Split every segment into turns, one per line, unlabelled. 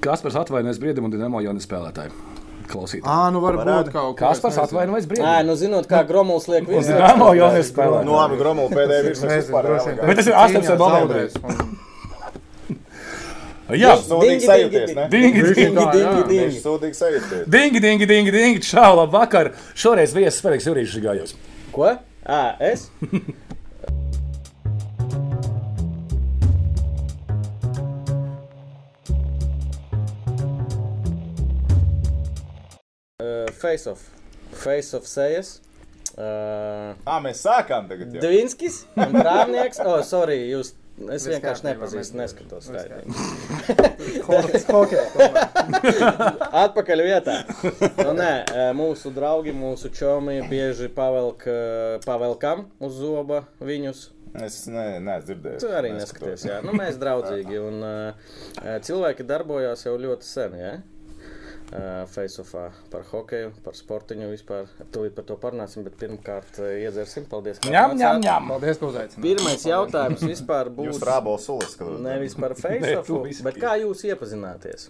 Kaspars atvainojas Briedam un Dienamo Jonas spēlētāju. Klausītāji.
Ā, nu varbūt
Varētu.
kaut kas
Kaspars atvainojas
Nē,
Briedam.
nu zinot, kā Gromovs liek
Un
visu.
Dienamo Jonas spēlētāju.
Nu, labi, Gromo pēdējā virsmas
Nezinu,
vispār.
droši vien
reālajā.
tā.
Bet tas ir
Cīņā
18
zaudēs.
zaudējums.
Un-
Jā,
Viņš sūdīgi
Dingi,
sajūties,
dingi,
ne?
dingi, dingi.
Dingi, dingi,
Viņš
dingi.
sūdīgi sajūties.
Dingi, dingi, dingi, dingi. Čau, labvakar. Šoreiz viesis Feliks Jurīšs Gājos.
Ko? Ā, es? Uh, Face off. Face off sejas. Uh,
Ā, mēs sākām tagad. jau.
Dvinskis un Rāmnieks. O, oh, sorry, jūs. Es
Viss
vienkārši
kārtībā,
nepazīstu,
mēs-
neskatos. Skaidri.
Hokeja, hokeja.
Atpakaļ vietā. Nu, nē, eh, mūsu draugi, mūsu čomi bieži pavelk eh, pavelkam uz zoba viņus.
Es ne- neesmu dzirdējis.
Tu arī neskaties, jā. Nu, mēs draudzīgi. Un, eh, cilvēki darbojās jau ļoti sen, jā. Eh, Faceoffā par hokeju, par sportiņu vispār. Tūlīt par to parunāsim, bet pirmkārt eh, iedzersim. Paldies, ka
Ņem, ņem,
atnācāt.
ņem.
Paldies, ka uzaicinājāt.
Pirmais jautājums vispār
Jūs
būs.
rābols sulas, ka
Nevis par
tu
Faceoffu,
vispār.
bet kā jūs iepazināties?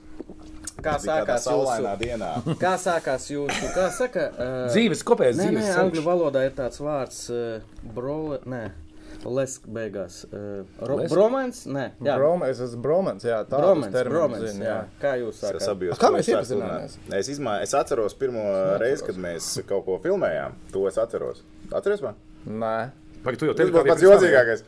Kā
tādā
sākās jūsu
saulainā dienā.
Kā sākās jūsu, kā saka, uh,
Dzīves kopējais
Nē, nē,
dzīves.
angļu
ceļš.
valodā ir tāds vārds, uh, brole, nē, lesk beigās. Uh, ro,
Lesk?
bromans, nē, jā,
Broma- Es esmu Bromans, jā, tā
bromans, bromans, jā. Kā jūs
Es
sākāt?
abijos
Kā
puses
mēs
sāku
iepazināmies?
runāt. Es, izmā... es atceros pirmo reizi, kad mēs kaut ko filmējām. To es atceros. Atceries man?
Nē.
Pag, tu jau
Tas
teici,
bija
kā
pats
viens
jocīgākais.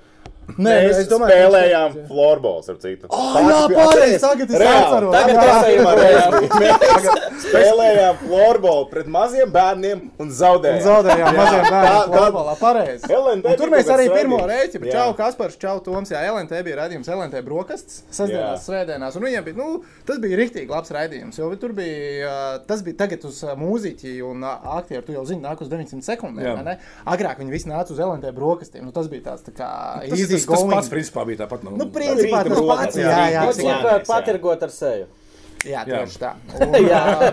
Nē,
mēs
es domāju,
spēlējām florbols ar citu.
ka... Jā, pareizi, tagad es
Reāli,
atceros.
Tagad
Jā.
tas ir bromans.
Spēlējām florbolu pret maziem bērniem un zaudējām.
Zaudējām mazajam
tā-
bērnam
tā-
futbolā, pareizi.
LNT
Un Tur mēs
bija
arī
kaut kas
pirmo reizi,
raidījums.
bet
Jā.
čau, Kaspars, čau, Toms, jā, LNT bija raidījums, LNT brokastis,
Jā.
sestdienās, svētdienās, un viņiem bija, nu, tas bija riktīgi labs raidījums, jo tur bija, ā, tas bija tagad uz ā, mūziķi un ā, aktieri, tu jau zini, nāk uz 900 sekundēm,
Jā.
vai ne? Agrāk viņi visi nāca uz LNT brokastiem, nu, tas bija tāds, tā kā,
Tas,
easy
tas, tas
going.
pats principā bija tāpat.
Nu, principā
Rīta
tas
brokasts,
pats,
jā,
jā,
rīta
jā,
brokasts.
jā.
Jūs varat patirgot ar seju.
Jā,
Jā.
tieši tā. Un,
Jā.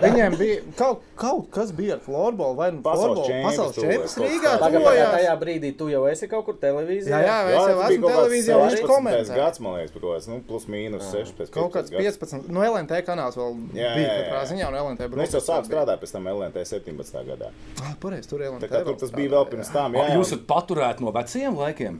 ā, viņiem bija kaut, kaut kas bija ar floorbola vai nu
Pasaules
floorbola
čempions
pasaules
tuvojās,
čempions
kaut
Rīgā.
kā tāds.
Tagad, tagad
tuvojās.
tajā brīdī tu jau esi kaut kur televīzijā.
Jā, jā, es jau
tas bija
esmu
kaut kāds
televīzijā, viņš
16.
komentē.
gads, man liekas, par to. Nu, plus mīnus 16.
Kaut kāds nu,
15 gads.
15, no LNT kanāls vēl
Jā,
bija
jā, jā.
katrā ziņā, un LNT
Nu, es jau
brokastīs
sāku
bija.
strādāt pēc tam LNT 17. gadā.
Ah, pareiz, tur
Tā
LNT
kā tur
vēl
tas
strādāja,
bija vēl pirms tam. Jā,
Jā, jūs esat paturēti no veciem laikiem.
jā.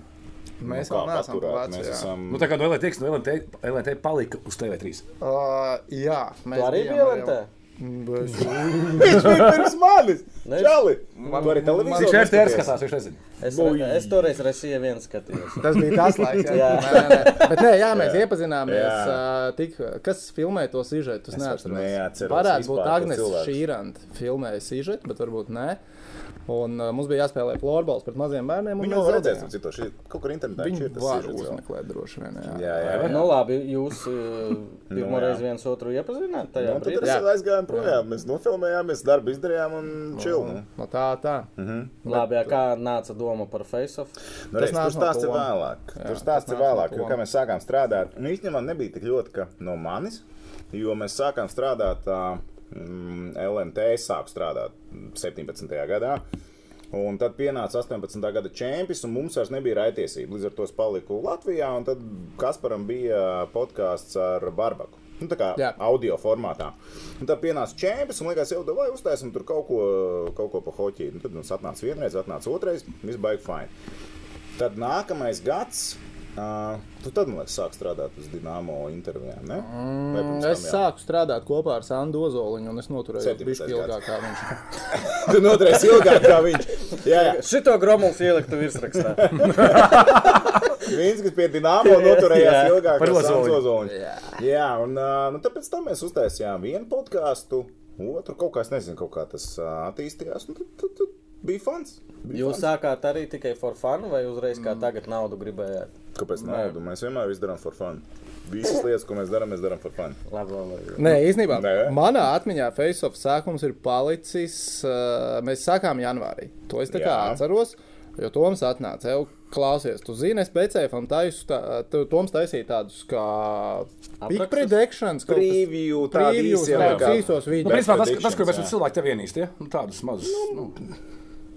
Mēs
nu, kā
vēl neesam pa
paturēt,
vecu,
mēs
jā.
esam.
Nu, tā kā no LNT, no LNT, LNT palika uz TV3.
Ā, Uh, Jā, mēs
Tu arī
bijām Mm,
biji LNT?
jau-
Viņš bija pirms manis!
Ne?
Čali! Tu arī televīzijā.
Viņš ir
neskaties?
TRS skatās, viņš nezina.
Es, re- es toreiz Rasija viens skatījos.
Tas bija tas laiks, jā.
Jā.
Nē, nē, nē. Bet, nē, jā, mēs iepazināmies.
Jā.
ā, Tik, kas filmē to sižetu? Es
vairs
neatceros.
neatceros
Varētu
vispār
būt
to
Agnēs
cilvēku.
Šīranta filmēja sižetu, bet varbūt nē. Un uh, mums bija jāspēlē florbols pret maziem bērniem. un
Viņu
mēs
jau redzēsim,
zaudējām.
cik to šī kaut kur internetā viņš
Viņu
ir.
var
tas sižets.
uzmeklēt droši vien. Jā.
Jā, jā, jā.
Nu labi, jūs eh, pirmo
jā.
reizi viens otru iepazināt tajā
Nu, tad
brīdī.
mēs aizgājām projām. Mēs nofilmējām, mēs darbu izdarījām un čilnu.
No nu, tā, tā.
Mhm.
Labi, jā, kā nāca doma par Faceoffu?
Nu, reiz,
nāk
tur
no
stāsts ir
Kolona.
vēlāk. Tur
tas
stāsts ir
nāk no
vēlāk, jo
Kolona.
kā mēs sākām strādāt, nu, īstenībā nebija tik ļoti ka no manis, jo mēs sākām strādāt ā, mm, LMT, es sāku strādāt mm, 17. gadā. Un tad pienāca 18. gada čempions, un mums vairs nebija raitiesība. Līdz ar to es paliku Latvijā, un tad Kasparam bija podkāsts ar Barbaku. Nu, tā kā
Jā.
Jā. audio formātā. Un tad pienāca čempions, un likās, jau tādā veidā uztaisām tur kaut ko, kaut ko pa hoķiju. Tad mums atnāca vienreiz, atnāca otrais, viss baigi fajn. Tad nākamais gads. Uh, tu tad, man liekas, sāk strādāt uz Dienāmo intervijām. Ne? Vai pirms
Es
tam, jā?
sāku strādāt kopā ar Sandu Ozoliņu, un es noturēju
17.
bišķi ilgāk kā viņš.
Tu noturēsi ilgāk, kā viņš. Jā, jā.
Šito gromols ieliktu virsrakstā.
Viņš, kas pie Dienāmo noturējās
Jā.
ilgāk,
Par
kā
Ozoliņu.
Ozoliņš. Jā. jā, un uh, nu, tāpēc tam mēs uztaisījām vienu podkāstu, otru kaut kā, es nezinu, kaut kā tas uh, attīstījās. un Tad, tad, tad bija fans. Bija
Jūs sākāt arī tikai for fun, vai uzreiz kā tagad naudu gribējāt?
Kāpēc naudu? Mēs vienmēr visu darām for fun. Visas lietas, ko mēs darām, mēs darām for fun.
Labi, labi, labi.
Nē, īstenībā Nē.
Nu, Nē.
manā atmiņā Facebook sākums ir palicis. Uh, mēs sākām janvārī. To es tā kā
Jā.
atceros, jo Toms atnāca. Jau, klausies, tu zini, es pēc tam taisu, tā, tu- Toms taisīja tādus kā big
Aprakstus?
predictions, kaut kas-
Preview, tādi
previews,
īsi, jā,
tādos
kā-
īsos
Nu,
video.
principā tas,
predictions,
tas kur mēs
jā.
esam cilvēki tev vienīsti, ja? nu, tādus mazus. Nu,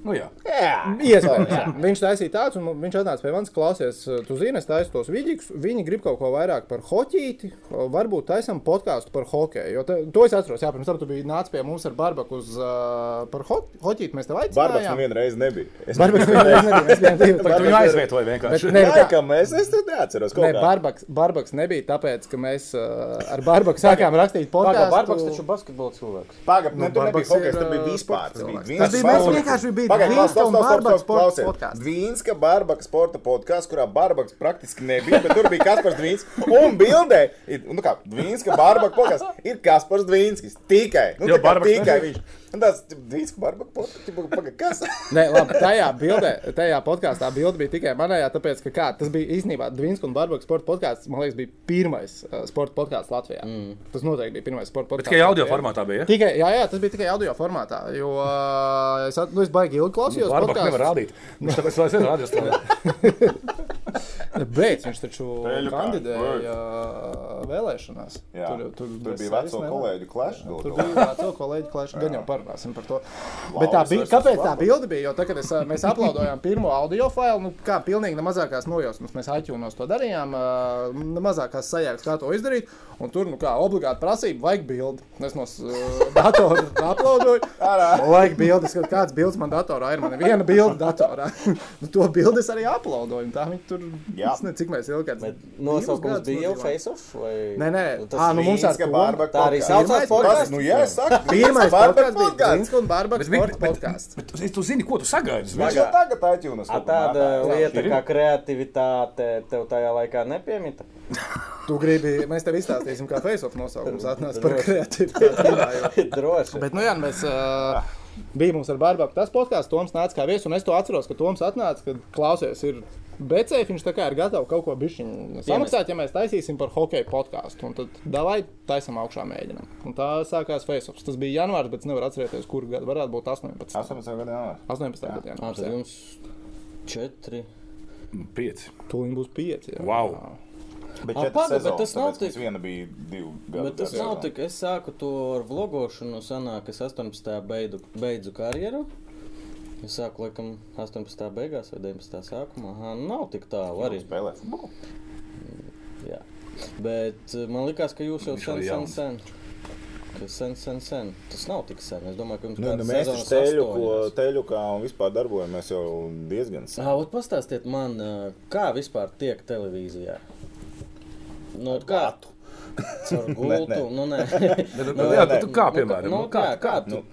Nu, jā.
Jā,
Iespējams. viņš taisīja tāds, un viņš atnāca pie manis, klausies, tu zini, es taisu tos vidīgus. Viņi grib kaut ko vairāk par hoķīti, varbūt taisam podkāstu par hokeju. Jo te, to es atceros, jā, pirms tam tu biji nācis pie mums ar barbaku uz uh, par ho hoķīti. Mēs tev
Barbaks
aicinājām.
nevienu reizi nebija. Es
Barbaks vienreiz nebija. Mēs bijām divi.
Tu
Barbaks-
viņu aizvietoji vienkārši.
Bet
Bet,
ne, tā,
Laikam es, es tad neatceros, ko
Nē, Barbaks, Barbaks nebija tāpēc, ka mēs uh, ar Barbaku sākām rakstīt podkāstu.
Pagaidām, Barbaks taču basketbola cilvēks.
Pagaidām, nu,
Nu,
tur nebija
Barbaks
hokeja,
ir,
tur bija
uh,
vispār. Tas bija
sports
viens
cilvēks. Tas bija- mēs
sports.
vienkārši bija
Pagaid,
Dvinska
klaus,
un
klaus, klaus,
Barbaks
klaus, klaus,
sporta
klausiet.
podcasts.
Dvinska Barbaks sporta podkāsts, kurā Barbaks praktiski nebija, bet tur bija Kaspars Dvīns. Un bildē, ir, nu kā, Dvinska Barbaka podkāsts ir Kaspars Dvīnskis. Tikai. Nu,
Jo
tā kā
Barbaks
tikai
nebija.
viņš. Un tas Dvinska Barbaka podkāsts, pagaid, kas?
Nē, labi, tajā bildē, tajā podkāstā bilde bija tikai manējā, tāpēc, ka kā, tas bija īstenībā Dvīnska un Barbakas sporta podkāsts. Man liekas, bija pirmais uh, sporta podkāsts Latvijā. Mm. Tas noteikti bija pirmais sporta podkāsts.
tikai audio formātā bija. Ja?
Tikai, jā, jā, tas bija tikai audio formātā. Jo uh, es, at- nu, es baigi ilgi klausījos.
Varbūt
podcasts.
nevar rādīt. Viņš tāpēc vēl aizvien rādījis. tādā.
Beidz, viņš taču
Peļu kā,
kandidēja uh, vēlēšanās.
Jā,
tur, tur,
tur
es
bija
vairs
veco
nevaru.
kolēģu klešs.
Tur bija to kolēģi klāšana, gan jau parunāsim par to. Bet tā
Lauris
bija,
versus
kāpēc tā
Lapas.
bilde bija? Jo tā, kad es, ā, mēs aplaudojām pirmo audio failu, nu, kā pilnīgi ne mazākās nojausmas, mēs aizjūnos to darījām, ā, ne mazākās sajūtas, kā to izdarīt. Un tur, nu, kā obligāti prasība, vajag bildi. Es no s- datora aplaudoju. Vajag bildi, skat, kāds bildes man datorā ir. Man ir viena bilde datorā. nu, to bildi es arī aplaudoju. un Tā viņi tur,
Jā.
es nezinu, cik mēs ilgi kāds.
Bet
divus
nosaukums
gadus
bija jau
nodzīvojām.
Face Off? Vai...
Nē, nē,
tas
ā, nu mums
Dvīnska
ar to-
Barbaka
Tā arī
podcasts.
saucās
Tas,
podkāsts.
Nu, jā, es saku.
Pirmais
Barbaka
podkāsts bija
podkāsts.
Dzinska un Barbakas
Bet viņi-
sporta
bet-
podkāsts.
bet tu- Tu zini, ko tu sagaidi?
Vai
zini?
jau tagad aizjūnas?
A tāda lieta
ir.
kā kreativitāte tev tajā laikā nepiemita.
Tu gribi, mēs tev izstāstīsim, kā Facebook nosaukums atnāca par
Droši.
kreativitāti.
Droši.
Bet, nu jā, mēs uh, bijām mums ar Barbaku tas podkāsts, Toms nāca kā viesis, un es to atceros, ka Toms atnāca, kad klausies, ir becēji, viņš tā kā ir gatavs kaut ko bišķiņu samaksāt, ja mēs taisīsim par hokeju podkāstu. Un tad davai taisam augšā mēģinam. Un tā sākās Facebook. Tas bija janvārs, bet es nevaru atcerēties, kur gadu varētu būt 18.
18 gadu jaunā.
18. gada
Ā,
janvārs.
tad
jā.
jums četri.
Mm, Pieci.
Tūlīt būs 5.
Wow.
Bet
Ā,
četras
paga, bet
sezonas,
tas nav
tāpēc, ka
tik-
es Viena bija divi gadi.
Bet tas nav tik, es sāku to ar vlogošanu, sanāk, es 18. Beidu, beidzu karjeru. Es sāku, laikam, 18. beigās vai 19. sākumā. Aha, nu nav tik tālu arī.
spēlēt.
Jā. Bet eh, man liekas, ka jūs jau
Viņš
sen,
arī
sen,
jauns.
sen. ka Sen, sen, sen. Tas nav tik sen. Es domāju, ka jums
Nu,
kādas
nu, mēs taču
sezonas
teļuko,
astoņas.
teļukā un vispār darbojamies jau diezgan sen.
Ā, ot Pastāstiet man, ā, kā vispār tiek televīzijā? No kā? Caur gultu,
nē.
nu nē.
Nu, jā,
nē.
bet tu kā,
Nu,
piemēram,
nu,
nu, kā,
jā,
kā?
kā tu?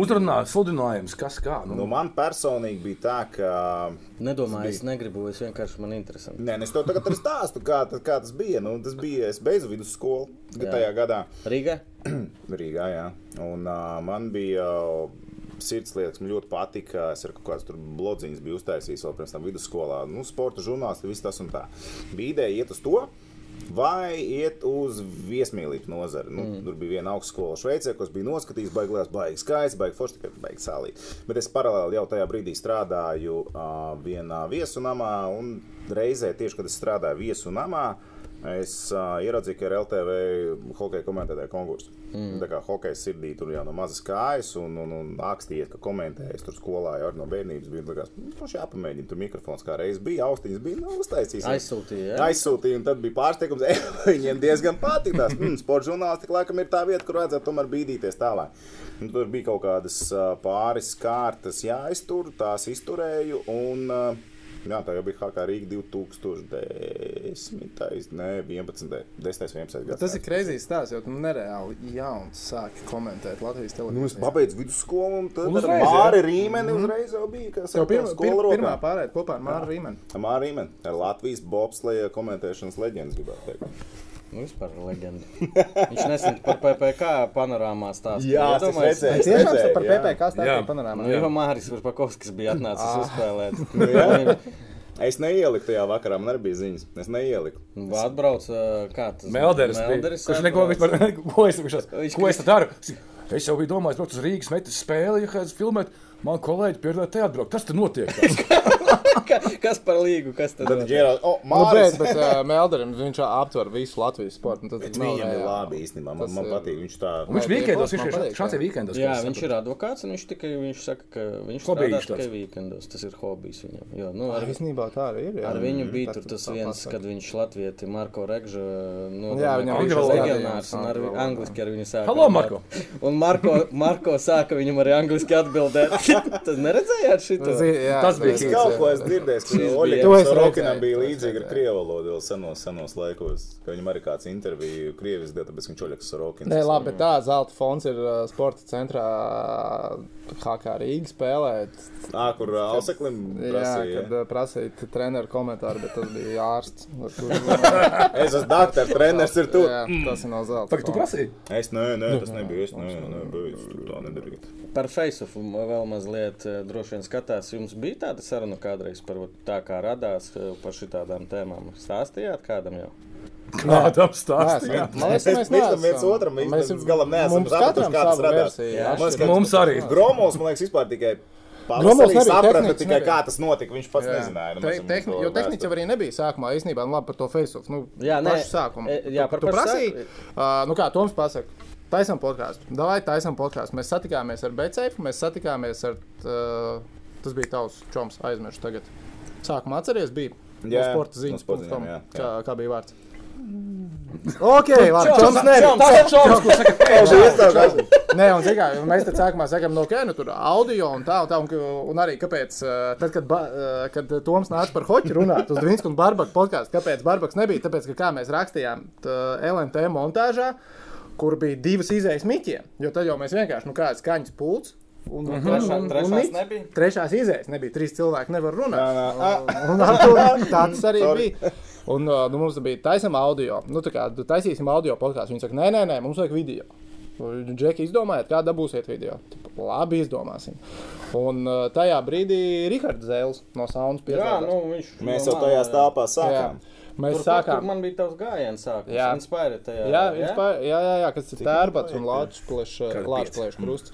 Uzrunā, sludinājums, kas kā.
Nu,
Nu,
man personīgi bija tā, ka.
Nedomāju, es negribu, es vienkārši man interesanti.
Nē, nu, es tev tagad arī stāstu, kā, tas- kā tas bija. Nu, tas bija. Es beidzu vidusskolu
Jā.
tajā gadā
Riga?
Rīgā. Jā. Un uh, man bija. Uh, Sirdslietas man ļoti patika. Es ar kaut kādas blodziņas biju uztaisījis vēl pirms tam vidusskolā. Nu, sporta žurnāls, viss tas un tā. Bija ideja iet uz to. Vai iet uz viesmīlību nozari? Nu, mm. Tur bija viena augstskola Šveicē, kas bija noskatījis, baigs, baigs skaists, baigs forši, tikai baigs sālīt. Bet es paralēli jau tajā brīdī strādāju uh, vienā viesunamā, un reizē tieši, kad es strādāju viesunamā, es uh, ieraudzīju, ka ir LTV hokeja komentētāja konkurss. Mm. Tā kā hokeja sirdī tur jau no mazas kājas, un, un, un akstīt, ka komentējas tur skolā jau arī no bērnības bija. Tā kā, nu, forši jāpamēģina, tur mikrofons kā reiz bija, austiņas bija, nu, uztaisījis.
Aizsūtīja, jā?
Aizsūtīja, un tad bija pārsteigums. "Ei, Viņiem diezgan patīk. Mm, sports žurnālistika laikam ir tā vieta, kur vajadzētu tomēr bīdīties tālāk. Un tur bija kaut kādas ā, pāris kārtas jāiztur, tās izturēju. Un, ā, Jā, tā jau bija Haka Rīga 2010. Nē, 11. 10. 11. gads.
Tas ir krēsls stāsts, jo tu nereāli jauns sāki komentēt Latvijas
Nu, es
televīziju.
pabeidzu vidusskolu, un tad
Uzreiz,
ar
jā?
Māri Rīmeni uzreiz jau bija. Kas
Mhm. Tev
jau
pirma, pirma,
pirmā skola
pirmā
rokā?
pārējā kopā ar Māru Rīmeni.
Māri Rīmeni, ar Latvijas bobsleja komentēšanas leģendas gribētu teikt.
Nu, vispār leģenda. Viņš nesen par PPC panorāmā stāstīja.
Jā, tas
Iedomājies?
redzēju. Es
Tiešām
redzēju,
par
jā.
PPC
Jā.
stāstīja panorāmā.
Nu, jau Mārcis Kalniņš bija atnācis
Ah. Nu, jā.
uzspēlēt.
Es neieliku tajā vakarā, man arī bija ziņas. Es neieliku.
Vai atbrauca kāds
Melderis. Melderis kurš neko vispār neko es, viņš,
Viņš
ko es te daru? Es jau biju domājis, protams, uz Rīgas metas spēli, ja kāds filmēt. Man kolēģi pierādīja, te atbraukt. Kas tur notiek? Tas
Ka, kas par līgu? Kas tad?
Tad Geralds, o,
Nu, bet,
Mārcis.
bet uh, Melderim viņš aptver visu Latvijas sportu. un tad
Bet
nav
Viņam ir
vajag.
labi īstenībā. Man,
Tas
man
ir-
patīk. Viņš tā.
Un Viņš
Vai
weekendos,
pie-
viņš
man
ir
patīk,
šāds
jā.
weekendos.
Jā, viņš ir advokāts, un viņš tikai viņš saka, ka
Hobijs
viņš strādā
tāds.
tikai weekendos. Tas ir hobijs viņam. Jo, nu,
Ah,
Ar
ar,
visnībā tā arī ir. jā.
ar viņu bija
Tā-
tur tas
tā
viens,
pasaka.
kad viņš Latvijai Marko Regža
Jā,
nu, nodomāja,
viņam
ka viņš ir
angļu valodā,
legionārs
jā,
un ar,
angļu valodā.
angliski ar viņu sāka.
Halo,
runāt.
Marko!
Un Marko, Marko sāka viņam arī angliski atbildēt. Tad neredzējāt šito?
Zi- jā,
Tas bija
Es
hits,
kaut ko esmu dzirdējis, ka
bija-
Oļegs
To es
Sorokinam
redzēju,
bija
to es
līdzīga ar
redzēju.
krievu valodu vēl senos, senos laikos, ka viņam arī kāds intervija krievis dēļ, tāpēc ka viņš Oļegs Sorokins.
Nē, labi, bet tā zelta fonds ir uh, sporta centrā uh, HK Rīgas spēlē.
Ā, kur ā, Auseklim
Jā,
prasīja.
kad uh, prasīja treneru komentāru, bet tas bija ārsts. ar kuru runāju.
ja? Es esmu doktors, treneris ir tur.
Jā, Nu, tas ir no zelta.
Pagaid, tu
fonda.
prasīji?
Es nē, nē, tas nebija. Es nē, nē, bija, es tur tā nedarīju.
Par Faceofu vēl mazliet eh, droši vien skatās. Jums bija tāda saruna kādreiz par vot tā, kā radās eh, par šitām tēmām. Stāstījāt kādam jau?
Kādam
Nē,
stāstam?
esam. Man liekas, ka
Mēs
mēs
pīkstam
neesam.
viens otram, mēs
Mēs-
līdz galam neesam
mums
sapratuši,
katram
kā tas
savu
radās.
versiju,
Man liekas,
atšķirību.
ka
Mums arī.
Gromos, man lieeks, vispār tikai
Gromos
pavasarī
nebija,
saprata
tehnikas
tikai,
nebija.
kā tas notika. Viņš pats
Jā.
nezināja.
Te,
nemaz viņam
tehni,
to
jo
vēsturi.
tehniski jau arī nebija sākumā īstenībā nu, labi par to Facebook. Nu,
Jā, nē,
pašu sākumu.
e, jā, par
to
pašu
prasīju.
sākumu.
Uh, nu kā Toms pasaka, taisam podkāstu. Davai, taisam podkāstu. Mēs satikāmies ar Becēfu, mēs satikāmies ar. Uh, tas bija tavs čoms, aizmirsu tagad. Sākumā atceries, bija. No
Jā,
sporta
no
ziņas,
sporta
punkts com.
ziņām, jā, jā.
Kā, kā bija vārds? Ok, labi. Čoms, nē,
Tas ir čoms, kurš saka,
Es jau iestāju, ka-
Nē, un zini kā, mēs te sākumā sakām, no kā, nu tur audio un tā, un, tā, un, ka- un arī kāpēc, eh, tad, kad, ba, eh, kad Toms nāca par hoci runāt uz Dvīnsku un Barbaku podkāstu, kāpēc Barbaks nebija? Tāpēc, ka kā mēs rakstījām tā, LMT montāžā, kur bija divas izējas miķiem, jo tad jau mēs vienkārši, nu kāds skaņas pults. Un, un, un,
Trešā-
Mhm. un,
trešās
miķis.
nebija?
Trešās izējas nebija. Trīs cilvēki nevar runāt.
Nā, nā.
Un ar to tāds arī
Sorry.
bija. Un uh, nu, mums bija taisama audio. Nu, tā kā taisīsim audio podkāstu. Viņa saka, nē, nē, nē, mums vajag video. Džeki, izdomājiet, kā dabūsiet video. Tipu, labi, izdomāsim. Un uh, tajā brīdī Rahards Zēls no Saunas
Jā,
pierādījās.
nu viņš.
Mēs
no
jau tajā
man-
stāvā
jā,
sākām.
eh, mēs
Turpat, Kur
sākām.
man bija tavs gājiens, sākums. Jā,
Jā.
inspire tajā.
Jā, inspār, jā, jā, jā, kas ir tērbats un
Kādi
lāčplēšu krusts.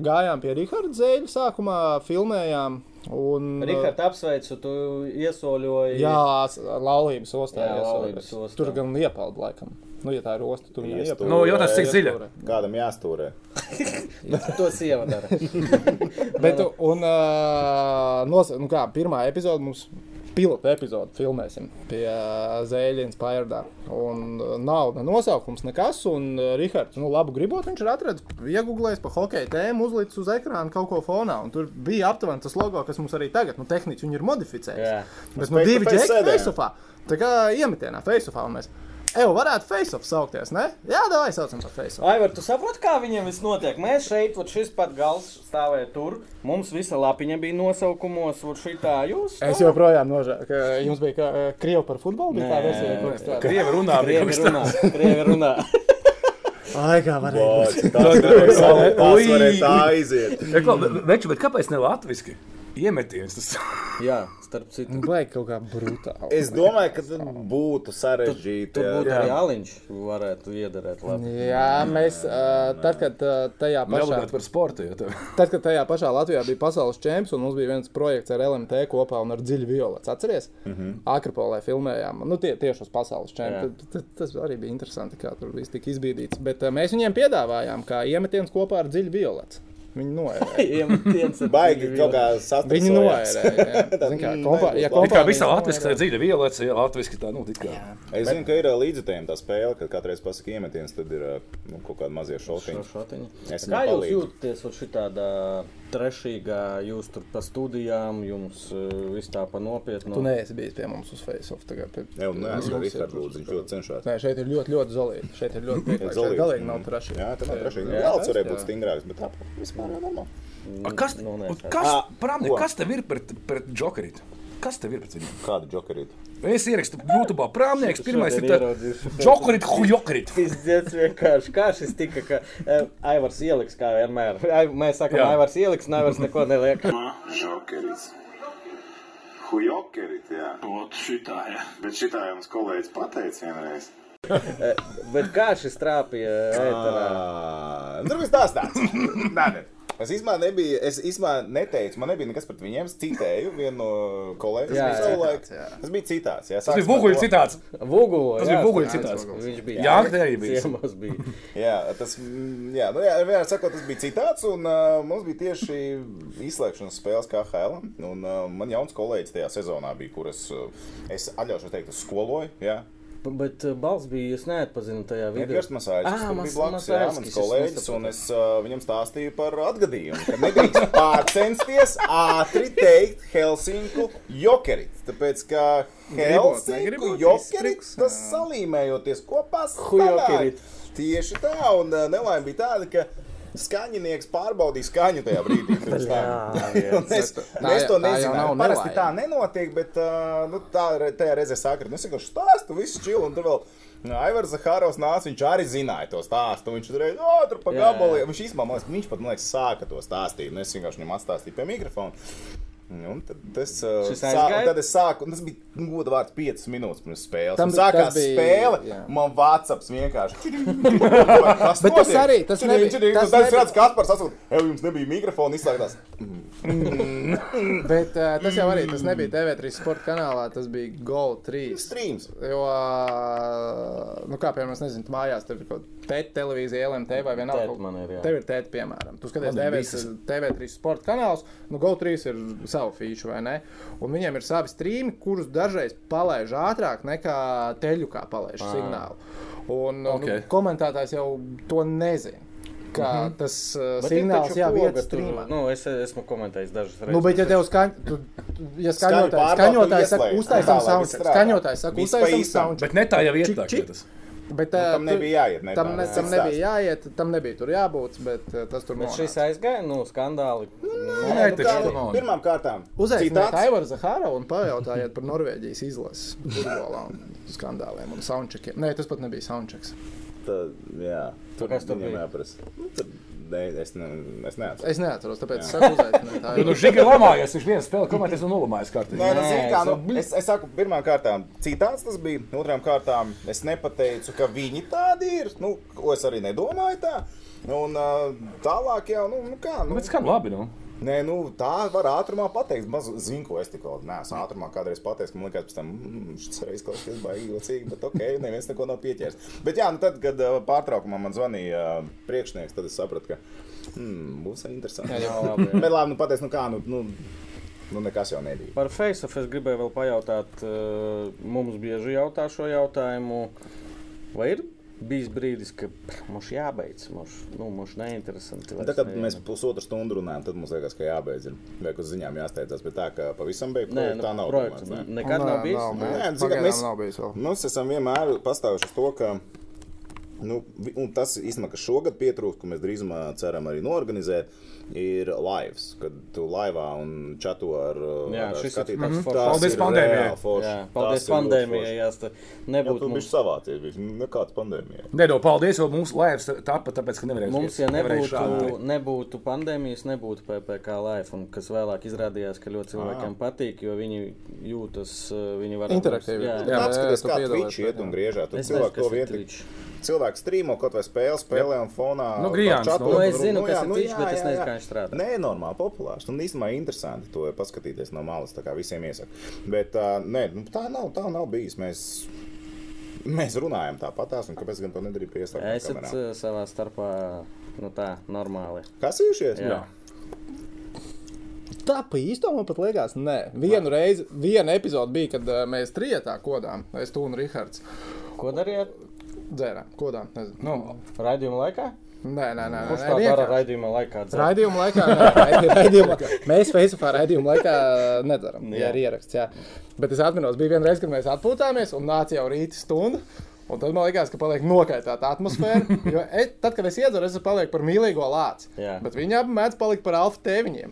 Gājām pie Raharda Zēļa sākumā, filmējām. Un, uh,
Rikārds, apsveicu, tu iesoļoji.
Jā, s- laulības ostā.
Jā,
Jā,
laulības
laulības ostā.
ostā.
Tur gan iepalda laikam. Nu, ja tā ir osta, tur jau
Iestūrē.
iepalda.
Nu, jautājums, cik dziļi.
Kādam jāstūrē?
to sievadara.
Bet, un, uh, nos, nu kā, pirmā epizode mums. Pilota epizode filmēsim pie uh, Zēļas Pairdā. Un uh, nav ne nosaukums, nekas. Un uh, Rihards, nu, labu gribot, viņš ir atradzis, iegūlējis par hokeja tēmu, uzlicis uz ekrāna kaut ko fonā. Un tur bija aptuveni tas logo, kas mums arī tagad, nu, tehniski viņi ir modificējuši.
Jā.
Bet
Uz
nu,
face to
divi
face
ģērbēji
sēdējām.
Faceofā. Tā kā iemetienā Faceofā un mēs. Evo, varētu Faceoff saukties, ne? Jā, davai saucam par Faceoff.
Ai, var tu saproti, kā viņiem viss notiek? Mēs šeit, vot šis pat gals stāvēja tur. Mums visa lapiņa bija nosaukumos, vot šitā jūs.
Es joprojām nožēloju, ka jums bija kā, eh, krievi par futbolu. Bija tā
Nē.
versija, kur es tādu
Krievi runā,
Krievi
viņš
runā, krievi runā.
laikā varēju.
Boc, tas varēja salikt, tas
Ui.
varēja tā aiziet.
Veču, bet kāpēc ne latviski? Iemetiens tas.
Jā, starp citu.
Baigi kaut kā brutāli.
Es domāju, ka tas būtu sarežģīti.
Tur būtu
jā.
arī aliņš, varētu iederēt labi.
Jā, mēs uh, tad, kad uh, tajā pašā
Nelabāk par sportu, jo tev.
Tad, kad tajā pašā Latvijā bija pasaules čempions, un mums bija viens projekts ar LMT kopā un ar dziļu violētu, atceries? Mm -hmm. Akropolē filmējām, nu tie, tieši uz pasaules čempionu. Tad- tad- Tas arī bija interesanti, kā tur viss tika izbīdīts. Bet uh, mēs viņiem piedāvājām, kā iemetiens kopā ar dziļu violetu. Viņi noērēja.
Iemetiens ar
Baigi
dzīvi
kaut kā
Viņi
sastrēgojās.
noērēja. jā. Zini kā, Kopā, ja
It kā
kopā
visā
viņi
latviski tā dziļa violēca, ja latviski tā, nu, tik kā.
Es zinu, ka ir ā, līdzjutējiem tā spēle, ka katru reizi pasaka iemetiens, tad ir ā, nu, kaut kāda mazie šofiņi.
Šotiņi. Kā
Es viņam
jūs
palīdzu.
jūtaties ar šitādā trešīgā, jūs tur pa studijām, jums eh, viss tā pa nopietnu?
Tu neesi bijis pie mums uz Facebook. Tagad, pie...
Jā, un nē, es arī
Mums ir-
Rihards lūdzu, viņš ļoti cenšas.
Nē, šeit ir ļoti, ļoti zelīti. Šeit ir ļoti pieklājīgi. Šeit
zelīti,
galīgi
mm.
nav traši.
Jā, tā nav trašīga.
Jā,
Galds varēja
jā.
būt stingrāks, bet tā vispār jau normāli.
A, Kas,
Nu, nē,
un
tā-
kas,
Ā,
prāmni,
ko?
kas tev ir pret, pret džokerītu? Kas tev ir pret viņu?
Kādu džokerītu?
Es ierakstu YouTube, prāmnieks, pirmais ir
šodien
tā-
ieraudzīšu.
džokerīt, hujokerīt.
Pizdzēts vienkārši. Kā šis tika, ka e, Aivars ieliks, kā vienmēr. Ai, mēs sakām,
Jā.
Aivars ieliks, un Aivars neko neliek.
Žokeris. Hujokeris, jā.
Вот считай.
Bet šitā jums kolēģis pateica vienreiz.
Bet kā šis trāpīja eh, ēterā?
Ah.
Ah. Ā, Nu, Tur viss tāds tāds. Nē, nē. Es īstenībā nebiju, es īstenībā neteicu, man nebija nekas pret viņiem. Es citēju vienu no kolēģiem.
Jā, jā.
Tas bija savulaik.
Citāts, jā.
Tas bija citāts. Jā,
Tas bija
sāksim ar
buļbuļs
to.
citāts.
Vogulo,
Tas bija buļbuļs citāts.
Viņš bija
Jā, tā arī bija.
Ciemos bija.
Jā, tas, mm, jā, nu, jā, vienmēr sakot, tas bija citāts, un uh, mums bija tieši izslēgšanas spēles KHL. Un uh, man jauns kolēģis tajā sezonā bija, kuras uh, es atļaušos teikt, es skoloju. Jā,
B- Bet uh, balss bija, jūs neatpazinu tajā video.
Edgars Masāļs,
Ā,
kas tur
Mas-
bija blakus, jā,
Masāļskis,
mans
es
kolēģis,
nesapratu.
un es uh, viņam stāstīju par atgadījumu, ka nedrīkst pārcensties ātri teikt Helsinku jokerit, tāpēc, ka
Gribot,
Helsinku
negribot,
jokerit,
izstriks,
tas
jā.
salīmējoties kopā
Hujokerit.
sanāk. Tieši tā, un uh, nelaime bija tāda, ka skaņinieks pārbaudīja skaņu tajā brīdī. pirms tam.
Jā,
Un Es,
Tā-
tā, es
tā
to
jau
nezinu.
nav
Parasti
nelaime.
tā nenotiek, bet uh, nu, tā re- tajā reizē sāktu. Nu, es vienkārši stāstu, viss čili. Un tur vēl Aivars Zahāros nāca, viņš arī zināja to stāstu. Viņš tur bija otrs pa
Jā,
gabaliem.
jā.
Viņš īstenībā, man liekas, viņš pat, man liekas, sāka to stāstīt. Un es vienkārši viņam atstāstīju pie mikrofona. Un tad es, uh,
Šis
sā,
aizgāja?
un tad es sāku, un tas bija nu, goda vārds 5 minūtes pirms spēles.
Tam
Tam
bija-
sākās
tas bija-
spēle, jā.
jā.
man Vācijā vienkārši. Kas
Bet tas
notiek?
arī, tas
Čirīn,
nebija- tas
čirīn, un Tad es
nebija-
redzu, kas par sasaukt, jau jums nebija mikrofona izslēgtās.
Bet uh, tas jau arī tas nebija TV3 sporta kanālā, tas bija Gold 3.
Streams.
Jo, ā, nu, kā piemēram, es nezinu, tu mājās tur ir kaut kāda tēta televīzija, LMT vai vienalga.
Tēt
kaut-
E man ir, jā.
Tev ir tēta, piemēram. Tu skaties
Man ir
TV,
visas.
TV3 sporta kanāls, nu, GO3 ir savu fīšu, vai ne? Un viņiem ir savi streami, kurus dažreiz palaiž ātrāk nekā teļukā palaiž signālu. Un okay.
Ok.
nu, komentētājs jau to nezina. Kā mm -hmm. tas uh,
Mhm. Bet ir
signāls
taču
jau ir
poga tur,
streamā.
Nu, es esmu komentējis dažas reizes.
Nu, bet, ja tev skaņ... tu, tu, ja
Skaņu
skaņotājs,
pārbaudi,
skaņotājs saka,
ieslēdz.
uztaisām
Tā, lai viss
soundcheck,
strādā.
skaņotājs saka,
Viss pa
uztaisām
īstam.
soundcheck,
Bet ne tā jau ir
Čik,
tā,
čik.
ka tas.
bet
Nu,
ā,
tam
tu-
nebija jāiet, ne
Tam,
tā,
ne,
jā.
tam
Cits
nebija jāiet, tam nebija tur jābūt, bet ā, tas tur
Bet šis
bija.
aizgāja, nu, skandāli.
Nē,
Nu,
taču
kā,
tur nav.
Pirmām kārtām,
Uzaiciniet
citāts.
Aivaru Zahāru un pajautājiet par Norvēģijas izlases futbolā un skandāliem un soundcheckiem. Nē, tas pat nebija soundchecks.
Tad, jā, tur
kas tur
viņam
bija?
jāprasa. Nu, tad, Nē, es, ne, es neatceros.
Es neatceros, tāpēc es saku, uzaiciniet
Jo, Nu,
Aivaru.
Žiga lamājies, viņš viens spēlē komentēs un nolamājas kārtīgi.
Nē, nu, zini, kā,
es-
nu, es, es saku, pirmām kārtām, citāts tas bija. Otrām kārtām, es nepateicu, ka viņi tādi ir. Nu, ko es arī nedomāju tā. Un uh, tālāk jau, nu, nu kā. Nu,
Bet skan labi, nu.
nē, nu, tā var ātrumā pateikt. Maz zinu, ko es tikko nesu ātrumā kādreiz pateicu. Man liekas, pēc tam mm, šis reizes kaut kas baigi ilcīgi, bet ok, neviens neko nav pieķēries. Bet jā, nu tad, kad uh, pārtraukumā man zvanīja uh, priekšnieks, tad es sapratu, ka mm, būs interesanti.
Jā, labi, jā.
Bet labi, nu pateic, nu kā, nu, nu, nu nekas jau nebija.
Par FaceOff es gribēju vēl pajautāt, eh, mums bieži jautā šo jautājumu. Vai ir bijis brīdis, ka pff, mums jābeidz, mums nu, mums neinteresanti?
Tā kā mēs pusotru stundu runājam, tad mums liekas, ka jābeidz. ir. Vai uz ziņām jāsteidzas, bet tā kā pavisam beigas,
Nē, nu,
tā nav.
projekts
domāts, ne?
nekad nav bijis.
Nav,
nē?
bijis.
Nē, nu, zini,
Pagaidām
mēs-
nav bijis vēl.
Mēs Nu, esam vienmēr pastāvējuši uz to, ka. Nu, vi- un tas īstenībā, kas šogad pietrūkst, ko mēs drīzumā ceram arī norganizēt, ir laivs. Kad tu laivā un čato ar
Jā,
ar
šis ir
skatītājiem.
tāds foršs.
Tas
Paldies
ir
pandēmijai.
reāli forši.
Jā,
Tas
paldies
ir ļoti
pandēmijai,
forši.
jā, tas
Jā,
nebūtu
tu
mums.
biji savācies, bija nekāds pandēmijai.
Nē, no paldies, jo mums laivs tapa, tāpēc, ka nevarēja.
Mums, ja
skriet, nevarēja
nebūtu,
šādi.
nebūtu pandēmijas, nebūtu PPC live, un kas vēlāk izrādījās, ka ļoti cilvēkiem patīk, jo viņi jūtas, eh, viņi var
Interaktīvi.
Jā,
nu,
Jā.
jā.
Apskaties,
tu
kā
piedalies,
Twitch iet
jā.
un griežās. Tur
Es nezinu,
cilvēki to
kas ir
vien
Twitch.
cilvēki strīmo kaut vai spēle, spēlē un fonā.
Nu, Grijāns,
čato
nu.
Nu,
tur
es
runā.
zinu,
jā,
kas ir Twitch,
jā,
bet es
jā,
nezinu,
jā.
kā viņš strādā.
Nē, normāli populārs. Un īstenībā interesanti to paskatīties no malas. Tā kā visiem iesaku. Bet uh, nē, nu, tā nav, tā nav bijis. Mēs, mēs runājam tāpatās, un kāpēc gan to nedarīja
Esat
piesaistīt?
eh, savā starpā, nu tā, normāli.
Kas īšies?
Jā.
Tā pa īsto man pat liekas, nē. Vienu reizi, viena epizode bija, kad ā, mēs trijotā kodām, es tu un Rihards
Ko darījāt?
dzērām, kodām, nezinu.
Nu,
Raidījuma laikā?
Nē, nē, nē,
Kurš
nē,
tā dara
vienkārši.
raidījuma laikā? dzird?
Raidījuma laikā, nē, raidījuma- raidījuma laikā. Mēs Facebookā raidījuma laikā uh, nedaram. Jā, ir ieraksts. Jā. Bet es atceros, bija viena reize, kad mēs atpūtāmies un nāca jau rīta stunda. Un tad man liekas, ka paliek nokaitāta atmosfēra. Jo es, tad, kad es iedzeru, es palieku par mīlīgo lāci.
Jā.
Bet viņi abi mēdz palikt par alfa tēviņiem.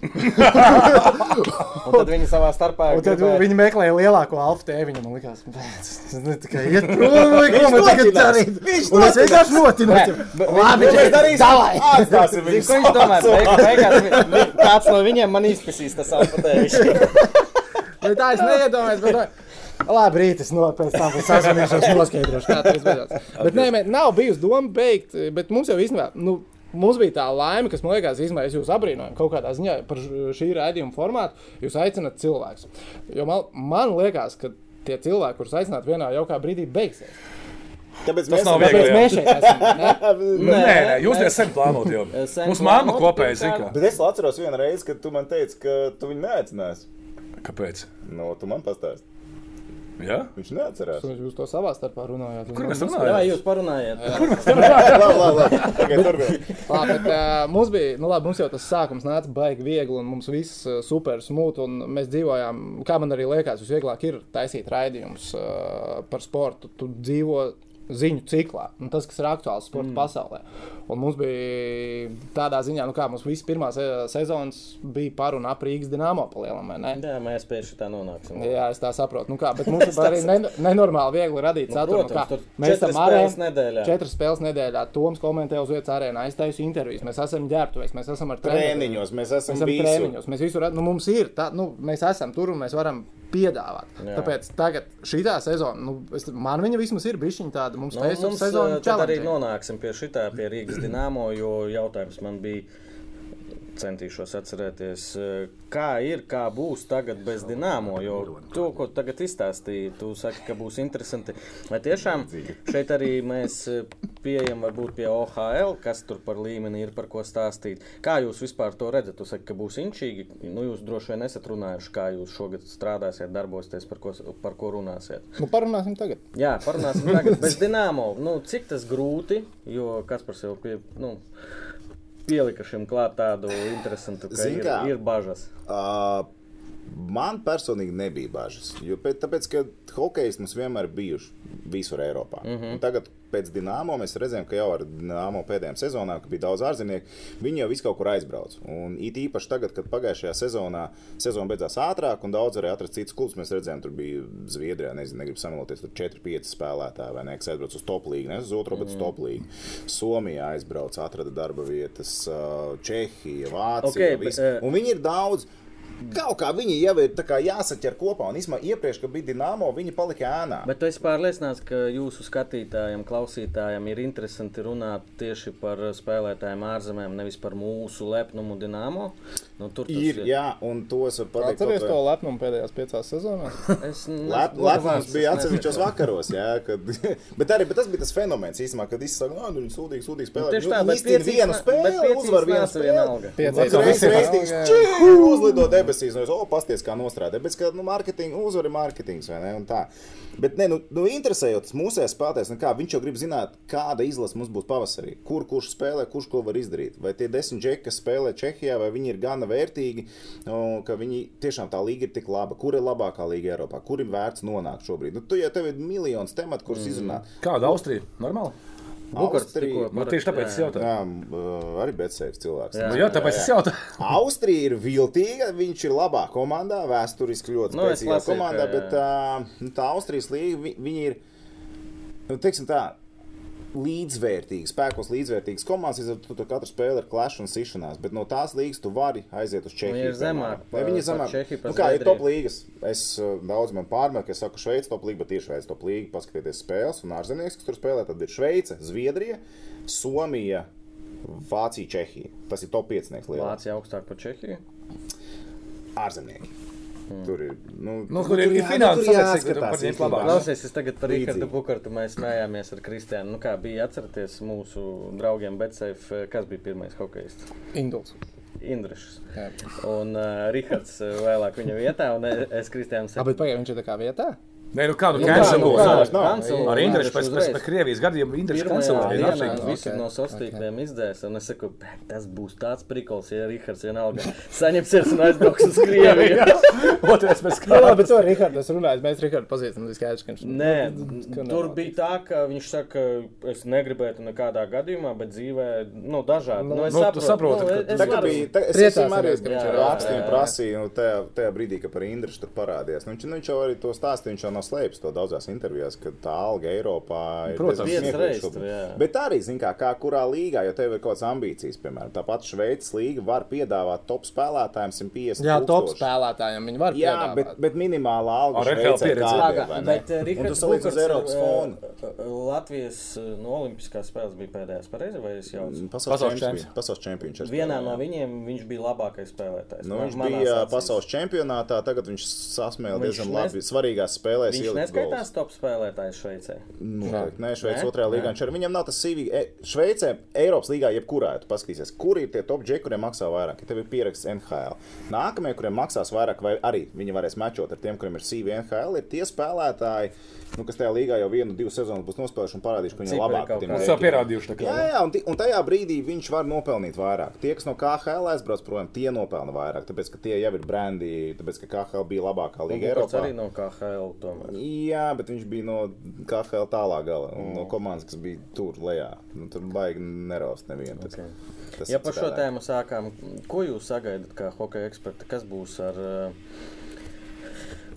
Un tad viņi savā starpā
Un tad
gribēja-
viņi meklēja lielāko alfa tēviņu. Man liekas, tas tikai iet prom. vai Ko man tagad darīt? Un es vienkārši notinu. Labi,
Mēs
čet,
darīsim. Atstāsim
Zini,
viņus.
ko viņš domā? Beigu, beigās vi- vi- kāds no viņiem man izpēsīs tas apatēvišķi.
Bet Nu, tā es neiedomājos. Bet... tā- Labi, rīt es no pēc tam sasniegšu, noskaidrošu, kā tas beidzās. Bet nē, mē, nav bijusi doma beigt, bet mums jau īstenībā, nu, Mums bija tā laime, kas man liekas, izmē- es jūs abrīnoju kaut kādā ziņā par ž- šī raidījuma formātu. Jūs aicināt cilvēkus. Jo man, man liekas, ka tie cilvēki, kurus aicināt, vienā jaukā brīdī beigsies.
Tāpēc
Tas
mēs
nav
Tāpēc
viegli. jā.
mēs šeit esam. ne?
Nē, Nu, nē, nē, jūs esat sen plānot jau.
Sen
Mums mamma
plānot,
kopēja
pirmkārt.
zina,
Bet es atceros vienu reizi, kad tu man teici, ka tu viņu neaicināsi.
ka- kāpēc.
No, tu man pastāsti.
Ja?
Viņš neatcerās.
Jūs to savā starpā runājāt.
Kur mēs
Jā,
runājam?
jūs parunājāt.
Labi, labi, labi. Tagad turpinām.
Labi, bet, uh, mums bija, nu labi, mums jau tas sākums nāca baigi viegli, un mums viss uh, super smūti, un mēs dzīvojām, kā man arī liekas, visvieglāk ir taisīt raidījumus uh, par sportu. Tu dzīvo ziņu ciklā, un tas, kas ir aktuāls sporta mm. pasaulē. Un mums bija tādā ziņā, nu kā mums viss pirmā se- sezonas bija par un ap Rīgas dīnāmo palielam, vai ne?
Jā, mēs pie šī tā nonāksim.
Jā, es tā saprotu. Nu kā, bet mums ir arī neno- nenormāli viegli radīt saturu. Nu,
protams,
kā,
tur
mēs
četras
esam arēnā.
spēles nedēļā.
Četras spēles nedēļā. Toms komentē uz vietas arēnā. Es taisu intervijas. Mēs esam ģērbtuvēs, mēs esam ar treneriem.
Trēniņos mēs
Mēs
esam
esam
bijuši.
treniņos. Mēs visur redzam, nu, mums ir tā, nu, mēs esam tur un mēs varam piedāvāt. Jā. Tāpēc tagad šī sezona, nu, es, man viņa vismaz ir bijusi tāda, mums
Nu,
tā ir
mums
sezona.
eh, tad arī
challenging.
nonāksim pie šitā, pie Rīgas dīnāmo, jo jautājums man bija. Centīšos atcerēties, eh, kā ir, kā būs tagad bez dīnāmo. Jo to, ko tu tagad izstāstīji, tu saki, ka būs interesanti. Vai tiešām šeit arī mēs eh, pieejam varbūt pie OHL, kas tur par līmeni ir, par ko stāstīt. Kā jūs vispār to redzat? Jūs sakat, ka būs inčīgi. Nu, jūs droši vien esat runājuši, kā jūs šogad strādāsiet, darbosieties, par ko, par ko runāsiet.
Nu, parunāsim tagad.
Jā, parunāsim tagad bez dīnāmo. Nu, cik tas grūti, jo Kaspars jau pie, nu, pielika šim klāt tādu interesantu, ka
Zini
ir,
kā?
ir bažas.
Uh, Man personīgi nebija bažas. Jo, pēc- tāpēc, ka hokeja mums vienmēr bijuši visur Eiropā. Mm
Mhm.
-hmm. Tagad pēc Dienāmo mēs redzējām, ka jau ar Dienāmo pēdējām sezonām, kad bija daudz ārzemnieku, viņi jau visu kaut kur aizbrauc. Un it īpaši tagad, kad pagājušajā sezonā sezona beidzās ātrāk un daudz arī atrada citas klubus, mēs redzējām, tur bija Zviedrijā, nezinu, negribu samēloties, tur 4-5 spēlētāji vai ne, kas aizbrauc uz top līniju, ne uz otro, bet uz
Mhm.
top līniju. Somijā aizbrauc, atrada darba vietas, ā, Čehija, Vācija.
Okei,
Okay,
bet,
bet,
eh,
Un viņi ir daudz. Kaut kā viņi jau ir tā kā jāsaķer kopā, un īstenībā iepriekš, kad bija dīnāmo, viņi palika ēnā. Bet...
Bet es pārliecināts, ka jūsu skatītājiem, klausītājiem ir interesanti runāt tieši par spēlētājiem ārzemēm, nevis par mūsu lepnumu dīnāmo. Nu, tur tas
Ir, jā, un to es varu pateikt.
Atcerieties to lepnumu pēdējās piecās sezonās.
Es nezinu,
Latvijas
vārds
bija
es
atsevišķos
nezinu.
vakaros, jā, kad, bet arī bet tas bija tas fenomens īstenībā, kad visi saka, no, nu, viņi sūdīgi, sūdīgi spēlē.
Tieši tā,
Nu,
bet
iztin vienu spēli, uzvar vienu
spēlē vienalga.
spēli.
Piecās
Uzreiz
sezonās.
reizes čīk, uzlido debesīs, un es oh, pasties, kā nostrādāju. Tāpēc, ka nu, mārketinga uzvara ir mārketings, vai ne? un tā. Bet, nē, nu, nu interesējoties mūsējās spēlētājs, nu kā, viņš jau grib zināt, kāda izlase mums būs pavasarī. Kur kurš spēlē, kurš ko var izdarīt. Vai tie desmit džeki, kas spēlē Čehijā, vai viņi ir gana vērtīgi, nu, ka viņi tiešām tā līga ir tik laba. Kur ir labākā līga Eiropā? Kur ir vērts nonākt šobrīd? Nu, tu jau tev ir miljons tematu, kurus mm. izrunāt.
Kāda Austrija? Normāli?
Bukarts
Austrija-
tikko
Nu, tieši tāpēc es jautāju.
Jā, m, arī betsēvis cilvēks.
Nu, jā, tāpēc es jautāju.
Austrija ir viltīga, viņš ir labā komandā, vēsturiski ļoti
Nu, es
spēcīgā
lasīju,
komandā,
ka-
bet ā, nu, tā Austrijas līnija, vi, viņi ir, nu, teiksim tā, līdzvērtīgi, spēkos līdzvērtīgas komandas, līdz ar to, ka katra spēle ir klaša un sišanās, bet no tās līnijas tu vari aiziet uz Čehiju.
Viņi Nu, ir zemāk
Vai
par-
viņi ir
par
zemāk?
Čehiju, par
nu, kā ir
Zviedriju.
top līgas? Es ā, daudz man pārmetu, ka es saku Šveices top līga, bet tieši Šveices top līga, paskatieties spēles un ārzemnieks, kas tur spēlē, tad ir Šveice, Zviedrija, Somija, Vācija, Čehija. Tas ir top 5 lielākais
Vācija augstāk par Čehiju.
ārzemnieki.
Hmm.
Tur ir. Nu,
Nu, tur ir- ir finanses attiecīgi, tur par tiem labāk.
Nu,
Klausies, es tagad par
Līdzīgi.
Rīgārdu Bukartu mēs smējāmies ar Kristiānu. Nu, kā bija atcerieties mūsu draugiem Betseif, kas bija pirmais hokejists?
Induls.
Indrišs. Un uh, Rihards uh, vēlāk viņa vietā, un e- es Kristiānu
Labi, pagaidām viņš ir tā kā vietā.
Nē, nu kādu
kā,
cancel
nu
būs?
kā?
Ar Indrišu pēc, pēc, pēc Krievijas gadiem Indrišu kancelēja.
dienā.
nafīgi.
nafīgi.
Visi
Ok,
no sastāvdaļām izdzēs, un es saku, "Bet tas būs tāds prikols, ja Rihards vienalga saņemsies un aizbrauks uz Krieviju.
Otrais mēs
Jā, labi,
skatāmies.
bet to ar Rihardu es runāju. Mēs Rihardu pazīstam, tas skaidrs, ka viņš
Nē,
ka nav
tur bija tā, ka viņš saka, es negribētu nekādā gadījumā, bet dzīvē, nu, dažādi. Nu, es
nu, tu saproti,
nu,
ka
es- es
Tagad
varu-
bija tā, es
Priecāsimies,
esmu arī
ka viņš
ir ārstē.
ar ārstiem prasīju, nu, tajā, tajā brīdī, kad par Indrišu tur parādījās. Nu, viņš, nu, viņš jau arī to stāstīja, viņš jau nav slēpis to daudzās intervijās, ka tā alga Eiropā ir
Protams.
diezgan
Viens
smieklīga
reiz tur,
šobrīd.
jā.
Bet arī, zin kā, kā kurā līgā, ja tev ir kaut kādas ambīcijas, piemēram, tāpat Šveices līga var piedāvāt top spēlētājiem 150
Jā, top
tūkstošus.
spēlētājiem viņi var
Jā,
piedāvāt.
bet, bet minimālā alga
Ar
ir
NHL pieredzi.
tāda, vai ne?
bet eh,
Un tu
Rihards
salīdz
Bukars
uz
ir,
Eiropas
eh,
fonu.
Latvijas eh, no Olimpiskās spēles bija pēdējās, pareizi, vai es jau?
Pasaules
Pasaules čempions.
čempions.
bija. Pasaules čempions. viņš
Vienā
spēlēja,
no
Mm, jā.
viņiem viņš bija labākais spēlētājs.
Nu,
Man-
viņš
manās
bija
acīs.
pasaules čempionātā, tagad viņš sasmēla
Viņš
diezgan
nes-
labi. Svarīgās spēlēs
Viņš
ielikt
neskaitās
gols.
top spēlētājs Šveicē.
Nu, nē, Šveicē
Nē?
otrajā līgā. Viņš ar viņam nav tas CV. E, Šveicē, Eiropas līgā, jebkurā, ja tu paskatīsies, kur ir tie top džekļi, kuriem maksā vairāk. Ja tev ir pieraksts NHL. Nākamie, kuriem maksās vairāk, vai arī viņi varēs mečot ar tiem, kuriem ir CV NHL, ir tie spēlētāji, nu, kas tajā līgā jau vienu, divas sezonas būs nospēlējuši un parādījuši, ka viņi ir
Cipari
labāki.
kaut
par tiem
kādi.
Tas
džekuriem.
jau pierādījuši. tā kā,
Jā,
nu.
jā un, ti- un tajā brīdī viņš var nopelnīt vairāk. Tie, kas no KHL aizbrauc prom, tie nopelna vairāk, tāpēc ka tie jau ir brandi, tāpēc ka KHL bija labākā līnija
Bukars
Eiropā.
arī no KHL tomēr.
Jā, bet viņš bija no KHL tālā gala, mm. no komandas, kas bija tur lejā. Nu, tur baigi neraust nevienu. Tas,
Okay.
tas
Ja
ir
par šo
citādāk.
tēmu sākām, ko jūs sagaidat kā hokeja eksperti? Kas būs ar uh,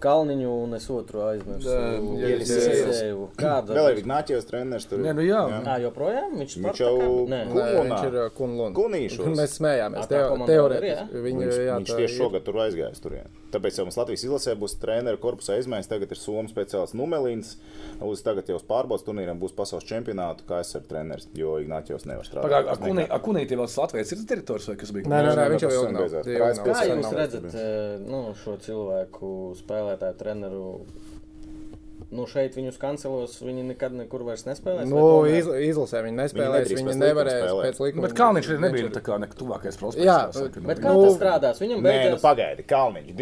Kalniņu un es otru aizmirsu?
Ē,
Jeļis-
Jeļisēju. Kāda?
Vēl ir Nāķis treneris tur.
Nē, nu jā.
Ā, joprojām? Viņš
Viņš
Spartakā?
jau-
Nē.
Nu,
Nē, viņš ir uh, Kunlunds.
Kunīšos.
Mēs
Ā,
smējāmies.
tā
Teo-
komanda vēl ir, jā?
Teorētiski viņi
Viņš, jā,
jā,
viņš
tā
tieši
ir.
šogad tur aizgājis. Tur, Tāpēc jau mums Latvijas izlasē būs treneru korpusa izmaiņas. Tagad ir Somijas speciālists Numelīns. Uz tagad jau uz pārbaudas turnīriem būs pasaules čempionāta, kā es esmu treneris, jo Ignācijos nevar
Pagā-
strādāt.
Akunī- Akunītī vēl Latvijas ir teritorijas vai kas bija?
Nē, nē, nē, viņš jau
Sen
ilgi nav.
beidzās.
Tie ilgi nav.
Kā
Tas
jūs
nav
redzat eh, nu, šo cilvēku, spēlētāju, treneru? Nu, šeit viņus kancelos, viņi nekad nekur vairs nespēlēs. vai
Nu,
tomēr?
iz, izlasē viņi nespēlēs,
nedrīkst
viņi, viņi
pēc likuma
nevarēs
spēlēt.
pēc likuma.
Nu, Bet Kalniņš arī nebija tā kā nekas tuvākais prospekts.
Jā,
tā saka, nu,
Bet
nu,
kā
Nu,
tas strādās? Viņam
Nē, nu
beidzās
pagaidi, Kalniņš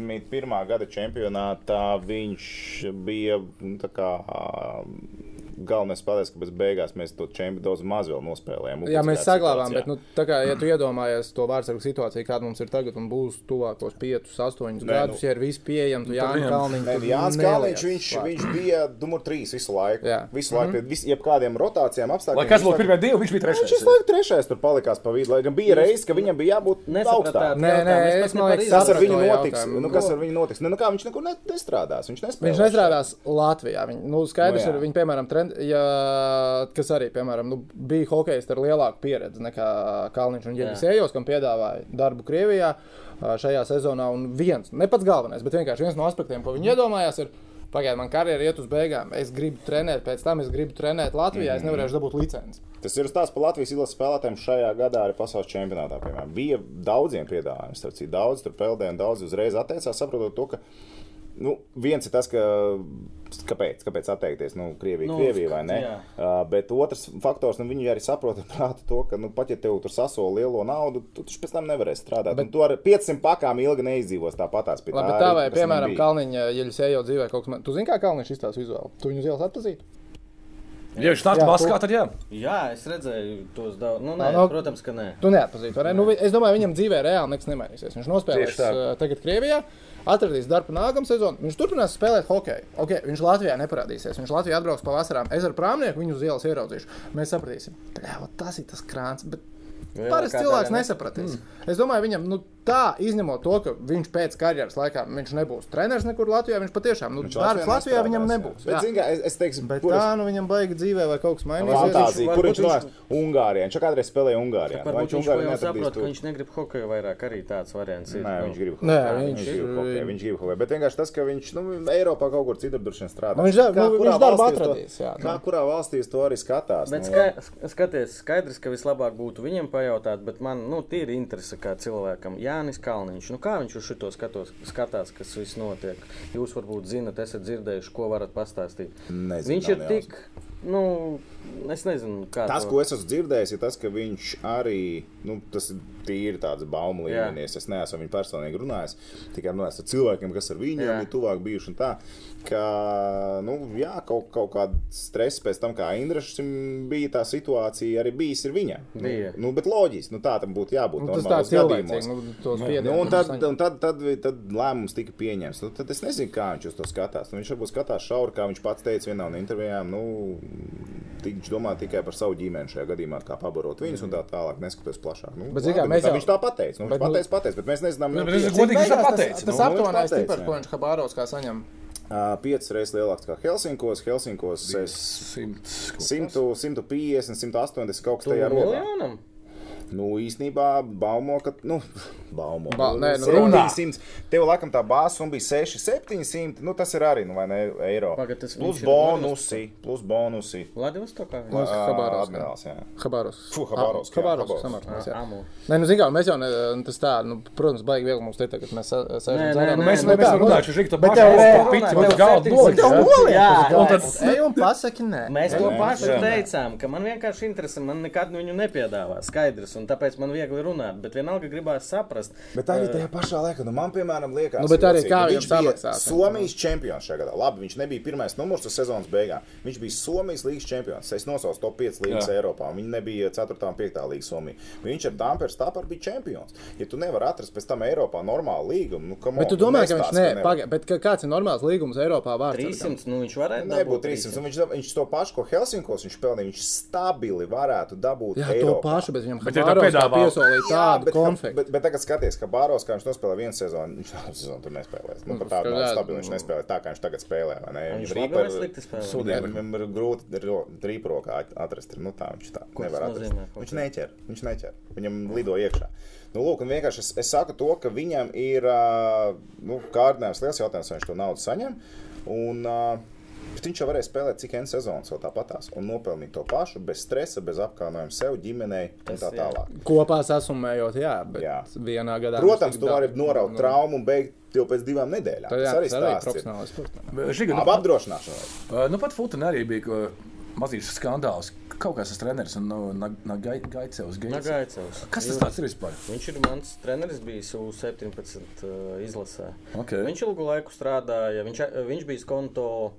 21. gada čempionātā viņš bija nu, tā kā. ā, Galvenais spēlētājs, ka bez beigās mēs to čempionu daudz maz vēl nospēlējām.
Jā, mēs
Ugunsgrēks
saglabājām,
situācijā.
bet, nu, tā kā, ja tu iedomājies to vārdsargu situāciju, kāda mums ir tagad un būs tuvākos 5, 8
Nē,
gadus,
nu.
ja ir viss pieejams, tad Jānis
viņam-
Kalniņš.
Nē, nu,
tur
Jānis
neliec
Kalniņš, viņš,
klāt.
viņš bija numur 3 visu laiku.
Jā.
Visu laiku, mm -hmm. vis, jebkādiem rotācijām
Mhm.
apstākļiem.
Lai kas
visu
būtu
laiku-
pirmie divi, viņš bija
Nu, Viņš
trešais.
visu laiku trešais tur palikās pa vidu, lai gan bija reizes, ka viņam bija jābūt augstāk.
Nesapratāt
Nē, nē,
jautājumu,
es
pat
man
nevar
liekas,
Kas ar
Sapratu
viņu
to
notiks?
jautājumu.
Nu, kas ar viņu notiks? Ne, nu, kā viņš nekur ne- nestrādās. Viņš nespēlēs.
Viņš nestrādās Latvijā. Viņ, nu, skaidrs,
Nu, jā.
no ir viņa, piemēram, trend, ja, kas arī, piemēram, nu, bija hokejs ar lielāku pieredzi nekā Kalniņš un Jānis Ejos, kam piedāvāja darbu Krievijā ā, šajā sezonā. Un viens, ne pats galvenais, bet vienkārši viens no aspektiem, ko
Mhm.
viņi iedomājās, ir, pagaidiet, man karjera iet uz beigām, es gribu trenēt, pēc tam es gribu trenēt Latvijā, mm. es
Mhm.
nevarēšu dabūt licenci.
Tas ir stāsts par Latvijas izlases spēlētājiem šajā gadā arī pasaules čempionātā. Piemēram. Bija daudziem piedāvājumiem, starp citu, daudz tur peldēja un daudz uzreiz atteicās, saprotot to, ka nu, viens ir tas, ka, kāpēc, kāpēc atteikties nu, Krievijai,
Nu,
nu, Krievijai vai ne.
jā.
Uh, bet otrs faktors, nu, viņi arī saprot prātu to, ka, nu, pat ja tev tur sasola lielo naudu, tu taču pēc tam nevarēsi strādāt. Bet... Tu ar 500 pakām ilgi neizdzīvos tāpatās pie tā.
Labi, bet tā
arī,
vai,
kas
piemēram,
nebija.
Kalniņa, ja jūs ejot dzīvē kaut kas, man- tu zini, kā Kalniņš izstās vizuāli, tu viņu uz ielas atpazītu?
Ja viņš nāk
Jā,
maskā, tad jā.
Jā, es redzēju tos daudz. Nu, nē,
Nā, nu-
protams, ka nē.
Tu neatpazīsti. vai ne? Nu, vi- es domāju, viņam dzīvē reāli nekas nemainīsies. Viņš nospēlēs
Tieši tā.
uh, tagad Krievijā, atradīs darbu nākamā sezonā. Viņš turpinās spēlēt hokeju. Okay, viņš Latvijā neparādīsies. Viņš Latvijā atbrauks pavasarā. Es ar prāmnieku viņu uz ielas ieraudzīšu. Mēs sapratīsim, ka tas ir tas krāns. Bet...
Lielākā
Parasti cilvēks
daļa ne-
nesapratīs. Mm. Es domāju, viņam nu, tā, izņemot to, ka viņš pēc karjeras laikā viņš nebūs treneris nekur Latvijā. Viņš patiešām nu, darbs Latvijā viņam
nestrādās,
nebūs.
Jā. Bet,
jā.
zini, kā, es, es teiksim,
Bet
kuras-
tā, nu viņam baigi dzīvē vai kaut kas mainīsies.
Fantāzija,
varbūt
kur viņš
viņš-
nonāca? Ungārijā. Viņš jau kādreiz spēlēja Ungārijā. Vai
Varbūt viņš
Ungārijā
jau
neatradīs
saprot,
tur?
ka viņš negrib hokeju vairāk. Arī tāds variants ir.
Nē,
Nu,
viņš grib
Nē,
hokeju.
viņš-
grib hokeju. Viņš grib hokeju. Bet vienkārši tas, ka viņš nu, Eiropā kaut kur citur droši vien strādā.
Nu, viņš dar-
Kā
nu,
kurā
viņš darbu
valstī uz
atradīs,
To,
jā, nu.
kā kurā valstī uz to arī skatās?
Bet
nu,
ska sk- skaties, skaidrs, ka vislabāk būtu viņiem pajautāt, bet man nu, tīri interese kā cilvēkam. Jānis Kalniņš, nu, kā viņš uz šo skatos, skatās, kas viss notiek? Jūs varbūt zinat, esat dzirdējuši, ko varat pastāstīt.
Nezinu,
viņš ir
nav
tik, nu, es nezinu, kā
Tas,
to-
ko es esmu dzirdējis, ir tas, ka viņš arī, nu, tas ir tīri tāds baumu
Jā.
līmenis. Es neesmu ar viņu personīgi runājis, tikai runājis ar cilvēkiem, kas ar viņu
Jā.
ir tuvāk bijuši. un Tā, ka, nu, jā, kaut, kaut kāda stresa pēc tam, kā Indrašam bija tā situācija, arī bijis ir viņa. Nu,
Bija.
nu, bet loģiski, nu, tā tam būtu jābūt.
Nu, tas tā
normālos gadījumos.
cilvēks, nu, tos
Nu, un
piedod.
tad, un tad, tad, vi- tad lēmums tika pieņemts. Nu, tad es nezinu, kā viņš uz to skatās. Nu, viņš varbūt skatās šauri, kā viņš pats teica vienā no intervijām. Nu, tik- viņš domā tikai par savu ģimeni šajā gadījumā, kā pabarot viņus un tā tālāk, neskatoties plašāk. Nu,
Bet, zini kā, mēs
tā,
jau-
viņš tā pateica. Nu, viņš
Bet, nu-
pateica, pateica, bet mēs nezinām,
Nu, bet
nu,
es
tieši-
godīgi viņš tā
Beigās
pateica.
Tas
nu.
viņš
aptuvenais
pateica,
cipars,
jā.
ko viņš Habārovskā saņem.
ā, piecas reizes lielāks nekā Helsinkos. Helsinkos es 100, 150, 180 kaut kas tajā rodā.
Miljonam?
Nu, īsnībā baumo, ka. Nu, baumo.
Ba- nē, nu,
runā.
700. Tev laikam tā bāzes bija 6, 700. Nu, tas ir arī, nu, vai ne, eiro.
Pagad, tas viņš
plus
ir
bonusi. Plus bonusi.
Vladivostokā?
Mums
Ā,
Habarovskā.
Admirāls, jā.
Habarovs.
Ah,
Fu, Habarovsk, jā, Habarovsk.
Habarovs.
Jā,
Jā.
amu.
Nē, nu, zināmā mērā, mēs jau ne, tas tā, nu, protams, baigi viegli mums teikt, ka mēs sa-
Nē,
sēžam
nē,
zālē.
nē,
Mēs
nu
mēs
kā,
runājam, šis rīkta
Bet
pašā
tev
valstā
runā,
piķi,
tev
man galdu
700
nolikt.
tev
jā?
noliek. Jā,
Un tad
Ej un pasaki, nē.
Mēs
Nē,
to
nē,
pašu
jā.
teicām, ka man vienkārši interesē, man nekad nu viņu nepiedāvā. Skaidrs, un tāpēc man viegli runāt, bet vienalga gribās saprast.
Bet arī tajā pašā laikā, nu, man, piemēram, liekas,
Eh. Nu, bet arī kā
jocīgi, ka
viņam
viņš bija
samaksās?
Somijas čempions šajā gadā. Labi, viņš nebija pirmais numurs uz sezonas beigām. Viņš bija Somijas līnijas čempions. Es nosaucu top 5 līnijas
Jā.
Eiropā. un Viņi nebija 4. un 5. līnija Somijā. Viņš ar Dāmperu stāpā bija čempions. Ja tu nevari atrast pēc tam Eiropā normālu līgumu, nu, kam
Bet tu domā, ka viņš, nē, pagaidi, bet ka- kāds ir normāls līgums Eiropā vārds?
300, nu viņš varēja
Nebūtu 300. un Viņš, dab- viņš to pašu, ko Helsinkos viņš pelnīja, viņš stabili varētu dabūt.
Jā, to
Eiropā.
pašu, bet viņam
Bet ja tā
Habarovskā
piedāvā-
piesolīja
Jā,
tādu
bet, nu,
konfektu.
bet, bet tagad skaties, ka Bāros, kā viņš nospēlēja vienu sezonu, viņš tādu sezonu tur nespēlēs. Nu, pat tādu
skaidrs.
nav stabilu viņš nespēlēja tā, kā viņš tagad spēlē. vai ne?
Viņš
Viņam
labi
rīpa-
vai slikti spēlē?
Viņam viņam ir grūti ro- rīprokā at- atrast. Nu, tā viņš tā
tas
nevar atrast.
nozīmē? Ko
Viņš neķer, viņš neķer. Viņam lido iekšā. Nu, lūk, un vienkārši es, es saku to, ka viņam ir ā, nu, kārdinājums liels jautājums, vai viņš to naudu saņem. Un, ā, Bet viņš jau varēja spēlēt, cik N sezonas vēl tāpatās, un nopelnīt to pašu, bez stresa, bez apkaunojuma sev, ģimenei un
Tas
tā
jā.
tālāk.
Kopā sasumējot, jā, bet jā.
Jā.
vienā gadā.
Protams,
mēs tik
tu vari noraut traumu un beigt jau pēc divām nedēļām.
Tā jā,
Tas arī
tas arī ir
stāsts. ir.
profesionāls sports.
Žiga, nu,
Ap apdrošināšanu.
Uh, Nu, pat Fultonam arī bija uh, mazīšs skandāls. Kaut kāds tas treneris un nu, na- na- gai- Gaicevs. Gaicevs.
Nagaicevs.
Kas tas tāds ir vispār?
Viņš ir mans treneris, bijis U17 uh, izlasē.
Okay.
Viņš ilgu laiku strādāja. Viņš, a- viņš bija konto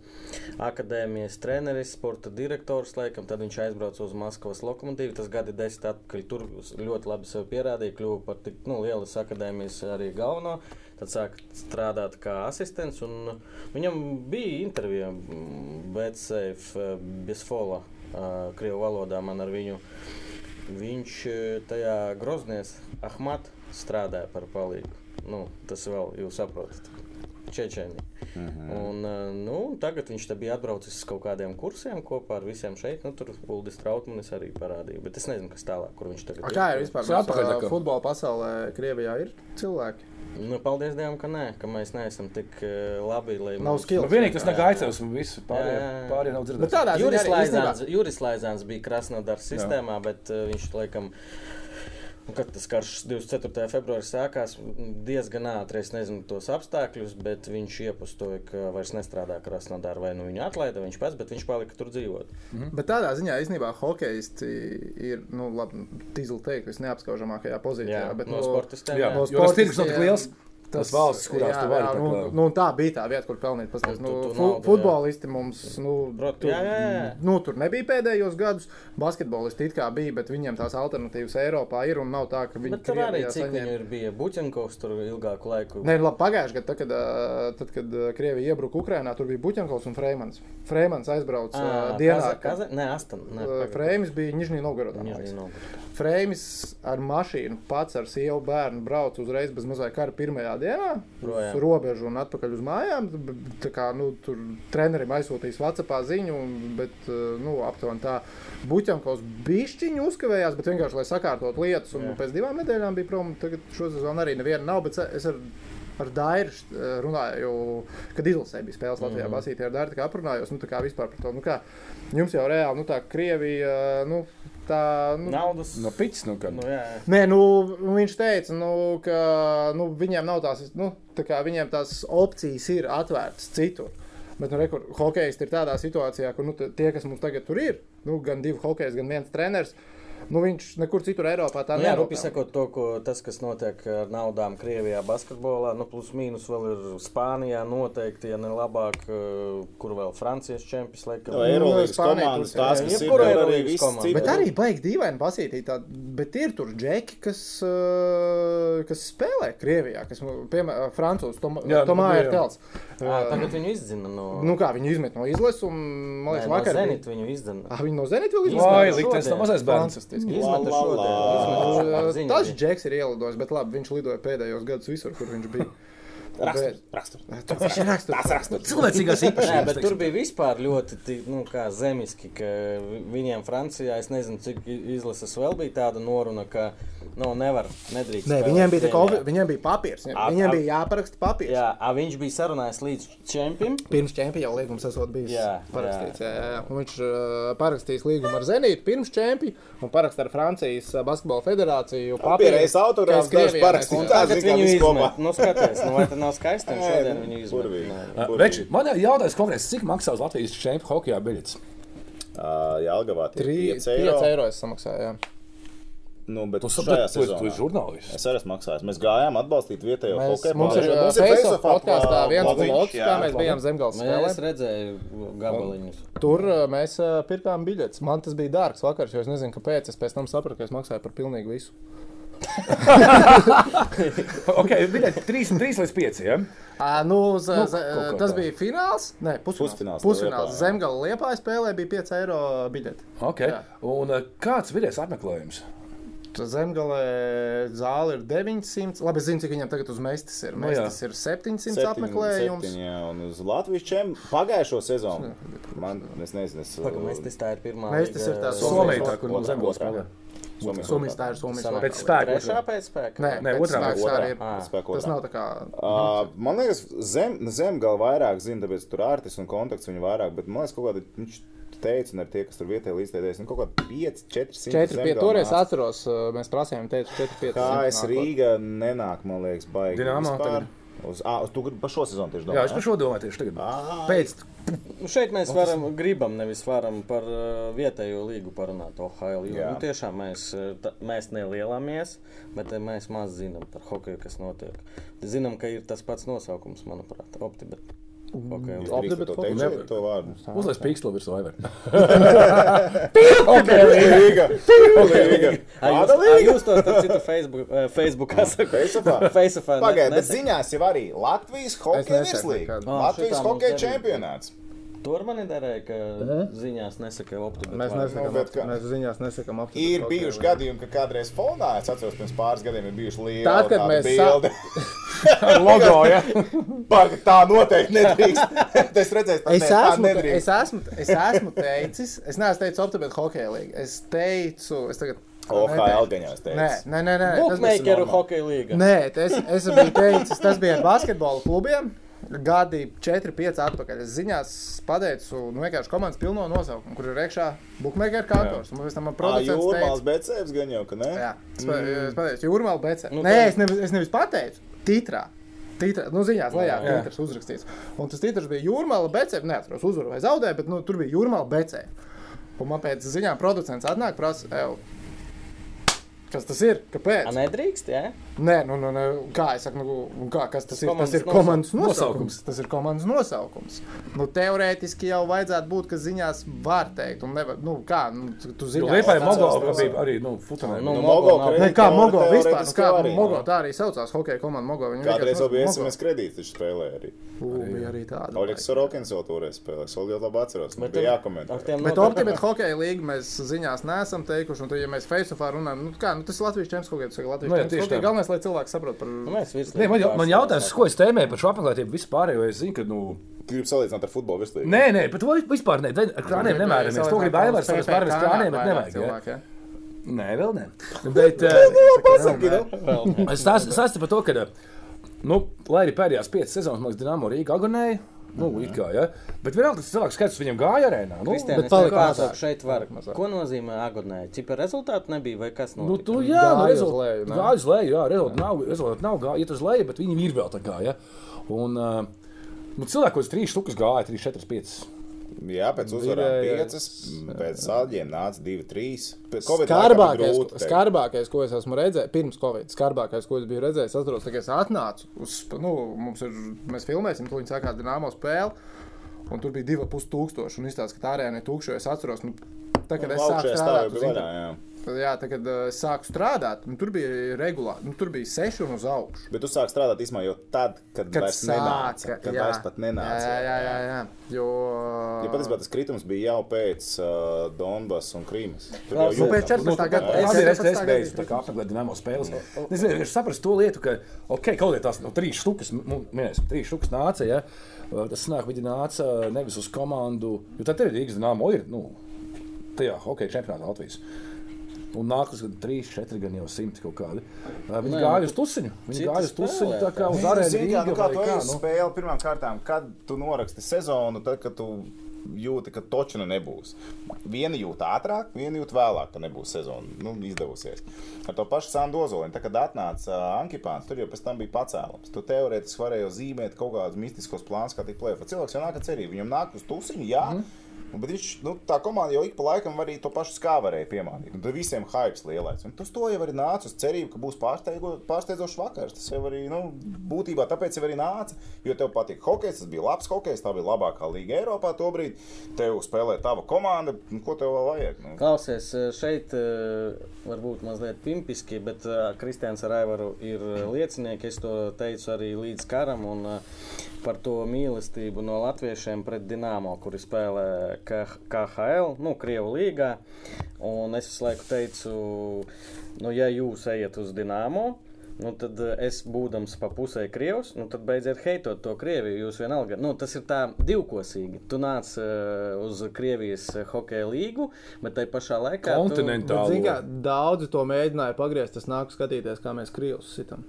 akadēmijas treneris, sporta direktors. Laikam. Tad viņš aizbrauca uz Maskavas lokomotīvu. Tas gadi desmit atpakaļ. Tur s- ļoti labi sev pierādīja, kļuva par tik nu, lielas akadēmijas arī galveno. Tad sāka strādāt kā asistents. un Viņam bija intervija mm, BCF Besfola. eh, Krievu valodā man ar viņu. Viņš eh, tajā groznies Ahmat strādāja par palīgu. Nu, tas vēl jūs saprotat. Čečeni. Uh -huh. un, eh, nu, tagad viņš te bija atbraucis uz kaut kādiem kursiem kopā ar visiem šeit. Nu, tur Uldis Trautmanis arī parādīja. Bet es nezinu, kas tālāk, kur viņš tagad
Kā ir vispār?
Tas atpakaļ
Mēs,
tā kā.
ā, Futbola pasaulē, Krievijā ir cilvēki.
Nu, paldies Dievam, ka nē, ka mēs neesam tik eh, labi. lai
Nav
mums-
skills.
Nu, vienīgi tas Nagaicevs un viss
Jā, jā, jā.
pārējie pārējie nav
Bet
dzirdēts.
tādā ziņā
Juris
arī
Laizāns-
īstenībā-
Juris Laizāns bija Krasnodarbas sistēmā, bet uh, viņš laikam. nu, Kad tas karš 24. februārī sākās, m, diezgan ātri es nezinu tos apstākļus, bet viņš iepazīstināja, ka vairs nestrādā Krasnodarā. Vai nu viņu atlaida viņš pats, bet viņš palika tur dzīvot.
Mhm.
Bet tādā ziņā īstenībā hokejisti ir, nu, labi, tīzli teikt, visneapskaužamākajā pozīcijā.
Jā,
bet,
no
nu,
sportistiem.
Jā,
jā.
no- Jo tas
sportistiem
tirgus nav tik liels, tas valsts, kurās
jā,
tu vari
jā,
tā
Nu,
kā-
nu, tā bija tā vieta, kur pelnīt. Paskatās,
Tu-
nu,
tu
fu
naudu, jā.
futbolisti mums, nu,
Prot-
tur,
jā, jā, jā.
nu, tur nebija pēdējos gadus. Basketbolisti it kā bija, bet viņiem tās alternatīvas Eiropā ir un nav tā, ka viņi
Bet tur arī
Krievijā
cik
saņem-
viņu ir bija Buķenkovs tur ilgāku laiku.
Nē, nu labi, pagājušajā gadā, tad, kad, ā, tad, kad ā, Krievija iebruka Ukrajinā, tur bija Buļbuļsaktas un Freemans. Freemans
Ah,
aizbrauca ā, dienā. kad,
Kaza... Nē, Aston. Nē,
ā,
pagaid.
Freimis bija Nižņī Novgorodā. man
Nižnij
liekas.
Novgorodā.
Freimis ar mašīnu pats ar sievu bērnu brauc uzreiz bez mazā kara pirmajā dienā, uz
Projām.
robežu un atpakaļ uz mājām. B- Tā kā nu, tur trenerim aizsūtīs Vācijā ziņu, un- bet ā, nu, aptuveni tā Buļbuļsaktas bišķiņu uzkavējās, bet vienkārši lai sakārtot lietas. Un,
Jā.
pēc divām nedēļām bija prom, un tagad šosezon arī neviena nav. bet es ar ar Dairu eh, runāju, kad izlasīju, bija spēles Latvijā.
Mhm.
Mm. Basītē ar Dairu tā kā aprunājos, nu, tā kā vispār par to. Nu, kā, jums jau reāli, nu, tā Krievija, nu, tā. Nu,
Naudas.
No pits, nu, kad.
Nu, jā, jā.
Nē, nu, viņš teica, nu, ka nu, viņiem nav tās, nu, tā kā viņiem tās opcijas ir atvērtas citur. Bet, nu, rekur, hokejisti ir tādā situācijā, ka nu, t- tie, kas mums tagad tur ir, nu, gan divi hokejisti, gan viens treneris, nu, viņš nekur citur Eiropā tā
Nu, jā,
nav.
rupi sakot, to, ko, tas, kas notiek ar naudām Krievijā, basketbolā, nu, plus mīnus vēl ir Spānijā, noteikti, ja ne labāk, eh, kur vēl Francijas čempions. Laikam,
No
no,
Eirolandes
Nu, Spānija
komandas,
būs, jā.
tās, kas
Jebkura
ir tur arī
Eirolandes
viss
komanda.
cits.
Bet arī baigi dīvaini pasītīt, tā, bet ir tur džeki, kas, uh, kas spēlē Krievijā, kas, nu, piemēram, Francūzs,
Jā, nu,
Tomā
jā,
ir
jā.
tels.
jā, tagad viņu izdzina no,
Nu kā, viņi izmet no izlases, un, man liekas, vakar... bija-
Zenit viņu izdzina.
Ah, viņi no Zenit vēl izmet?
Vai
Izmetu
liktenis
šodien.
nav mazais bērns?
Fantastiski.
Izmeta
La, la,
šodien,
la.
izmeta šodien,
Uh,
ziņa
Tas
bija.
džeks ir ielidojis, bet labi, viņš lidoja pēdējos gados visur, kur viņš bija.
Rakstur, rakstur.
Tas ir raksturs.
Cilvēcīgās
Nē, bet
īpašības.
tur bija vispār ļoti ti- nu, kā zemiski, ka vi- viņiem Francijā, es nezinu, cik i- izlases vēl bija tāda noruna, ka nu, nevar, nedrīkst.
Nē,
spēlēt
viņiem bija, tā kā
Krievijā.
ofi- viņiem bija papīrs.
Ap-
Viņiem
ap-
bija jāparaksta papīrs.
Jā, a, viņš bija sarunājis līdz čempim.
Pirms čempiona līgums esot bijis
Jā,
parakstīts. Jā. Jā, jā. Un Viņš uh, parakstīs līgumu ar Zenītu pirms čempiona un parakst ar Francijas uh, basketbola federāciju.
Papīrais autogrāfs,
ka es
dažs
Krievijā
parakstīt.
nesmu.
Tā
Tagad
zin, kā
viņu
viss kopā.
izmet. Nu, skaties, nu, vai tas nav skaisti?
Nē, nu,
Šodien viņu
burvīgi,
izmet. Nē.
burvīgi.
Veči, man ir jautājums konkrēts, cik maksā uz Latvijas čempionu hokeja biļetes?
Ā, Jelgavā Ah, tie
3
ir 5 eiro.
eiro es samaksāju. Jā.
Nu, bet
Tu
šajā
saproti, tu esi
sezonā.
žurnālists.
Es arī esmu maksājis. Mēs gājām atbalstīt vietējo
Mēs,
hokeja
mums ir uh,
pārstāvju. Mums ir
Facebook
face-off
podkāstā
apla-
viens
blaviņš,
bloks,
jā.
kā mēs bijām zemgals
Nē,
spēlē.
es redzēju gabaliņus.
Tur uh, mēs uh, pirkām biļetes. Man tas bija dārgs vakars, jo es nezinu, kāpēc. Es pēc tam sapratu, ka es maksāju par pilnīgi visu.
Ok, biļete 3 līdz 5. Ja?
À, nu, z, nu, z,
kaut kā
tas
tā.
bija fināls. Nē, pusfināls.
Pusfināls
Pusfināls.
Liepājā.
Zemgala liepā spēlē bija 5 eiro biļete.
Okay.
Jā.
Un eh, kāds bija tas apmeklējums?
Tur Zemgale zāle ir 900. Labi, es zinu, cik viņam tagad uz mēstis ir.
Nu, jā.
Mēstis ir 700
Septiņi-
apmeklējums.
septiņi, Jā, un uz Latvijas čem pagājušo sezonu. Man, es nezinu, es. uh,
Pagaidām, mēs tas tā ir pirmā.
Mēs tas ir tā Somijā.
Somijā, tā, kur no
Otrā,
zemgala
otrā.
spēlē.
Somijas
Somijas
otrā.
tā ir Somijas
Sanāk,
valsts.
Pēc spēka
Trešā
otrā.
pēc spēka.
Nē,
Nē,
nē
otrā,
otrā. Tā
otrā.
ir.
Ā.
Spēku
Tas
otrā.
nav tā Mhm. kā.
Ā, Man liekas, zem, zem gal vairāk zina, tāpēc tur ārtis un kontakts viņu vairāk, bet man liekas, kaut kāda viņš teica, un ar tie, kas tur vietēji līdzstādējas, nu kaut kāda 5, 4, 5.
4, 5. Toreiz atceros, uh, mēs prasījām, teicu, 4, 5.
Kā es Rīgā nenāk, man liekas, baigi.
Dinamo
vispār. Uz, ā, uz, tu gribi par šo sezonu tieši
Jā, es par
domā?
šo domāju tieši tagad.
Ai.
Pēc
Nu, šeit mēs varam, gribam, nevis varam par uh, vietējo līgu parunāt, OHL. Jo,
Jā.
nu, tiešām mēs, uh, ta- mēs nelielāmies, bet eh, mēs maz zinām par hokeju, kas notiek. Zinām, ka ir tas pats nosaukums, manuprāt, optibet.
Mm.
Hokeju līga.
Drīkst to teikt,
Nevar.
šeit to vārdu.
uzliekas pīkstā virsū vai ne?
Līga! Līga!
Ai, jūs,
Kāda
ai,
līga?
jūs to starp citu Facebook, eh, Facebookā
Facebookā?
sakat. Facebookā. ne-
Pagaidiet, bet
ne-
ziņās jau arī Latvijas hokeja
nesaku
virslīga.
nekad.
Ā, Ah, šitā
Latvijas
mums
hokeja
nebija.
čempionāts.
Tur man ir darīja, ka
Eh?
ziņās nesaka optibet.
Mēs
vārdu.
nesakām,
Nu, bet kā?
mēs ziņās nesakām aptuveni.
Ir bijuši gadījumi, ka kādreiz fonā, es atceros, pirms pāris gadiem ir bijuši lieli
Tad, kad
tādi
mēs
bildi.
Logo, ja?
Baga, tā noteikti nedrīkst. es redzēju, tas
Es
tā
esmu, es,
nedrīkst.
esmu, es esmu teicis, es neesmu teicis optimizēt hokeja līniju. Es teicu, es tagad.
OHL gaņā
Nē,
es teicu.
nē, nē, nē tas bija-
Bookmakeru
normāli.
hokeju līga.
Nē, tas, es biju teicis, tas bija ar basketbola klubiem. Gadi 4, 5 atpakaļ. Es ziņās pateicu, nu, vienkārši komandas pilno nosaukumu, kur ir iekšā buļbuļsaktas kontors. Un pēc tam man
Ā,
producents
Jūrmāls
teica,
Becēvs gan jau, ka ne?
jā, es, pa, es pateicu, jūrmālu becē.
Nu,
Nē,
tā-
es nevis, es nevis pateicu, titrā. Tītra, nu, ziņās, lejā, jā,
Jā.
jā. uzrakstīts. Un tas titrs bija Jūrmāla Becē. Neatceros, uzvaru vai zaudēju, bet nu, tur bija Jūrmāla Becē. Un man pēc ziņām producents atnāk, prasa, "Ev, kas tas ir? Kāpēc?
A, Nedrīkst, jā?
Nē, nu, nu, nu kā es saku, nu, un kā, kas tas ir? Tas
komandas
ir komandas
nosau-
nosaukums.
nosaukums. Tas ir komandas nosaukums. Nu, teorētiski jau vajadzētu būt, ka ziņās var teikt, un nevar, nu, kā, nu, tu- tu zini,
Liepā ir
tas
mogo,
tas
ka
tas.
bija arī nu, futbolā.
Nu,
Nu,
Nu,
Mogo
Mogo
nav.
kredīti
Ne, kā
teore-
Mogo vispār, nu,
teorētiski
kā
jau
arī,
arī,
Mogo,
jā.
tā arī saucās hokeja komanda Mogo. Viņa
Kādreiz
vienkārši
jau bija
nosauca Mogo.
SMS kredīti, viņš spēlēja arī.
Ū, bija arī tāda.
Oļegs Sorokins vēl toreiz spēlēja. Es vēl ļoti labi atceros. Man bija jākomentē.
ar tiem
Bet
notiek-
optimizēt hokeja līniju mēs ziņās neesam teikuši, un tad, ja mēs Facebookā runājam, nu, kā, nu, tas ir Latvijas čempions kaut kāds, Latvijas
Nu, jā,
čempions
tieši
kaut kāds.
tā.
Galvenais, lai cilvēki saprot par...
Nu, Mēs visi.
Nē, man, jau- man jautājums, ko es tēmēju par šo apmeklētību vispār, jo es zinu, ka, nu,
Gribu salīdzināt ar futbolu virslīgu.
nē, nē, par to vispār ne, ar krāniem nemēramies. To grib Aivars, tas pārējais krāniem, bet nevajag. ja?
Cilvēki, ja?
Nē, vēl nē. Bet, eh,
Pasaki, nu.
Es saprotu par to, ka, eh, nu, lai arī pēdējās piecas sezonas mums Dienāmo Rīgā agonēja, nu, it kā, ja? bet vienalga tas cilvēks skaits viņam gāja arēnā. Nu,
Kristēns,
bet
palika
palika mazāk.
mazāk. Šeit var.
Palika mazāk.
Ko nozīmē agonē? Cipa rezultātu nebija vai kas
Nu,
notika?
tu, jā, nu,
Gāja uz
rezult-
leju, ne?
gāja uz leju, jā, rezultāti nav, rezultāti nav gāja, iet uz leju, bet viņi ir vēl tā kā, ja? Un, eh, nu, cilvēkos trīs štukas gāja, trīs, četras, piecas.
Jā, pēc
jā,
uzvarām
jā.
5, pēc sādiem nāca 2, 3. Pēc
Skarbākais, ko-
grūti. Skar...
skarbākais, ko es esmu redzējis, pirms Covid, skarbākais, ko es biju redzējis, atceros, ka es atnācu uz, sp- nu, mums ir, mēs filmēsim, tu viņi sākās Dienāmo spēli, un tur bija divi pus tūkstoši, un izstāsta, ka tā arēna ir tūkstoši, es atceros, nu, tā, kad es sāku
Augšējā
strādāt,
stāvā
tu
bija
zini,
vaļā, jā.
Jā, tā kad uh, sāku strādāt, nu, tur bija regulāri. Nu, tur bija seši un uz augšu.
Bet tu sāki strādāt īstenībā jau tad, kad, kad vairs nenāca. Kad jā. vairs pat nenāca.
Jā, jā, jā. jā. Jo,
Ja patiesībā tas kritums bija jau pēc uh, Donbass un Krīmas. Tur
Labi,
jau
nu, pēc
jūtām.
14. gada.
Es
Labi,
arī esmu
14.
beidzis
gada.
apmeklēt dīnāmo spēles. Es vienkārši saprotu to lietu, ka, ok, kaut kādā tās no trīs štukas, nu, minēsim, trīs štukas nāca, ja, tas nāk, viņi nāca nevis uz komandu, jo tad ir Rīgas dīnāmo ir, nu, tajā hokeja čempionātā Latvijas. Un nākas gan 3, 4, gan jau 100 kaut kādi. Viņi
Nē,
gāja
nu,
uz tusiņu. Viņi
citas
gāja uz tusiņu tā kā
spēlētāji.
uz
Zinu,
arēnu.
zini, kā, nu,
Rīga
kā
vai
tu
kā,
ej uz
nu.
spēli pirmām kārtām, kad tu noraksti sezonu, tad, kad tu jūti, ka toču nu nebūs. Vienu jūt ātrāk, vienu jūt vēlāk, ka nebūs sezona. Nu, izdevusies. Ar to pašu Sandozoliņu, tad, kad atnāca uh, Ankipāns, tur jau pēc tam bija pacēlums. Tu teorētiski varēji jau zīmēt kaut kādus mistiskos plānus, kā tik plēfa. Cilvēks jau nāk ar cerību, viņam nāk uz tusiņu, jā.
Mhm.
Mm. Bet viņš, nu, tā komanda jau ik pa laikam arī to pašu skā varēja piemānīt. Un tad visiem hypes lielais. Un tas to jau arī nāca uz cerību, ka būs pārsteigo- pārsteidzošs vakars. Tas jau arī, nu, būtībā tāpēc jau arī nāca. Jo tev patīk hockey, tas bija labs hockey, tā bija labākā līga Eiropā tobrīd. Tev spēlē tava komanda, nu, ko tev vēl vajag? Nu,
Klausies, šeit eh, varbūt mazliet pimpiski, bet eh, Kristians ar Aivaru ir eh, liecinieki. Es to teicu arī līdz karam un eh, par to mīlestību no latviešiem pret Dienāmo, kuri spēlē K- KHL, nu, Krievu līgā. Un es visu laiku teicu, nu, ja jūs ejat uz Dienāmo, Nu, tad eh, es būdams pa pusē krievs, nu, tad beidziet heitot to Krieviju. Jūs vienalga, nu, tas ir tā divkosīgi. Tu nāc uh, uz Krievijas eh, hokeja līgu, bet tai pašā laikā. tu-
Kontinentālo.
Bet, zini kā, Daudzi to mēģināja pagriezt. Es nāku skatīties, kā mēs krīvus sitam.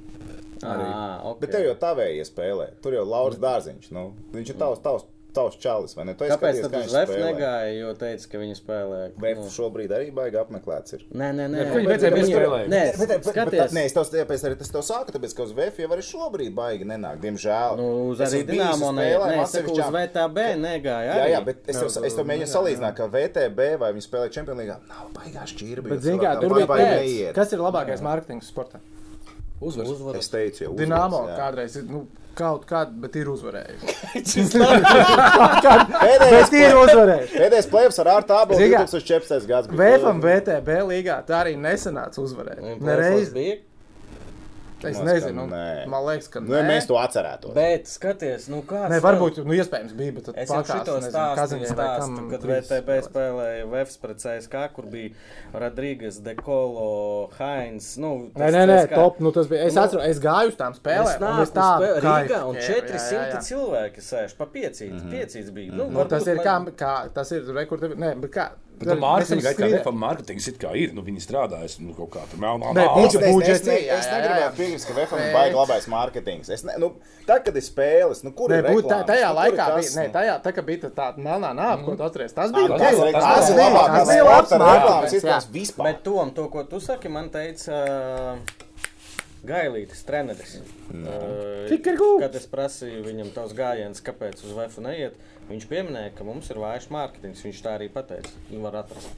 Ā, okay.
Bet tev jau tā vēja spēlē. Tur jau Lauris Dārziņš. Nu, viņš ir tavs, tavs, tavs čalis, vai ne? Tu esi
Kāpēc
skatījies,
tad
kā
uz Nu.
viņš
Vēja
spēlē.
negāja, jo teica, ka viņi spēlē?
Bet šobrīd arī baigi apmeklēts. Ir.
Nē, nē, nē.
Bet viņi beidzēja bez spēlēm.
Nē,
Bet, bet, bet, bet,
skaties.
nē, es tev tāpēc arī tas tev sāku, tāpēc, ka uz VF jau arī šobrīd baigi nenāk, diemžēl.
Nu, uz
Es
arī
esmu bijis uz
Dienāmo nē,
spēlēm
nē, es saku, uz
atsevišķām.
VTB negāja.
Jā,
arī.
jā, bet es tev, es tev mēģinu salīdzināt, ka VTB vai viņi spēlē Champions League, nav baigā šķirbi.
Bet,
jo
zini, kā,
cilvēkam
tur bija
baigi
pēc,
neiet.
kas ir labākais mārketings sportā.
Uzvaras.
Es teicu, jau
Dienāmo kādreiz ir, nu, kaut kāda, bet ir uzvarējusi. Bet ir
Pēdējais,
uzvarējusi.
pēdējais plēvs ar ārā tābu
Zini kā,
2014. gads. nu, bija.
VFM, VTB līgā tā arī nesanāca uzvarēt.
Un plēsoņs
Nereiz.
Nu, bija.
Es
Maz, ka
nezinu,
nē.
man liekas, ka
Nu, ja
nē.
mēs to atcerētos.
Bet skaties, nu kāds.
Nē,
vēl-
varbūt, nu, iespējams bija, bet tad
Es jau
pakāpst,
šito
nezinu,
stāstu
Kazaņai vai kam
stāstu, kad
trīs
VTB
spēlēs.
spēlēja Vēfs pret CSK, kur bija Rodrīgas, Dekolo, Hainz. Nu,
Nē,
tas
nē, nē,
CSKA.
top. Nu, tas bija. Es
Nu,
atceros, es gāju uz tām
Es
spēlēm. un
nāku
Es tādu
spēlē Rīgā
kaifu
un
ķēru, jā, jā,
400
jā.
cilvēki sēž pa piecīt, piecīts bija. Nu,
Nu,
varbūt
tas ir
man-
kā, kā tas ir rekords. Nē, bet kā.
Bet tā mārketinga
mēs
gaitā,
esam
kā mārketings it kā ir, nu viņi strādājas, nu kaut kā tur melnā.
Nē,
Es,
būtu-
nā.
es, es,
Budžets,
ne,
jā,
es
jā,
negribēju
jā.
piekrist, ka VFM
Bet-
ir baigi labais mārketings. Es Ne, nu, tā, kad ir spēles, nu, kur
Nē,
ir
būt, tā, tajā
reklāmas, nu, kur ir
laikā
kas,
bija, nē,
nu?
tajā tā, ka bija tā- tā melnā nāve, ko tu atceries. Tas
Ah,
bija Mm.
Tas
nu, tas
ir
bija- tas bija- tas bija labs
labākais reklāmas
mārketings, jā.
iespējas vispār.
Bet tom, to, ko tu saki, man teica uh, Gailītis, treneris. Ā,
Tik ir gūts.
Kad es prasīju viņam tos gājienus, kāpēc uz VF neiet, viņš pieminēja, ka mums ir vājš mārketings. Viņš tā arī pateica. Viņu var atrast.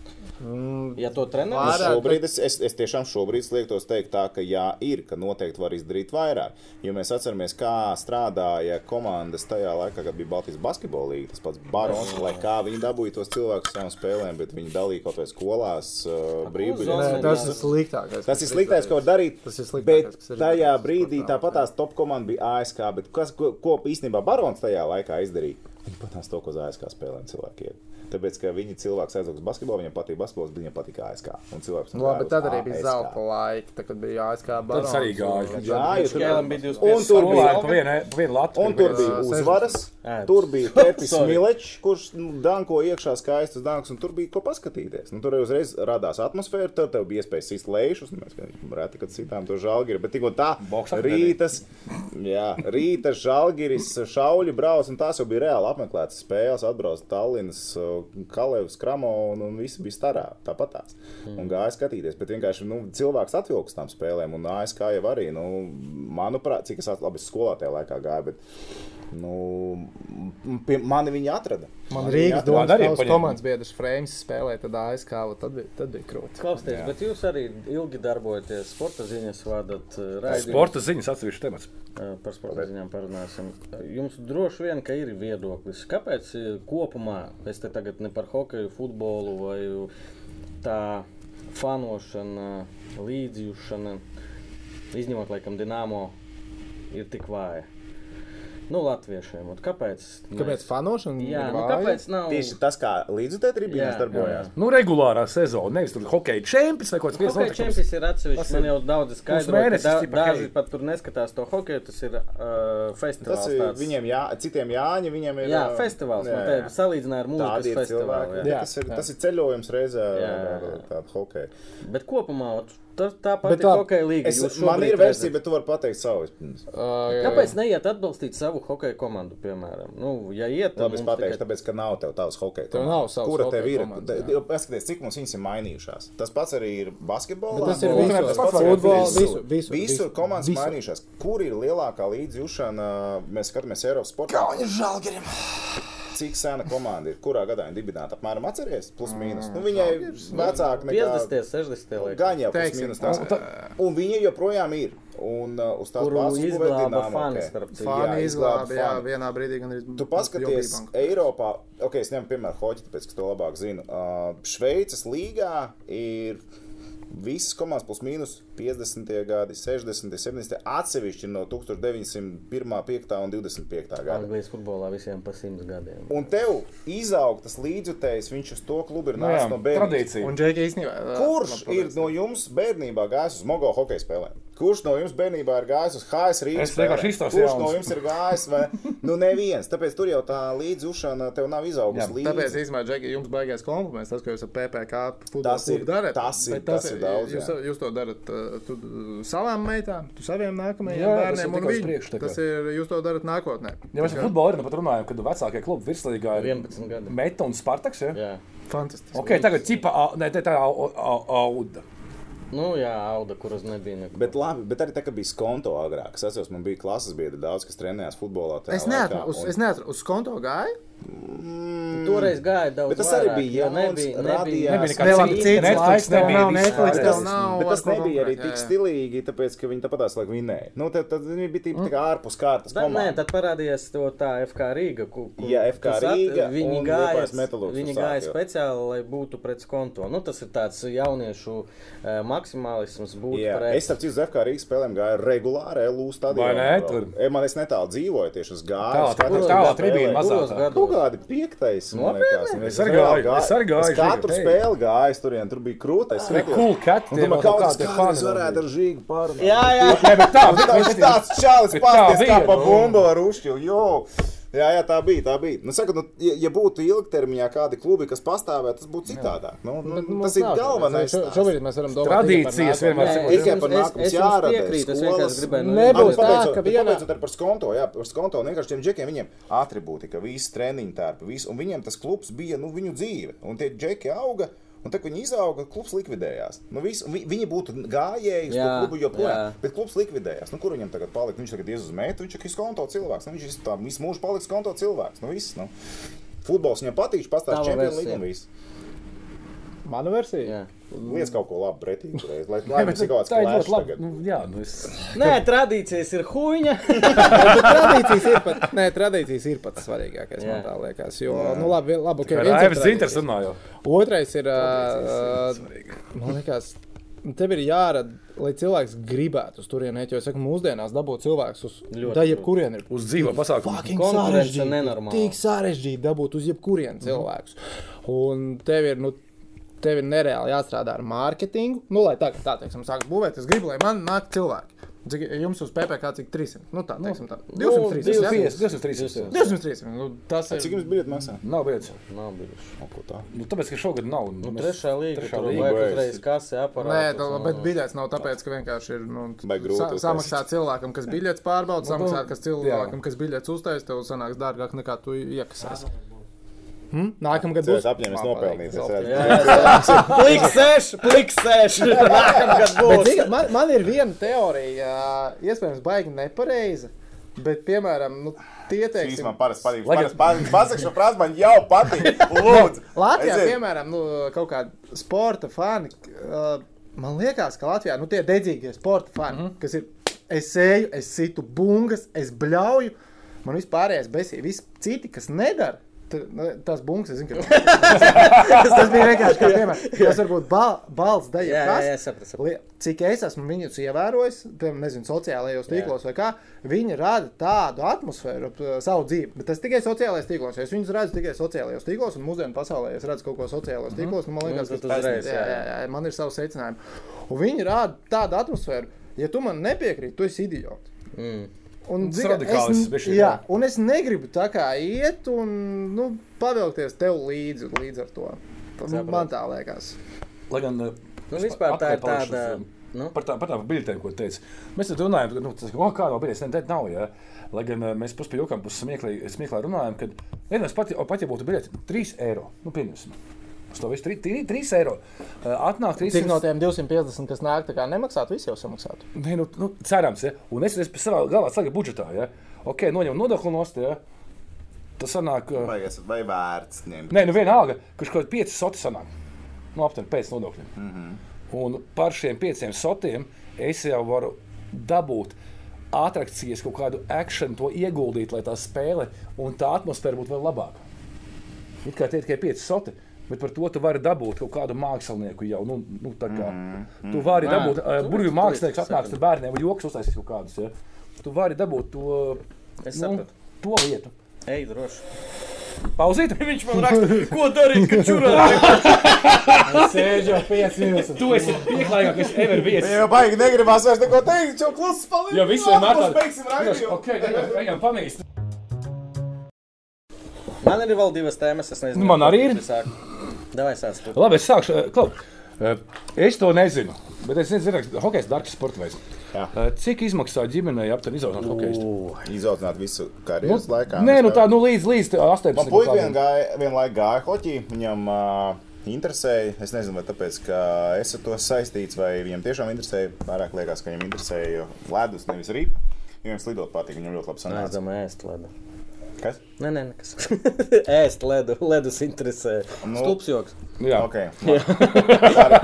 Ja to
Nu,
treneris
Vairāk,
Šobrīd es, es, es tiešām šobrīd liektos teikt, tā, ka jā, ir, ka noteikti var izdarīt vairāk. Jo mēs atceramies, kā strādāja komandas tajā laikā, kad bija Baltijas basketbola līnija, tas pats Barons, lai kā viņi dabūja tos cilvēkus savām spēlēm, bet viņi dalīja kaut vai skolās uh,
Uzzonas.
brīvības.
Nē, Tas ir sliktākais.
Tas ir sliktais, ko var darīt.
Tas ir sliktākais,
Bet
kas ir
tajā
bijis
brīdī
sportā.
tāpat tās top komanda bija ASK. bet Kas, ko, ko īstenībā Barons tajā laikā izdarīja? Viņi patās to, ko uz ASK spēlēm cilvēkiem. Tāpēc, ka viņi cilvēks aizjūtas basketbolā, viņam patīk basketbols, bet viņam patīk ASK. Un cilvēks
Nu, labi, tad arī bija
ASK.
zelta laika, tad, kad bija ASK barons.
Tas arī gāja.
Jā, jo tur
Kēlam bija 25
Un tur
skolā.
bija
Cilvēki pa vienu, pa vienu latu.
Un tur bija
sešdesmit.
uzvaras,
Ē,
tur bija Pepis
sorry.
Milečs, kurš nu, danko iekšā skaistas dankas, un tur bija ko paskatīties. Nu, tur jau uzreiz radās atmosfēra, tur tev bija iespējas sist lēšus, un mēs gan reti, kad citām to žalgiri, bet tikko tā,
Boksā
rītas, jā, rītas žalgiris, šauļi brauc, un tās jau bija reāli apmeklētas spēles, atbrauc Tallinas, uh, Kalevs, Kramo, un, un visi bija starā, tāpatās. Un gāja skatīties, bet vienkārši, nu, cilvēks atvilks tām spēlēm, un ASK jau arī, nu, manuprāt, cik es at- labi es skolā tajā laikā gāju, bet Nu, m- pie mani viņi atrada.
Man
Mani viņi
Rīgas
atrada.
domā- arī
domas
paņem.
komandas biedrs Frames spēlēja, tad ASK, vot tad bija, tad bija krūti.
klausās, bet jūs arī ilgi darbojaties sporta ziņas, vadat eh, raidījumus.
Sporta ziņas atsevišķi temats.
Eh, Par sporta ziņām parunāsim. Jums droši vien ka ir viedoklis. Kāpēc eh, kopumā, es te tagad ne par hokeju, futbolu vai tā fanošana, līdzjūšana, izņemot laikam Dienāmo, ir tik vāja. Nu, latviešiem. Un kāpēc?
Kāpēc fanošana?
Jā,
ir
nu,
vāja?
kāpēc nav?
Tieši tas, kā līdzjutētrībīnās
Jā,
darbojās.
Nu, regulārā sezona, nevis tur hokeja čempions vai kaut kas
Hokeja
viens
čempions ir atsevišķi. Man jau daudz skaidroja,
mēnesis
ka da,
tipa,
daži
hei.
pat tur neskatās to hokeju. Tas ir uh, festivāls.
Tas ir
tāds.
viņiem, jā, citiem jāņa, viņiem ir.
Jā,
ā,
festivāls.
jā,
Man te salīdzināja ar
Tādi
mūzikas
ir
festivālu.
cilvēki. Jā,
jā.
Jā,
tas, ir,
jā.
tas ir ceļojums reizē,
Jā.
tāda hokeja.
Bet kopumā ot, tā, tā
Bet
pati
tā-
hokeja līga.
Es,
jūs
man
šobrīd
ir versija,
redzat.
bet tu vari pateikt savu. vispirms.
Ā, jā,
Kāpēc neiet atbalstīt savu hokeja komandu, piemēram? Nu, ja iet, tad
Labi, es
mums
pateikšu,
tikai-
tāpēc, ka nav tev tādas hokeja.
Tev
komandas.
nav savas
Kura
hokeja
tev ir?
komandas, jā.
Jo Paskaties, cik mums viņas ir mainījušās. Tas pats arī ir basketbolā.
Bet tas ir
un
visos.
tas pats arī
Futbolā,
visur.
visur, visur,
Visur
visur.
komandas
Visur.
mainījušās. Kur ir lielākā līdzjūšana? Mēs skatāmies Eiropas sportā. Kaunis žalgerim! Cik sena komanda ir? Kurā gadā viņa dibināta? Apmēram atceries? Plus
Mm,
mīnus. Nu, viņai vecāka nekā
50, 60
Gan
liekas.
jau
Teiksim,
tas minus tāds. Un viņi joprojām ir. Un uh, uz tādu
Kuru izglāba fani, starp citu.
Fani izglāba, jā,
fani.
vienā brīdī gan arī.
Tu paskaties, Eiropā, ok, es ņemu piemēru hoķi, tāpēc, ka to labāk zinu. Uh, Šveices līgā ir visas komandas plus mīnus 50. gadi, 60. 70. atsevišķi no 1901. 5. un 25. gada.
Anglijas futbolā visiem pa 100 gadiem.
Un tev izaug tas līdzjutējs, viņš uz to klubu ir
no
nācis no bērnības.
tradīcija.
Un Džeki īstenībā. ā,
Kurš
man
ir
paldies.
no jums bērnībā gājis uz Mogo hokeja spēlēm? Kurš no jums bērnībā ir gājis uz HS Rīgas?
Es vienkārši
spēlēm?
izstāstu
Kurš
jaunas.
no jums ir gājis? Vai... Nu, neviens. Tāpēc tur jau tā līdzjūšana tev nav
Jā,
izaugusi
Tāpēc,
līdzi.
īstenībā, Džeki, jums baigās kompliments, tas, ka jūs ar PPC
Tas ir-
futbolu darāt.
tas ir- tas ir daudz,
Jūs,
jā.
jūs to darat ā, tu, savām meitām, tu saviem nākamajiem
Jā, tas ir
bērniem un
tikai uz
viņu.
priekšu tā kā.
Tas ir, jūs to darat nākotnē.
Ja mēs par futbolu arī nu pat runājam, kad vecākie klubi virslīgā ir
11 gadi.
Meta un Spartaks. Ja?
Jā.
Fantastiski.
Ok, tagad cipa, au- ne, te tā ir au- au- auda.
Nu, jā, Auda, kuras nebija nekur.
Bet, labi, bet arī tā, ka bija skonto agrāk. Es atceros, man bija klases biedri daudz, kas trenējās futbolā. tajā
Es neatceros,
laikā,
uz,
un-
es neatceros, uz konto gāju.
Toreiz gāja daudz.
Bet tas arī
vairāk,
bija
jo
jauns, radījās-
Nebija
Tas
nekāds
vēl cits laiks, tev nav
nebija
Netflix,
viss.
Bet
tev
tas-
nav
bet
vairs
tas
ko
nebija arī
konkurēt, jā,
tik
jā.
stilīgi, tāpēc, ka viņi tāpatās laikam vinēja. Nu, tad, tad viņi bija tik- tā kā ārpus kārtas.
Da, nē,
komanda.
tad parādījās to tā FK Rīga. Ku, ku,
Jā, FK
kas at-
Rīga
Viņi
un
gāja,
Liepājas Metalurgs
viņi
uzsāka,
gāja
jā.
speciāli, lai būtu pret konto. Nu, tas ir tāds jauniešu eh, maksimālisms, būt
Jā,
pret.
es saprotu, ka FFC Rīgas spēlēm gāja regulāri, LUZ tādā
Vai ne, tur?
E, Man es netālu dzīvoju, tieši uz
Tālā-
gājas.
tālā tribīna mazā
Kuros
tā.
gados?
Kaut kādi piektais, man liekas. un
Es arī gāju,
reāli
es arī gāju,
Es katru
Žiga, hei.
spēli gāju, es tur, tur bija krūta. Es
bija cool cat,
Un
tie
domāju,
vēl
kaut kas
kādi
kāds
fani vēl
varētu ar žīgu pārunāt.
Jā, jā.
Nē, bet tā, bet,
Tā ir tāds čalis,
Bet tā
kas
bija,
kā pa
nu.
bumbu ar ušķi. Jā, jā, tā bija. Tā bija. Nu, saka, nu, ja, ja būtu ilgtermiņā kādi klubi, kas pastāvētu, tas būtu citādāk. Nu, nu,
Bet mums
tas ir
nav tā,
galvenais.
šo-
stāsts.
Šobrīd mēs varam domāt.
Tradīcijas vienmēr
Nē,
sekot.
es
Tikai
jums-
par
es-
nākums
es jums
jārada,
piekrītu, es vienkārši
skolas.
gribēju
Nebūs
norādīt.
Būs tā,
tā,
ka
ka
vienā...
vienā-
Pabeidzot ar par skonto, jā, par skonto vienkārši tiem džekiem viņiem atribūtika, visi treniņu tērpi, viss, un viņiem tas klubs bija, nu, viņu dzīve, un tie džeki auga, un tā, kad viņi izauga, klubs likvidējās. Nu, viss, un vi, viņi būtu gājēji uz to
Jā,
klubu joprojām,
jā.
bet klubs likvidējās. Nu, kur viņam tagad palikt? Viņš tagad ies uz mētu, viņš ir skonto cilvēks, nu, viņš visu tā, visu mūžu paliks skonto cilvēks, nu, viss, nu. Futbols viņam patīk, pastāv
Tava
čempionu
versija.
līgumu un viss.
Mana versija.
Jā.
Liec kaut ko labu pretīgu, reiz, lai, lai mums ir kaut kāds
tā ir ļoti
klēšs
labi.
tagad.
Nu, jā, nu es...
Nē, tradīcijas ir huņa.
Bet tradīcijas ir pat, nē, tradīcijas ir pats svarīgākais,
Jā.
man tā liekas. Jo, nu, labi, labi, okay, viens ir
Raivs Zinters
tradīcijas.
runāja.
Otrais ir. Uh, man liekas, tev ir jārada, lai cilvēks gribētu uz turieni iet. Jo es saku, mūsdienās dabūt cilvēkus uz
Ļoti
da jebkurien ir.
Uz dzīvo pasākumu.
fucking
Konkurence
sarežģīti,
nenormāla. Mhm.
Tik sarežģīti dabūt uz jebkurien cilvēkus. Un tev ir, nu, tev ir nereāli jāstrādā ar mārketingu. Nu, lai tā, tā teiksim, sāk būvēt, es gribu, lai man nāk cilvēki. Cik, jums uz PPC cik 300? Nu, tā, teiksim, tā. 200, 300.
200, 300.
200, 300. Nu, tas ir.
Cik jums biļeti maksā?
Nav bijis.
Nav bijuši.
Nu, ko tā?
Nu, tāpēc, ka šogad nav. Nu, mēs-
Trešā līga,
Trešā
tur
līga.
vajag
beigas.
uzreiz kasi
Nē,
aparātu.
tā, bet biļets nav tāpēc, ka vienkārši ir. Nu,
Vai grūti
sa
uztaisīt?
samaksā cilvēkam, kas biļets pārbauda, samaksā kas cilvēkam,
jā.
kas biļets uztais, tev sanāks dārgāk nekā tu iekasēsi. Hmm? Nākamgad
Cilvēks
būs
apņēmies nopelnīt. es redzu.
Plik seši, plik seši. Nākamgad
Bet,
būs.
zini, man, man ir viena teorija, iespējams, baigi nepareiza. Bet, piemēram, nu, tie
Šīs
teiksim,
man parasti patīk.
Lai gan-
Parasti patīk. Pasakšu frāzi, man jau patīk. Lūdzu.
Latvijā,
Aiziet.
piemēram, nu, kaut kāda sporta fani, uh, man liekas, ka Latvijā nu, tie dedzīgie sporta fani, mm -hmm. kas ir es eju, es situ bungas, es bļauju, man vispārējais besīja. Visi citi, kas nedara, Te- ne, Tas bunks, es zinu, ka tas, tas bija vienkārši kā piemērs. Tas varbūt bal, balsts daļa.
Jā,
kas,
jā, jā, sapratu, sapratu.
li- Cik es esmu viņus ievērojis, piemēram, nezinu, sociālajos tīklos vai kā, viņi rada tādu atmosfēru ap eh, savu dzīvi. Bet tas tikai sociālajos tīklos. jo Es viņus redzu tikai sociālajos tīklos, un mūsdienu pasaulē es redzu kaut ko sociālajos tīklos. Nu, man liekas,
Nu,
tas
tad
tas
uzreiz,
jā,
jā,
jā, jā, man ir savs secinājums. Un viņi rada tādu atmosfēru. Ja tu man nepiekrīti, tu esi idiots.
Mm.
Un,
Tas
zini,
radikāls
es,
bišķiņ,
jā,
jā.
un es negribu tā kā iet un nu, pavilkties tev līdzi līdz ar to. Tas nu,
Saprotu.
man tā liekas.
Lai gan eh,
Nu, vispār tā ir
atpakaļpalaišas,
tāda.
eh,
Nu,
Par tā- par tām biļetēm, ko teicu. Mēs tam runājam, ka nu, tas, oh, kā no biļetes tāda nav. Ja? Lai gan eh, mēs puspējām, puspējām runājam, ka vienmēr pat, o, pat ja būtu biļete 3 eiro, nu, pieņemsim. Uz to visu 3, 3 eiro. Eh, Atnāk 3
Cik no tiem 250, kas nāk, tā kā nemaksātu, visi jau samaksātu.
Nē, nu, nu, cerams, ja. Un es esmu savā galvā, saka, budžetā, ja. Ok, noņem nodokli nost, ja. Tas sanāk. eh,
Vai, es- vai vērts ņemt?
Nē, nu vienalga, kurš kaut kāds pieci soti sanāk. Nu, aptuveni pēc nodokļiem. Mm -hmm. Un par šiem pieciem sotiem es jau varu dabūt atrakcijas, kaut kādu akciju, to ieguldīt, lai tā spēle un tā atmosfēra būtu vēl labāka. It kā tie ir tikai pieci soti. Bet par to tu vari dabūt kaut kādu mākslinieku jau. Nu, nu, tā kā, mm,
Mhm,
mm. Tu vari dabūt uh, burvju mākslinieku, kas atnāks ar bērniem, vai joks uztaisīs kaut kādus. Ja? Tu vari dabūt to,
Es
nu,
sapratu.
to lietu.
ej, droši.
Pauzīt!
Viņš man raksta, ko darīt, kad čurā.
Sēž jau 5 minūtes.
Tu esi pieklājīgākais, kas ever bijis.
Jā, baigi, negribas vairs neko teikt, jau klusi palīdz.
Jo visiem ir tāds
beigsim raidījumu.
Ok, ejam pamīst.
Man arī vēl divas tēmas, es nezinu.
Nu, man arī ir.
Davai sāc.
Labi, es sākšu. eh, Klau, eh, es to nezinu. Bet es nezinu, ka hockey ir darbs sports veids.
Jā.
Eh, Cik izmaksā ģimenei aptuveni izaugsmē hockey?
Izaudzināt visu karjeras laikā.
Nē, nu
Es
tā, nu līdz, līdz te 18.
Man puiši vien gāja, vienlaik gāja hoķī, viņam uh, interesēja. Es nezinu, vai tāpēc, ka es ar to saistīts, vai viņam tiešām interesēja. Vairāk liekas, ka viņam interesēja ledus, nevis rīpa. Viņam slidot patīk, viņam ļoti labi sanāca.
Nācam ēst ledu.
Kas?
Nē, nē, nekas. ēst ledu, ledus interesē.
Nu.
Stulps joks.
Jā,
Ok. tā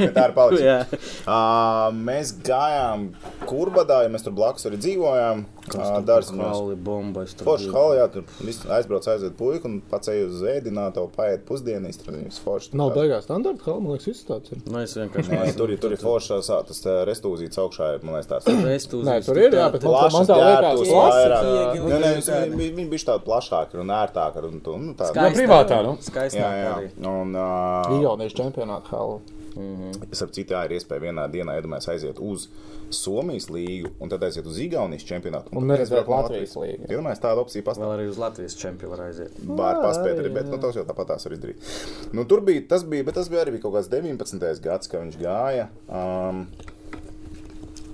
ir- tā ir palikusi.
Jā.
Uh, mēs gājām kurbadā, jo mēs tur blakus arī dzīvojām. Uh, Dārzs mums
Kauli bomba. es tur
Forši
biju.
halā, jā, tur viss aizbrauc, aizved puiku un pats eju uz ēdinātu, paiet pusdienas, tur viņam forši.
Nav beigās standarta, kā man liekas, viss tāds ir.
Nu, es vienkārši.
Nē, tur, ir- tur ir forši tās, ā, tas ā, restūzīts aukšā, ir, man liekas, tās.
Ēst uz.
Nē, tur ir, jā, bet man, tā- man tā liekas,
plašas,
plašāk.
iegi,
Nē, nē,
un tādi.
Nu, viņi- viņi bija tādi plašāki un ērtāki. Un, tu- nu, tādi.
Skaidrs. privātā, nu.
Jā,
Skaistāk
jā.
arī.
Un, uh,
Igaunijas čempionāta halu.
es ar citu jā, ir iespēja vienā dienā, iedomājos, aiziet uz Somijas līgu un tad aiziet uz Igaunijas čempionātu.
Un
tad
neredzēt
aizbraukt
Latvijas līgu.
Iedomājos, tāda opcija pastāv.
Vēl arī uz Latvijas čempionu aiziet.
Bāra paspēt arī, bet nu, tas jau tāpat tās var izdarīt. Nu, tur bija tas, bija, bet tas bija arī bija kaut kāds 19. gads, kad viņš gāja. Um,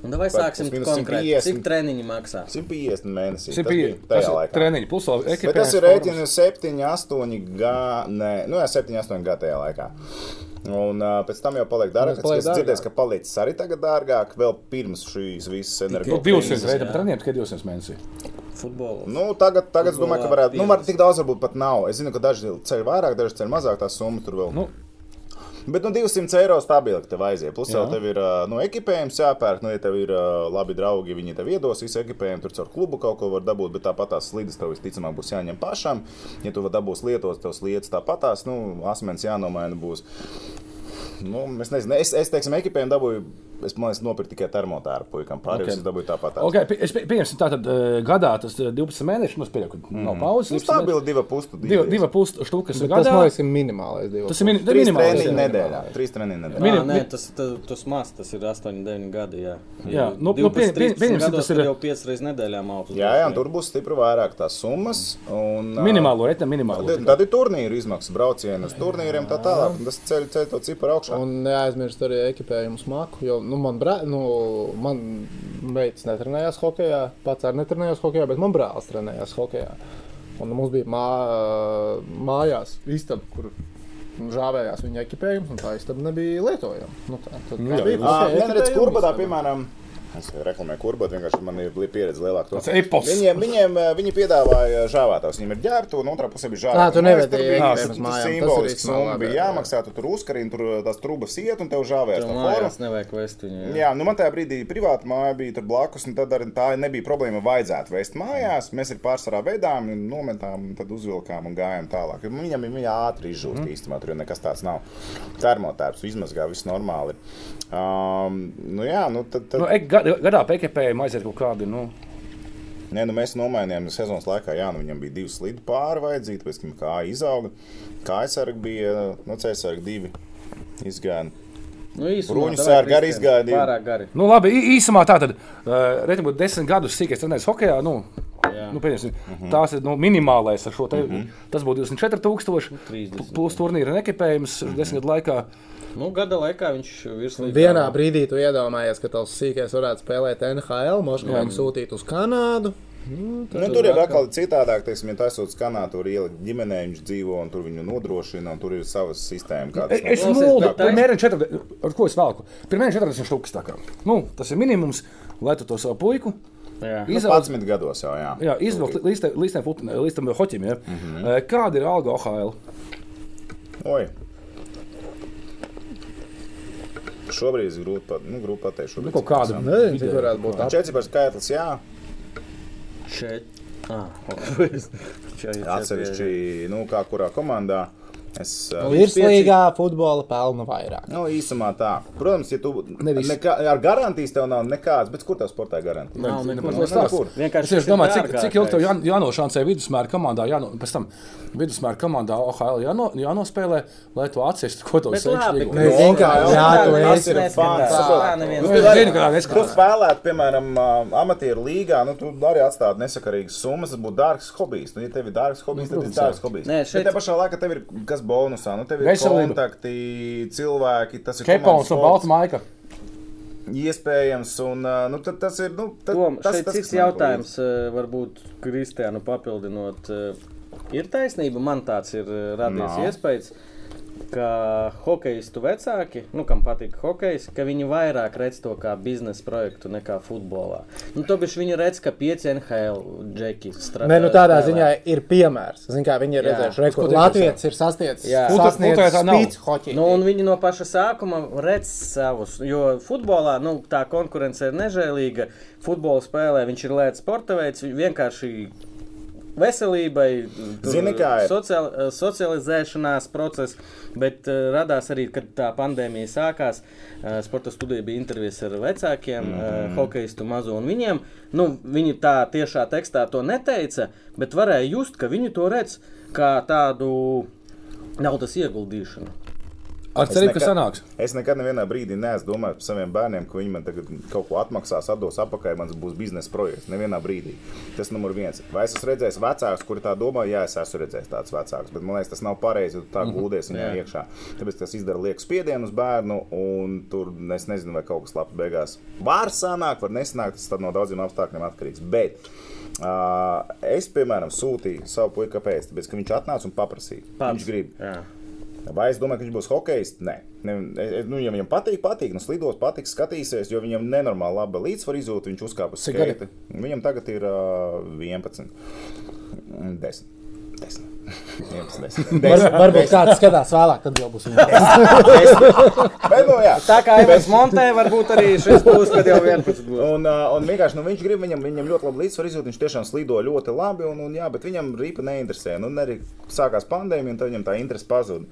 Un davai
Par
Nu, sāksim
plus mīnus
konkrēti.
150.
Cik treniņi maksā?
150 mēnesī.
tas
Tas
bija
bija
tas
tajā
ir
laikā.
treniņš, plus vēl ekipējums.
Bet tas ir rēķins 7, 8 gadi. Nu, jā, 7, 8 gadi tajā laikā. Un uh, pēc tam jau paliek dārgāk.
paliek
Es dzirdēju,
dārgāk.
ka palicis arī tagad dārgāk, vēl pirms šīs visas
Nu,
enerģijas.
200 reizes treniņš, tikai 200 mēnesī.
Futbolu.
Nu, tagad, tagad es domāju, ka varētu. Nu,
Piecdesmit.
var, tik daudz varbūt pat nav. Es zinu, ka daži ceļ vairāk, daži ceļ mazāk. Tā summa tur vēl.
Nu.
Bet nu, 200 eiro stabili tev aiziet. Plus jau tev ir ā, nu, ekipējums jāpērk. Nu, ja tev ir ā, labi draugi, viņi tev iedos visu ekipējumu. Tur caur klubu kaut ko var dabūt, bet tāpat tās slīdes tev visticamāk būs jāņem pašam. Ja tu dabūsi lietot, tev sliedas tāpat tās, nu, asmens jānomaina būs. Nu, es nezinu, es, es teiksim, ekipējumu dabūju. Es domāju, es nopirku tikai termotāru puikam. Pārējais
Ok.
okay. es dabūju tāpat. tās.
Okay, pi- es pie- pieņemsim, tā tad eh, gadā tas eh, 12 mēneši, nu, es pieļauju, ka nav pauzes.
Nu,
12
stabili divi pustu.
mēneši. Divi- Divi pusi štukas
Tas, man
gadā.
liekas, ir minimālais divs.
Tas ir mini-
Trīs
minimāls.
treniņi
jā.
nedēļā. Trīs treniņi nedēļā.
Minim-
Minim, nē, tas, tas, tas maz, tas ir 8, 9 gadi. Jā,
Jā, nu, nu, pieņem- pieņemsim, tas
tas
ir-
ir jau 5 reizes nedēļā mākslā.
Jā, jā, un tur būs stipri vairāk tās summas. Un, ā,
Minimālo reiķi, minimālo.
Tad, tad ir turnīri izmaksas, braucieni uz turnīriem, tā tālāk. Un Tas ceļ, ceļ to ciparu augšā.
Un neaizmirst arī ekipējumu smaku. Jo, nu, man brā, nu, man meitas netrenējās hokeja, pats arī netrenējās hokeja, bet man brālis trenējās hokeja. Un mums bija mā, mājās istaba, kur žāvējās viņa ekipējums, un tā istaba nebija lietojama. Nu, tā, tad,
jā,
bija
Nē,
hokeja
redziet,
ekipējuma
kurbadā,
istaba.
piemēram, Es reklamēju kurbu, bet vienkārši man ir li- pieredze lielāka. to.
Tas epops.
Viņiem, viņiem eh, viņi piedāvāja žāvētājus. Viņiem ir ģērbta, un otrā pusē bija žāvēta.
Ā, tu nevedīji ģērbus mājām, tas
Tas
arī
simbolisks
smalu
summa bija
labāk, jā.
jāmaksā, tu tur uzkarīji, tur eh, tās trubas iet, un tev žāvēja
Tur
to formu.
mājās nevajag vest viņu. jā.
Jā, nu man tajā brīdī privāta māja bija tur blakus, un tad arī tā nebija problēma. Vajadzētu vest mājās. Mēs arī pārsvarā veidām, un nometām, un tad uzvilkām un gājām tālāk. Jo Viņam ir ātri izžūta mm. īstenībā, tur jau nekas tāds nav. Termotērps izmazgā, viss normāli. Um, nu jā, nu tad, tad
Nu, ek, ga- gadā PKP aiziet kaut kādi. Nu,
Nē, nu mēs nomainījām sezonas laikā. Jā, nu viņam bija divi slīdi pāri vajadzīgi, pēc tam kā izauga. Kājasargi bija, nu, cēsargi divi izgāja.
Nu, īsumā,
Bruņu
tā
sērgi
vajag
arī
riskēt.
izgāja divi.
Pārāk gari.
nu labi,ī- īsumā tā tad. Uh, Reiz būtu desmit gadus sīkais trenējis hokeja. Nu,
Jā.
nu, pieņemsim, tās ir nu, minimālais ar šo te. Tas būtu 24,000
30.
plus turnīra nekipējums desmit gadu laikā.
Nu, gada laikā viņš virslīgā
Vienā brīdī tu iedomājies, ka tavs sīkais varētu spēlēt NHL, Moskavā un sūtīt uz Kanādu.
Nu, tur ir atkal citādāk, teiksim, ja tas sūdzas Kanādā, tur ielikt ģimenē, viņš dzīvo un tur viņu nodrošina, un tur ir savas sistēmas. kādas
Es
nav.
Klausies,
mūžīgi,
bet tā-
piemēram, 40, ar ko es velku? Pirmie 40 stūkus. Nu, tas ir minimums, lai tu to savu puiku
brīdī.
izaudzētu.
11 gados jau, jā.
Jā, izvilkt līdz tam līdz, līdz tam hoķim. Ja? Mm -hmm. Kāda ir alga OHL?
Oi. Šobrīd ir grūti pat, nu, grūti pateikt.
Nu,
Šobrīd
kaut kāda
cik
Nezinu, cik varētu būt
tas ir.
tāds.
Četri par skaitlis, jā.
Šeit. Ah, ok.
Atsevišķi, nu, kā kurā komandā. Es,
Nu,
uh,
Virslīgā futbola pelna vairāk.
Nu, īsumā tā. Protams, ja tu
Nevis.
nekā, ar garantijas tev nav nekādas, bet kur tev sportā Nu, garantija?
Nav nekur.
Nav stāsts. Es
Vienkārši
vienkārši domāju, cik,
dārgākais.
cik ilgi tev jān- jānošancē vidusmēra komandā, jāno, pēc tam vidusmēra komandā OHL jāno, jānospēlē, lai tu atcestu, ko tu
Bet
esi
labi,
iegūmis.
ka-
Mēs vienkārši
jā,
jā, tu
jā, tas
esi.
ir fans.
Tā neviens.
Es zinu, ka tā
Tu
neskatās.
spēlētu, piemēram, ā, amatieru līgā, nu, tu arī atstātu nesakarīgas summas. Tas būtu dārgs hobijs. Nu, ja tev ir dārgs hobijs, tad tas ir dārgs hobijs.
Nē, šeit-
Bet te pašā laikā tev ir kas bonusā. Nu, tev ir
Veselība.
kontakti, cilvēki, tas ir komandas
Kepons un
sports,
Balta Maika.
Iespējams, un ā, nu, tad tas ir. Nu, tad,
Tom,
tas,
šeit
tas,
cits
kas man
jautājums, eh, varbūt Kristiānu papildinot. eh, Ir taisnība, man tāds ir eh, radies no.
Nā.
iespējas, ka hokeistu vecāki, nu, kam patīk hokejs, ka viņi vairāk redz to kā biznesa projektu nekā futbolā. Nu, to bišķi viņi redz, ka pieci NHL džeki strādā.
Nē, nu tādā ziņā ir piemērs. Zin, kā, viņi ir
Jā.
redzējuši, ka Latvijas ir sastiecis
Jā.
Futu- futē tā nav.
sasniedzis hoci.
Nu, un viņi no paša sākuma redz savus. Jo futbolā nu, tā konkurence ir nežēlīga. Futbola spēlē viņš ir lēts sporta veids, vienkārši veselībai, tur
Zini, kā ir?
social, socializēšanās process. Bet uh, radās arī, kad tā pandēmija sākās, uh, sporta studija bija intervijas ar vecākiem, mm
Mhm.
-hmm. uh, hokeistu mazo. un Viņiem, nu, viņi tā tiešā tekstā to neteica, bet varēja just, ka viņi to redz kā tādu naudas ieguldīšanu.
Ar cerību, ka
nekad-
sanāks.
Es nekad nevienā brīdī neesmu domājis par saviem bērniem, ka viņi man tagad kaut ko atmaksās, atdos atpakaļ, man būs biznesa projekts. Nevienā brīdī. Tas numur viens. Vai es esmu redzējis vecāks, kuri tā domā? Jā, es esmu redzējis tāds vecāks, bet man liekas, tas nav pareizi, jo tu tā guldies viņā iekšā. Tāpēc tas izdara lieku spiedienu uz bērnu, un tur es nezinu, vai kaut kas labs beigās var sanākt, var nesanākt. Tas tad no daudziem apstākļiem atkarīgs. Bet uh, es, piemēram, sūtīju savu puiku, kāpēc? Tāpēc, ka viņš atnāca un paprasīja.
Pats.
Viņš grib.
Jā.
Vai es domāju, ka viņš būs hokejs? Nē, ne, e- e- nu, ja viņam patīk, patīk. Nu, slidos, patiks, skatīsies, jo viņam nenormāli laba līdzsvara izjūta. Viņš uzkāpa uz
Cik gadi?
skata. Viņam tagad ir uh, 11, 10. 10. 11, 10.
Var, varbūt kāds skatās vēlāk, tad jau būs viņa.
Bet, nu, jā.
Tā kā jau es montēju, varbūt arī šis būs, kad jau 11 būs.
Un, uh, un vienkārši nu, viņš grib, viņam, viņam ļoti labi līdzsvaru izjūta. Viņš tiešām slīdo ļoti labi, un, un, jā, bet viņam rīpa neinteresē. Nu, un arī sākās pandēmija, un tad viņam tā interese pazuda.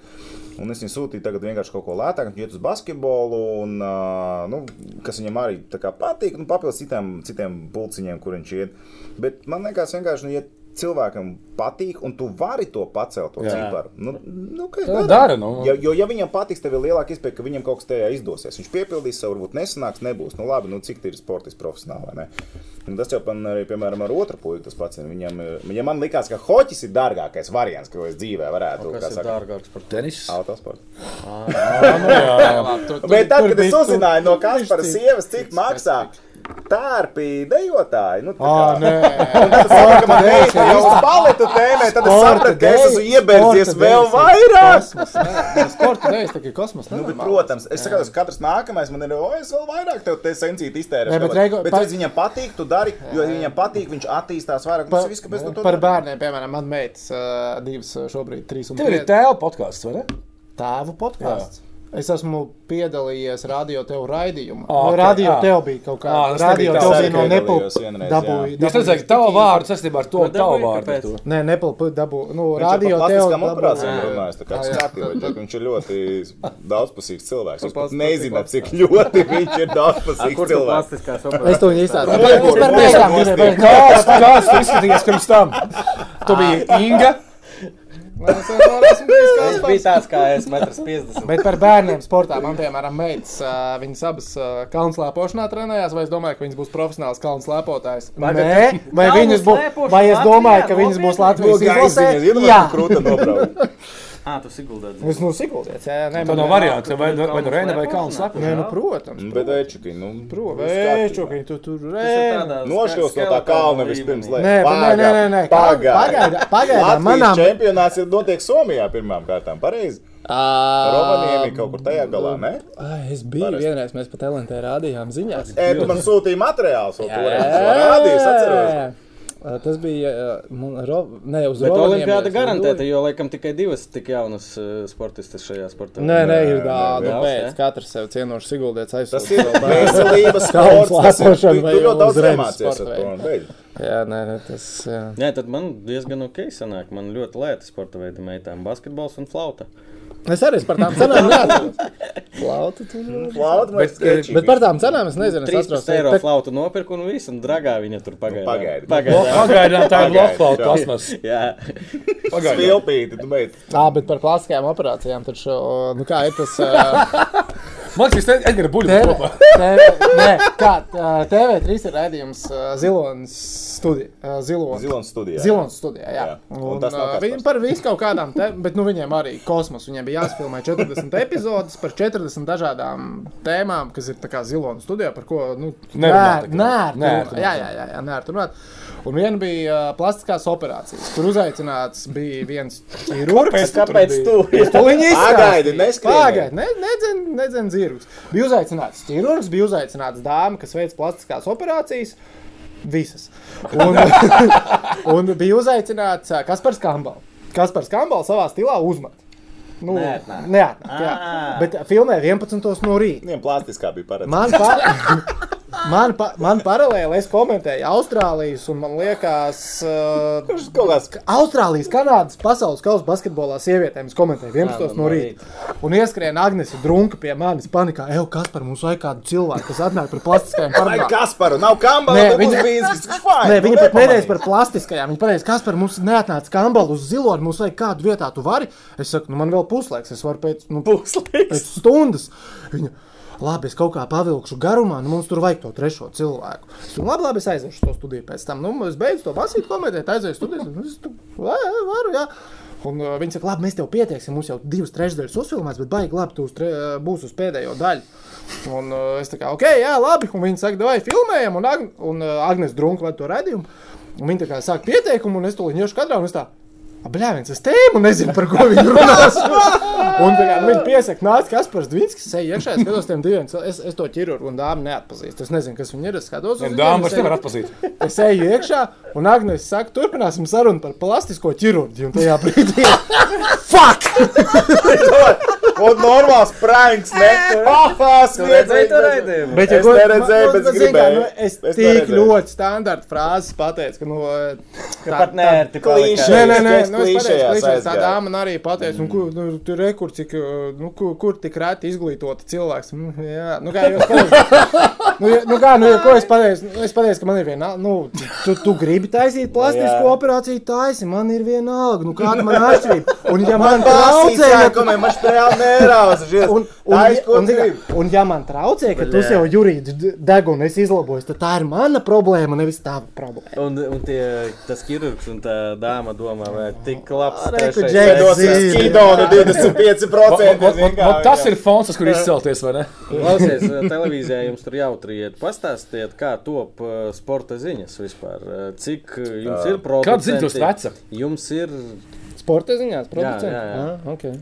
Un es viņu sūtīju tagad vienkārši kaut ko lētāku, viņš iet uz basketbolu, un, uh, nu, kas viņam arī tā kā patīk, nu, papildus citiem, citiem pulciņiem, kur viņš iet. Bet man liekas, vienkārši, nu, ja cilvēkam patīk, un tu vari to pacelt, to ciparu, nu, nu, kas
Tā dara, nu.
Ja, jo, ja viņam patiks, tev ir lielāka iespēja, ka viņam kaut kas tajā izdosies. Viņš piepildīs savu, varbūt nesanāks, nebūs. Nu, labi, nu, cik tie ir sportisti profesionāli. vai ne? Un tas jau man arī, piemēram, ar otru puiku tas pats. ir. Viņam, ir- ja man likās, ka hoķis ir dārgākais variants, ko es dzīvē varētu kā
Kas ir dārgāks par to?
Tenis.
autosports.
Jā, nu jā.
Bet tad, kad es uzzināju no Kaspara sievas, cik maksā tērpi dejotāji. Nu, tā
Ah,
kā-
nē.
Tad es saprotu, ka man
Sporta
meita
dēļ,
jau uz baletu tēmē, tad es
Sporta
sapratu, ka es
dēļ,
esmu iebērzies
sporta
vēl
dēļ.
vairāk.
Kosmos, nē, nē, sporta dēļ, tā ir kosmos.
Nu, bet,
nenormāls.
protams, es saku, ka katrs nākamais man ir, o, es vēl vairāk tev te sencīti iztērēju.
Nē, bet Reigo,
bet
pa-
redz, viņam patīk, tu dari, jo ja viņam patīk, viņš attīstās vairāk. Tas viss, kāpēc tu to
par
dari?
bērniem, piemēram, man meitas uh, divas uh, šobrīd, trīs un
Tev ir
pieci.
tēla podkāsts, vai ne?
tēvu podkāsts. Es esmu piedalījies radio tevu
Ā,
raidījumā.
Ah,
Oh,
ok,
okay, radio
ā.
tev bija kaut
Ā,
kā. Oh,
tas
radio
nebija
tev
tāds.
bija no
Es arī piedalījos
Nepalda.
vienreiz,
Dabūja.
Es redzēju, ka tava vārds saistībā ar to
Ko
tavu
dabūji,
vārdu.
kāpēc?
ar to.
Nē, Nepalda dabūja. Nu,
Viņš
radio
ir par
tev
plastiskām operācijām
dabūja.
runājis, tā kā
Jā, jā.
skatījos, ka viņš ir ļoti daudzpusīgs cilvēks. Jūs pat
plastiskām
nezināt, cik ļoti viņš ir
Kur
daudzpusīgs
tu
cilvēks.
plastiskās
Es
operācijas?
to izstāstu.
Dabūj,
Es par
dabūj,
beigām
dabūj,
gribēju.
Kāds, kāds tu izskatījies pirms tam? Tu biji Inga.
Es vienmēr esmu bijis
Es
Kaspars.
biju tāds kā es, metrs 50.
Bet par bērniem sportā man, piemēram, meitas, ā, viņas abas ā, kalnu slēpošanā trenējās, vai es domāju, ka viņas būs profesionāls kalnu slēpotājs? Nē, vai
kalnu
viņas būs,
slēpošana
vai es domāju, ka
Latvijā? nu,
viņas būs
No
Latvijas
gaisa
izlasē?
viņa zina,
Jā,
ka krūta nobraukt.
Ah,
Ā, tu siguldāt.
es nu sikuldies, jā, jā, nē,
Tā
man
nav
vienmēr-
variants, vai nu vai nu Reina vai Kalns saka.
Nē, nu, protams.
Bet večuki, nu,
Vēču, ka viņi tu tur rēna.
Nošļos no tā kalna vispirms, lai
Nē, bet nē, nē, nē, nē. Kal-
Pagaidām,
pagaida- pagaida, manām-
Latvijas čempionāts ir notiek Somijā pirmām kārtām, pareizi. Rovaniem
Um,
ir kaut kur tajā galā, ne?
Ai, Es biju
Parasti.
vienreiz, mēs pat LNT rādījām ziņās.
Ē, tu man sūtīji materiālus, vēl toreiz.
Jā.
Rādījis, atceros.
Ā, Tas bija ā, mun- Ro- ne uz
Bet
Rovaniemi
olimpiāda
es
nu-
garantēta, jo laikam tikai divas tik jaunas eh, sportistas šajā sportā.
Nē, nē, ir
nē,
tāda
nē,
pēc.
nē.
Katrs sev cienošs ieguldīts
Tas ir
aizsūtīt.
veselības
Kalnu
sports. Tas ir, tu,
slēpošana vai
tu ļoti daudz
uzreiz
iemācies
sporta
ar to.
veidu.
un beidz.
Jā, nē, nē, tas. Jā.
Nē, tad man diezgan ok sanāk. Man ļoti lēta sporta veida meitām - basketbols un flauta.
Es arī par tām cenām neatceros. Flauta tur.
Plaukt, man
Bet,
ir skečīgi.
Bet par tām cenām es nezinu, es
13
atceros.
eiro
bet-
flauta nopirku un visu, un dragā viņa tur pagaidām.
pagaidi.
Pagaidām.
Pagaidām, tā ir
Pagaidi,
lokāla
jā.
plasmas.
Jā,
Pagaidām.
Spilpīti, tu beidz.
Ā, bet par plastiskajām operācijām taču, o, nu kā ir tas. ā,
Man liekas, Edgars Buļbuļs
TV
kopā.
TV Nē, kā ā, TV3 ir raidījums ā, Zilonas studijā. Zilonas.
Zilonas studijā.
Zilonas studijā, jā.
Jā. Un
Un,
tas
ā,
nav Kaspars.
Viņi par visu kaut kādām, te, bet nu, viņiem arī kosmos. Viņiem bija jāspēlē 40 epizodes par 40 dažādām tēmām, kas ir tā kā Zilonas studijā, par ko nu,
Nerunāt
nē,
tagad.
nē, nē,
Neērti
jā, jā, jā, jā, nē, tur runāt. Un viena bija ā, plastiskās operācijas, kur uzaicināts bija viens ķirurgs.
Kāpēc tu?
Tūlīt
Pagaidi, neskrien.
Pagaidi, ne, nedzen, nedzen zirgus. Bija uzaicināts ķirurgs, bija uzaicināts dāma, kas veic plastiskās operācijas. Visas. Un, un bija uzaicināts ā, Kaspars Kambals. Kaspars Kambals savā stilā uzmet. Nu,
Neatnāk.
neatnāk, jā.
Ā.
Bet filmē 11. no rīta.
Viņiem plastiskā bija paredzēta.
Man, pa... man, pa... man paralēli es komentēju Austrālijas un man liekas. Uh...
Kurš kaut kāds
Austrālijas, Kanādas pasaules kausa basketbolā sievietēm es komentēju 11.
Ā,
no
no
rīta. Un ieskrēja Agnese Drunka pie manis panikā, ej, kas par mums vajag kādu cilvēku, kas atnāk par plastiskajām
Ai,
pārbaudēm.
Kasparu, nav kamba,
Nē,
nav
viņa-
bijis. Fine,
Nē,
tu
viņa pat
nepamanīji.
nedēļas par plastiskajām. Viņa teica, kas par mums neatnāca kambalu uz zilo, mums vajag kādu vietā, tu vari. Es saku, nu man vēl puslaiks, es varu pēc, nu,
puslīgs.
pēc stundas. Viņa, labi, es kaut kā pavilkšu garumā, nu mums tur vajag to trešo cilvēku. Es saku, labi, labi, es aiziešu to studiju pēc tam. Nu, es beidzu to basīt komentēt, aiziešu studijas. Nu, es tu, jā, jā, varu, jā. Un uh, viņi saka, labi, mēs tev pieteiksim, mums jau divas trešdaļas uzfilmēs, bet baigi, labi, tu uz tre, būs uz pēdējo daļu. Un uh, es tā kā, ok, jā, labi. Un viņi saka, vai filmējam, un, Ag un uh, Agnēs Drunka vada to redzējumu. Un viņi tā kā sāk pieteikumu, un es to ņemšu katrā un es tā. Bļāvis, es tēmu nezinu, par ko viņi runās. un tā kā nu, viņi piesaka, nāc, kas par Dvīnskis, ej iekšā, es skatos tiem diviem, cil- es, es to ķirurgu un dāmu neatpazīstu. Es nezinu, kas viņi ir, es skatos. uz viņiem,
Dāmas
es
vairs nevar
eju-
atpazīt.
Es eju iekšā, un Agnēs saka, turpināsim sarunu par plastisko ķirurģiju. Un tajā brīdī, fuck!
Un normāls pranks, ne? Ahās,
Tu redzēji to raidījumu?
Bet, ja
Es
ko-
neredzēju,
nu,
bet
nu,
es
zini kā,
gribēju.
nu, Es
Es
tik
neredzēju.
ļoti standarta frāzes pateicu, ka, nu, eh, tā-
Pat nē,
tā-
tik
Klīšē.
Nē, nē, nē,
Es
nu, es
klišejās
pateicu, ka tā
aizgāju.
dāma man arī pateica, nu, kur, nu, tur ir kur, cik, eh, nu, kur, kur tik reti izglītota cilvēks. Mm, Jā, nu, kā jau es pateicu. Nu, ja- nu, kā, nu, ja ko es pateicu? Nu, es pateicu, ka man ir viena, nu, tu, tu gribi taisīt plastisku
jā.
operāciju, taisi, man ir viena alga, nu, kāda man atšķirība. Un, ja man
Klasīts, jā,
traucē, ja tu
komē, man šprēl, nē, Nērāvas žies.
Un, un,
Tā ir ko
un, zini,
grib.
un, ja man traucē, ka tu jau jūrīdi deg un es izlabojos, tad tā ir mana problēma, nevis tava problēma.
Un, un tie, tas ķirurgs un tā dāma domā, vai tik labs
Re, ku
trešais
Džeks
veids.
Dos
Zini.
skidonu
Ot, ot,
25%.
ot, ot,
vienkārši.
Tas ir fons, uz kur izcelties, vai ne?
Klausies, eh, televīzijā jums tur jautri iet. Pastāstiet, kā top eh, sporta ziņas vispār. Eh, Cik eh, jums ir problēma?
Kad ziņas jūs veca?
Jums ir.
Sporta ziņās, producents.
jā, jā.
Ah, okay.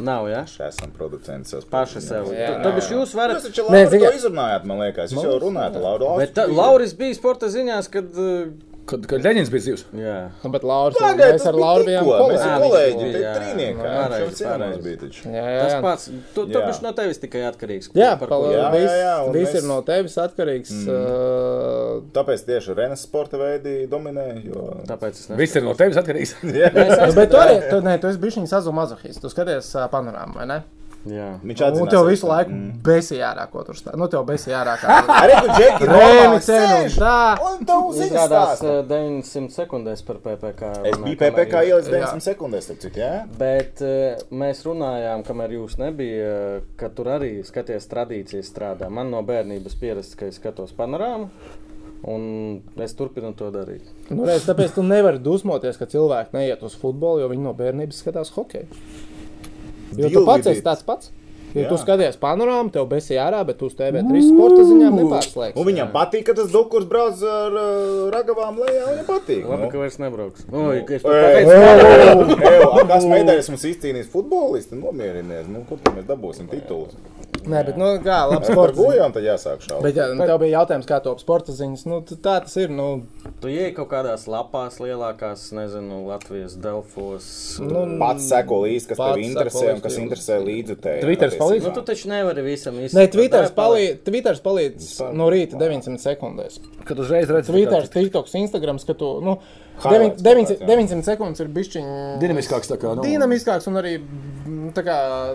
Nav, jā? Ja?
Mēs esam producents. savs
Paši
produkts.
sev. Tāpēc jūs
Jūs
varat.
taču
Nē,
Laura to
ziniet-
izrunājāt, man liekas. Jūs jau runājat, Laura.
Bet tā, Lauris bija sporta ziņās, kad. eh,
Kad, kad Leņķis bija dzīvs.
Jā.
Nu, bet Lauris,
Pagaid,
mēs ar Lauru bijām
Mēs
kolēģi.
Ah,
esam
viņš
kolēģi,
bija,
tie
jā.
trīnieki.
Pareizi,
Viņš jau cienās
pareizi.
bija taču.
Jā, jā,
Tas
jā.
pats. Tu, tu
Jā.
biji no tevis tikai atkarīgs.
Jā,
par ko
pal-
jā.
jā,
viss, jā, jā,
jā, un
viss
mēs-
ir no tevis atkarīgs. Mm.
Tāpēc tieši Renes sporta veidi dominē, jo
Tāpēc es nezinu.
Viss ir no tevis atkarīgs.
Uh,
Viss.
bet tu arī, tu, nē, tu esi bijis viņa sazumazohis. Tu skaties uh, panorāmu, vai ne?
Jā.
viņš
Un
atzīst.
tev visu laiku mm. besīja ārā, ko tur stāv. Nu, tev besīja ārā. kā-
Arī tur džeki normāli
Rēmi cenu un
sēž.
tā.
Un tev ziņas
Izrādās
stāsta.
eh, 900 sekundēs par PPC.
Es biju PPC ielas 90 sekundēs, ap cik, jā?
Bet eh, mēs runājām, kamēr jūs nebija, ka tur arī skaties tradīcijas strādā. Man no bērnības pieredzes, ka es skatos panorāmu. Un es turpinu to darīt.
Nu, reiz, tāpēc tu nevari dusmoties, ka cilvēki neiet uz futbolu, jo viņi no bērnības skatās hokeju. Jo tu
Divi
pats
bija.
esi tāds pats. Jo
Jā.
tu skaties panorāmu, tev besīja ārā, bet tu uz TV3 sporta ziņām nepārslēgsi.
Un Nu, viņam patīk, ka tas dukurs brauc ar uh, ragavām lejā. Viņam patīk. nu.
Labi, ka vairs nebrauks. Oi, ka es pat pateicu,
Kādu tas medaļas mums izcīnīs futbolisti? Nomierinies, nu, kur tad mēs dabūsim titulus?
Nē, bet nu, kā labi
Par
sporta ziņas.
gojām tad jāsāk šaut.
Bet jā, nu, tev bija jautājums, kā top sporta ziņas. Nu, t- tā tas ir. Nu,
tu ej kaut kādās lapās, lielākās, nezinu, Latvijas delfos. Nu,
nu,
Pats seko līdzi, kas tev
Pats
interesē
seko
un kas
līdzi.
interesē līdzutēji.
Twitteris palīdz?
nu, tu taču nevari visam izsekot.
Nē, Twitteris
Nē, paliec.
palīdz, Twitters palīdz no rīta 900 sekundēs.
Kad uzreiz redzat,
Twitter, TikTok, Instagram, ka tu nu,
Highlights
9, 900,
kaut kāds, jā.
900 sekundes ir bišķiņa
Dinamiskāks tā kā. Nu,
dinamiskāks un arī mm, tā kā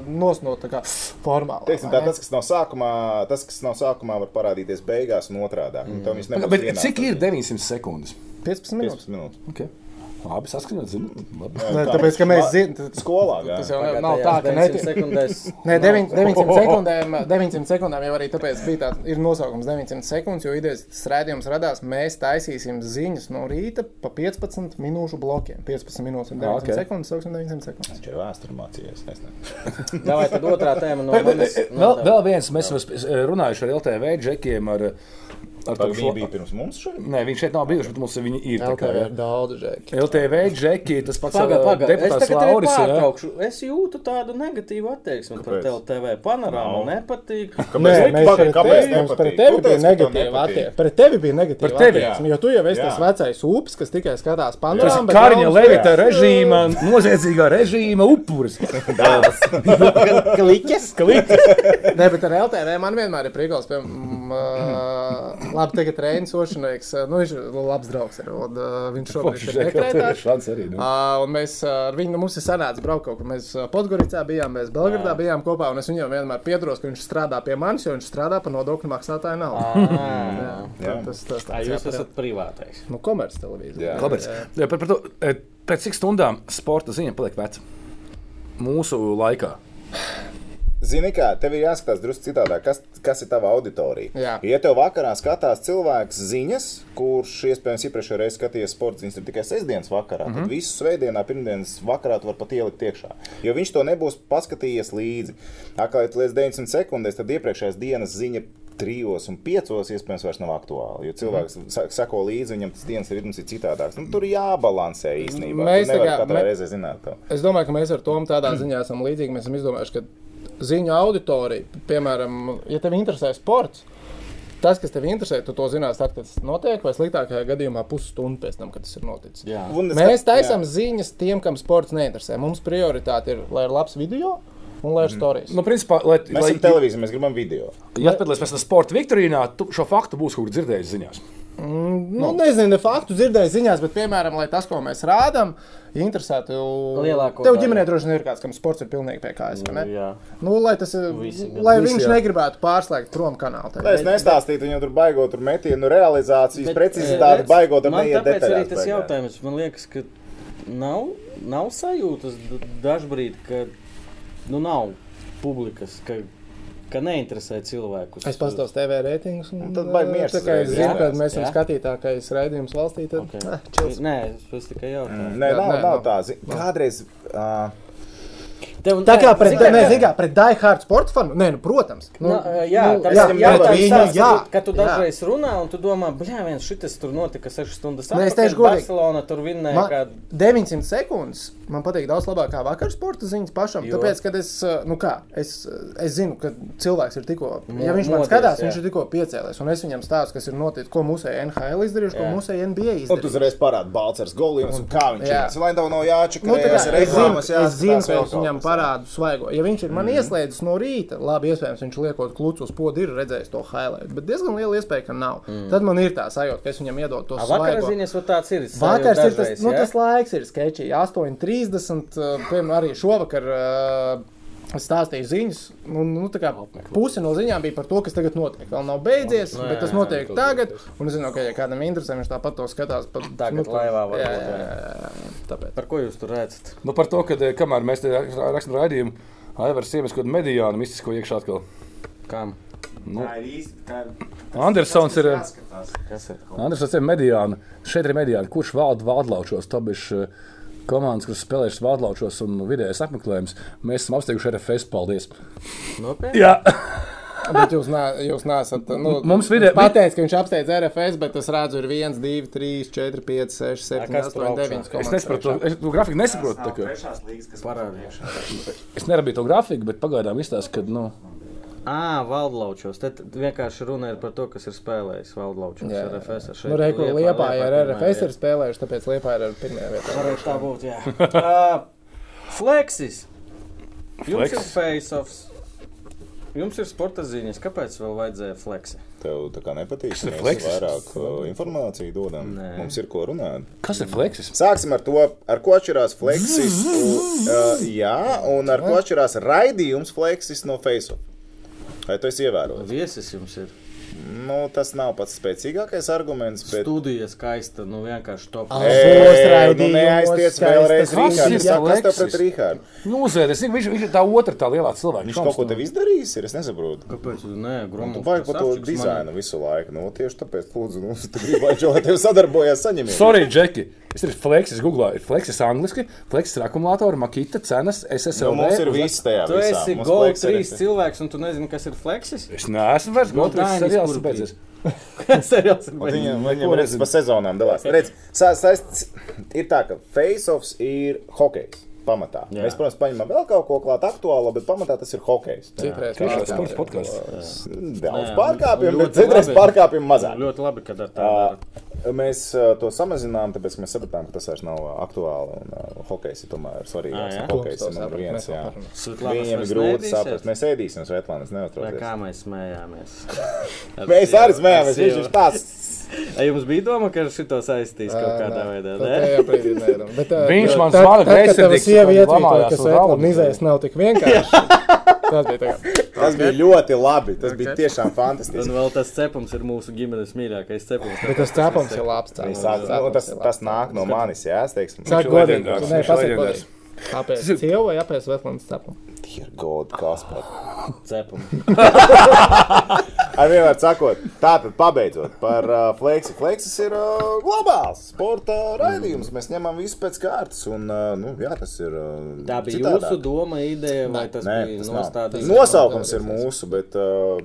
nosnot tā kā formāli.
Teiksim, tā, tas, kas nav sākumā, tas, kas nav sākumā, var parādīties beigās un otrādi. Mm.
Bet cik ir 900 sekundes?
15 minūtes.
15 minūtes?
Okay. Labi, saskaņot, zinu. Labi.
Nē, tāpēc, ka mēs zinām,
Skolā gājām.
tas jau
Pagad,
nav, nav tā,
tajās
ka
900
netiek.
sekundēs.
Nē, 9, 900 sekundēm, 900 sekundēm jau arī tāpēc bija tāds ir nosaukums 900 sekundes, jo idejas tas rādījums radās. Mēs taisīsim ziņas no rīta pa 15 minūšu blokiem. 15 minūtes un 900
Ok.
okay. sekundes, sauksim 900 sekundes.
Viņš ir vēsturē mācījies. es nezinu.
Davai, tad otrā tēma
Nu,
no manis.
Vēl, vēl viens, mēs esam sp- runājuši ar LTV džekiem. Ar, ar to
Pag,
šo-
Viņi bija pirms mums šeit.
Nē, viņš šeit nav bijuši, bet mums viņi ir. tā kā,
LTV
jā.
ir daudz žēk.
LTV džeki, tas pats
Pagaidiet,
ā,
pagaidiet. Es
deputāts
tagad tevi
Lauris. jā.
pārtraukšu. Es jūtu tādu negatīvu attieksmi pret
Kāpēc?
LTV panorāmu. Nepatīk.
Nē,
Kāpēc?
mēs
Pagaid,
pret
kāpēc
tevi, mums
nepatīk?
pret tevi bija
Tu teici, ka tev
negatīva
nepatīk.
attieksme. Pret tevi bija negatīva
Pret tevi, jā.
attieksme, jo tu jau esi
Jā.
tas vecais ups, kas tikai skatās
Tas
panorāmu.
ir
bet
Kariņa
nav-
Levita režīma, noziedzīgā režīma upuris.
Kliķis?
Nē, bet ar LTV man vienmēr ir priekals. Piemēram, uh, labi, tagad Reinis Ošanēks, uh, nu viņš ir labs draugs. Ir, un, uh, viņš šobrīd ir dekrētā.
Šāds arī. nu.
Uh, un mēs uh, ar viņu, nu, mums ir sanācis braukt kaut kur. Mēs uh, Podgoricā bijām, mēs Belgradā bijām kopā, un es viņam vienmēr piedalos, ka viņš strādā pie manis, jo viņš strādā par nodokļu maksātāju naudu.
Ā,
Jā, tas tas
ā,
tāds, jā,
Jūs esat privātais.
nu, komerc televīzija.
Jā.
Kāpēc? Jā, par, par to, e, pēc cik stundām sporta ziņa paliek veca? Mūsu laikā.
Zini, kā tev ir jāskatās drusku citādāk, kas, kas ir tava auditorija.
Jā.
Ja tev vakarā skatās cilvēks ziņas, kurš iespējams iepriekšējā reizē skatījās sporta ziņas ir tikai sestdienas vakarā,
Mhm.
mm -hmm. tad visu svētdienu, pirmdienas vakarā tu vari pat ielikt iekšā. Jo viņš to nebūs paskatījies līdzi. Atkal, ja tu liec 900 sekundēs, tad iepriekšējās dienas ziņa. Trijos un piecos iespējams vairs nav aktuāli. Jo cilvēks
Mhm.
mm -hmm. sako līdzi, viņam tas dienas ritms ir citādāks. Nu, tur jābalansē īstenībā.
Mēs
Mēs tam
tā kā-
nevaram katrā
mē-
reizē zināt. To.
Es domāju, ka mēs ar Tomu tādā ziņā esam līdzīgi. Mēs esam izdomājuši, ka ziņu auditorija, piemēram, ja tev interesē sports, tas, kas tev interesē, tu to zinās tad, kad tas notiek, vai sliktākajā gadījumā pusstundu pēc tam, kad tas ir noticis.
Jā.
Un es-
Mēs
jā.
taisām ziņas tiem, kam sports neinteresē. Mums prioritāte ir, lai ir labs video un lai ir stāstījums.
Nu, principā, lai,
Mēs
lai,
esam televīzija, mēs gribam video.
ja piedalīsies pēc tam sporta viktorīnā, tu šo faktu būsi kaut kur dzirdējis ziņās.
Nu, nezinu, ne faktu dzirdēju ziņās, bet, piemēram, lai tas, ko mēs rādām, interesētu
Lielāko
Tev
daļu.
ģimenē droši vien ir kāds, kam sports ir pilnīgi pie kājas. vai ne?
Jā.
Nu, lai tas, ir-
Visi gan.
lai
Visi,
viņš
jā.
negribētu pārslēgt prom kanālu.
Lai es nestāstītu, viņam tur baigot, tur metienu realizācijas, precizitāti,
eh,
baigot, tur
eh, man
neiet
tāpēc arī
detaļās.
tas
beigās.
jautājums. Man liekas, ka nav, nav sajūtas d- dažbrīd, ka nu, nav publikas, ka, ka neinteresē cilvēkus.
Es paskatos TV reitingus, un eh,
Un tad baigi miers
Tā kā es
uzreiz,
zinu,
jā?
ka mēs esam
Jā.
skatītākais raidījums valstī, tad
Okay.
ah, čils.
Nē, es- es tikai jautāju.
Nē,
Mm, Jā,
nav,
nē,
nav
nav.
tā. zi- Kādreiz. ā,
Tev,
Tā kā pret,
zini,
ne, zini kā, pret Die Hard sporta fanu? Nē, nu, protams.
Nu, jā,
nu,
tas
jā,
ir
pret
jautājums.
viņu,
tāds,
jā,
ka tu- Kad tu
jā.
dažreiz runā, un tu domā, blē, viens šitas tur notika 6 stundas
Nē, es
atpakaļ,
teikšu godīgi.
Barcelona tur vinnēja
Man,
kādu.
900 sekundes man patīk daudz labāk kā vakar sporta ziņas pašam.
Jo.
Jo. Tāpēc, kad es, eh, nu kā, es, eh, es zinu, ka cilvēks ir tikko,
Mo-
ja viņš man
modies,
skatās,
jā.
viņš ir tikko piecēlies, un es viņam stāstu, kas ir noticis, ko mūsēji NHL izdarījuši, ko
Jā.
mūsēji NBA
Un tu
izdarījuši.
uzreiz parādīji Balčers golījums, un kā viņš
Jā.
ir. Lai tev nav jāčaka,
Nu, tā kā, es zinu,
reklāmas,
es zinu,
jāskatās
ka
vēl
es viņam
kaut kas.
parādu svaigo. Ja viņš ir man
Mhm.
mm. ieslēdzis no rīta, labi, iespējams, viņš liekot klucu uz podu, ir redzējis to highlight, bet diezgan liela iespēja, ka nav. Mm. Tad man ir tā sajūta, ka es viņam iedodu to
Mhm. A, Vakara
svaigo.
ziņas, vai tāds ir? sajūta
Vakars ir tas,
dažreiz,
nu,
jā?
tas laiks, ir sketčī. 8.30. uh, Piemēram, arī šovakar uh, es stāstīju ziņas. Nu, nu, tā kā puse no ziņām bija par to, kas tagad notiek. Vēl nav beidzies,
Nu, jā,
bet tas
jā,
notiek
jā,
tagad. Un es zinu, ka, ja kādam interesē, viņš tāpat to skatās. Pat,
Tagad
nu, tā-
laivā varbūt,
jā,
jā.
jā, jā, jā. Tāpēc.
Par ko jūs tur redzat?
Nu, par to, ka eh, kamēr mēs te ra- rakstām raidījumu, Aivars Siemis kaut kādu mediānu mistisko iekšā atkal.
Kam?
Andersons ir. eh,
Kas ir?
Andrēs ir mediāna. Šeit ir mediāna. Kurš valda valdlaučos? Tobiš, Komandas, kuras spēlējušas valdlaučos un vidējais apmeklējums, mēs esam apsteiguši RFS. Paldies!
Nopietni.
Jā,
Bet jūs, nā, jūs nesat. Nu,
Mums vide-
Pateicis, ka viņš apsteidz RFS, bet es redzu, ir 1, 2, 3, 4, 5, 6, 7,
kas tur
8, 9.
augšā?
es nesaprotu, to- es to grafiku nesaprotu. tā kā.
Trešās līgas, kas
Parādi.
Es nerabīju to grafiku, bet pagaidām izstāsta, ka nu,
Ā, valdlaučos. Tad vienkārši runa ir par to, kas ir spēlējis valdlaučos.
Jā, jā,
Jā, RFS. ar šeit
Nu, Reikur
Liepā-
Liepā ja ar
Liepā
RFS
pirmajā
ir spēlējuši, tāpēc Liepā ir ar pirmajā vietā.
Varētu tā būt, jā. Ā, Flexis. Jums
Flex.
ir face-offs. Jums ir sporta ziņas. Kāpēc vēl vajadzēja fleksi?
Tev tā kā nepatīk.
ir
Mēs
flexis?
vairāk uh, informāciju dodam.
Nē.
Mums ir ko runāt.
kas ir fleksis?
Sāksim ar to, ar ko atšķirās fleksis. u- Uh, jā, un ar ko atšķirās raidījums fleksis no Facebook. Vai tu esi ievērojis?
Viesis jums ir.
Nu, tas nav pats spēcīgākais arguments, bet.
Studija skaista, nu vienkārši top.
Ah. Būs
Ei, nu
raidījums,
Neaizties
skaistas
vēlreiz
Kas ir
Rīgārdu. Saka, Kas tev
flexis?
pret Rīgārdu?
Nu, uzvedies, viņš, viņš ir tā otra tā lielā cilvēka.
Viņš kaut ko tev izdarījis, ir, es nesaprotu.
Kāpēc? Nē, grūti.
Nu, Tu vajag par to dizainu visu laiku. Nu, tieši tāpēc, lūdzu, nu, tu gribētu, lai tev sadarbojās saņemt.
Sorry, Džeki, es esmu fleksis, googlā ir fleksis angliski, fleksis ir akumulātori, makita, cenas, SSL.
Nu, mums ir viss tajā.
Tu
visā.
esi
Mums
GOL
flexi ir-
3 cilvēks, un tu nezini, kas ir fleksis?
Es neesmu vairs
No
gotrs,
Nu,
tas
Dainis
seriāls ir
Kurpī.
beidzies.
Seriāls ir
Un
beidzies.
Viņam, viņam redz, pa sezonām dalās. Redz, sa, sa, ir tā, ka face-offs ir hokejs. Pamatā.
Jā.
Mēs, protams, paņemam vēl kaut ko klāt aktuālu, bet pamatā tas ir hokejs.
Ciprēs
Tiešām
pārstāvji.
sports podkāsts.
Daudz
Jā,
pārkāpjumu,
ļoti
bet citreiz
labi.
pārkāpjumu mazāk.
Ļoti labi, ka ar
Ā,
tādu.
Mēs ā, to samazinām, tāpēc ka mēs sapratām, ka tas vairs nav ā, aktuāli. Un, ā, hokejs ir tomēr
Ā, Ah,
svarīgāks.
jā?
Hokejs
Klubs
ir
to
numur
saprat,
viens.
mēs to
jā.
saprat.
Svetlānas
Viņiem
vairs
ir grūti
neēdīsiet?
saprast. Mēs ēdīsim Svetlānas,
Vai
neuztraucieties.
Kā mēs smējāmies?
Mēs arī smējamies, viņš ir nu, tāds.
Ai, jums bija doma, ka šito saistīs kaut kādā veidā? Nu, Nē,
nu,
Viņš
eh,
Viņš
man zvana greizsirdīgs,
Viņš jau
un
ir
lamājās
ieteicis, ka
uz
Svetlam
galdu.
izējas nav tik vienkārši. Tas bija tā kā.
Tas bija ļoti labi. Tas bija tiešām fantastiski.
un vēl tas cepums ir mūsu ģimenes mīļākais cepums.
Bet tas cēpums ir labs.
Viņš
cēpums.
Sāk, nu,
Cēpums
tas,
ir labs.
tas nāk no manis, jā, es teiksim.
Sāk
ir
godīgi.
leģendārs,
Nē,
viņš ir
pasakiet
leģendārs.
godīgi. Kāpēc? Cilvēks vai kāpēc Svetlams cēpums?
Tie ir goldi kaspar.
Cepums.
Ar vienmēr sakot, tātad pabeidzot par uh, Flexi. Flexis ir uh, globāls sporta raidījums. Mēs ņemam visu pēc kārtas un, uh, nu, jā, tas ir. Uh,
Tā bija
citādāk.
jūsu doma, ideja, vai tas
Nē,
bija
tas nav.
nostādījums?
Nosaukums ir mūsu, bet uh,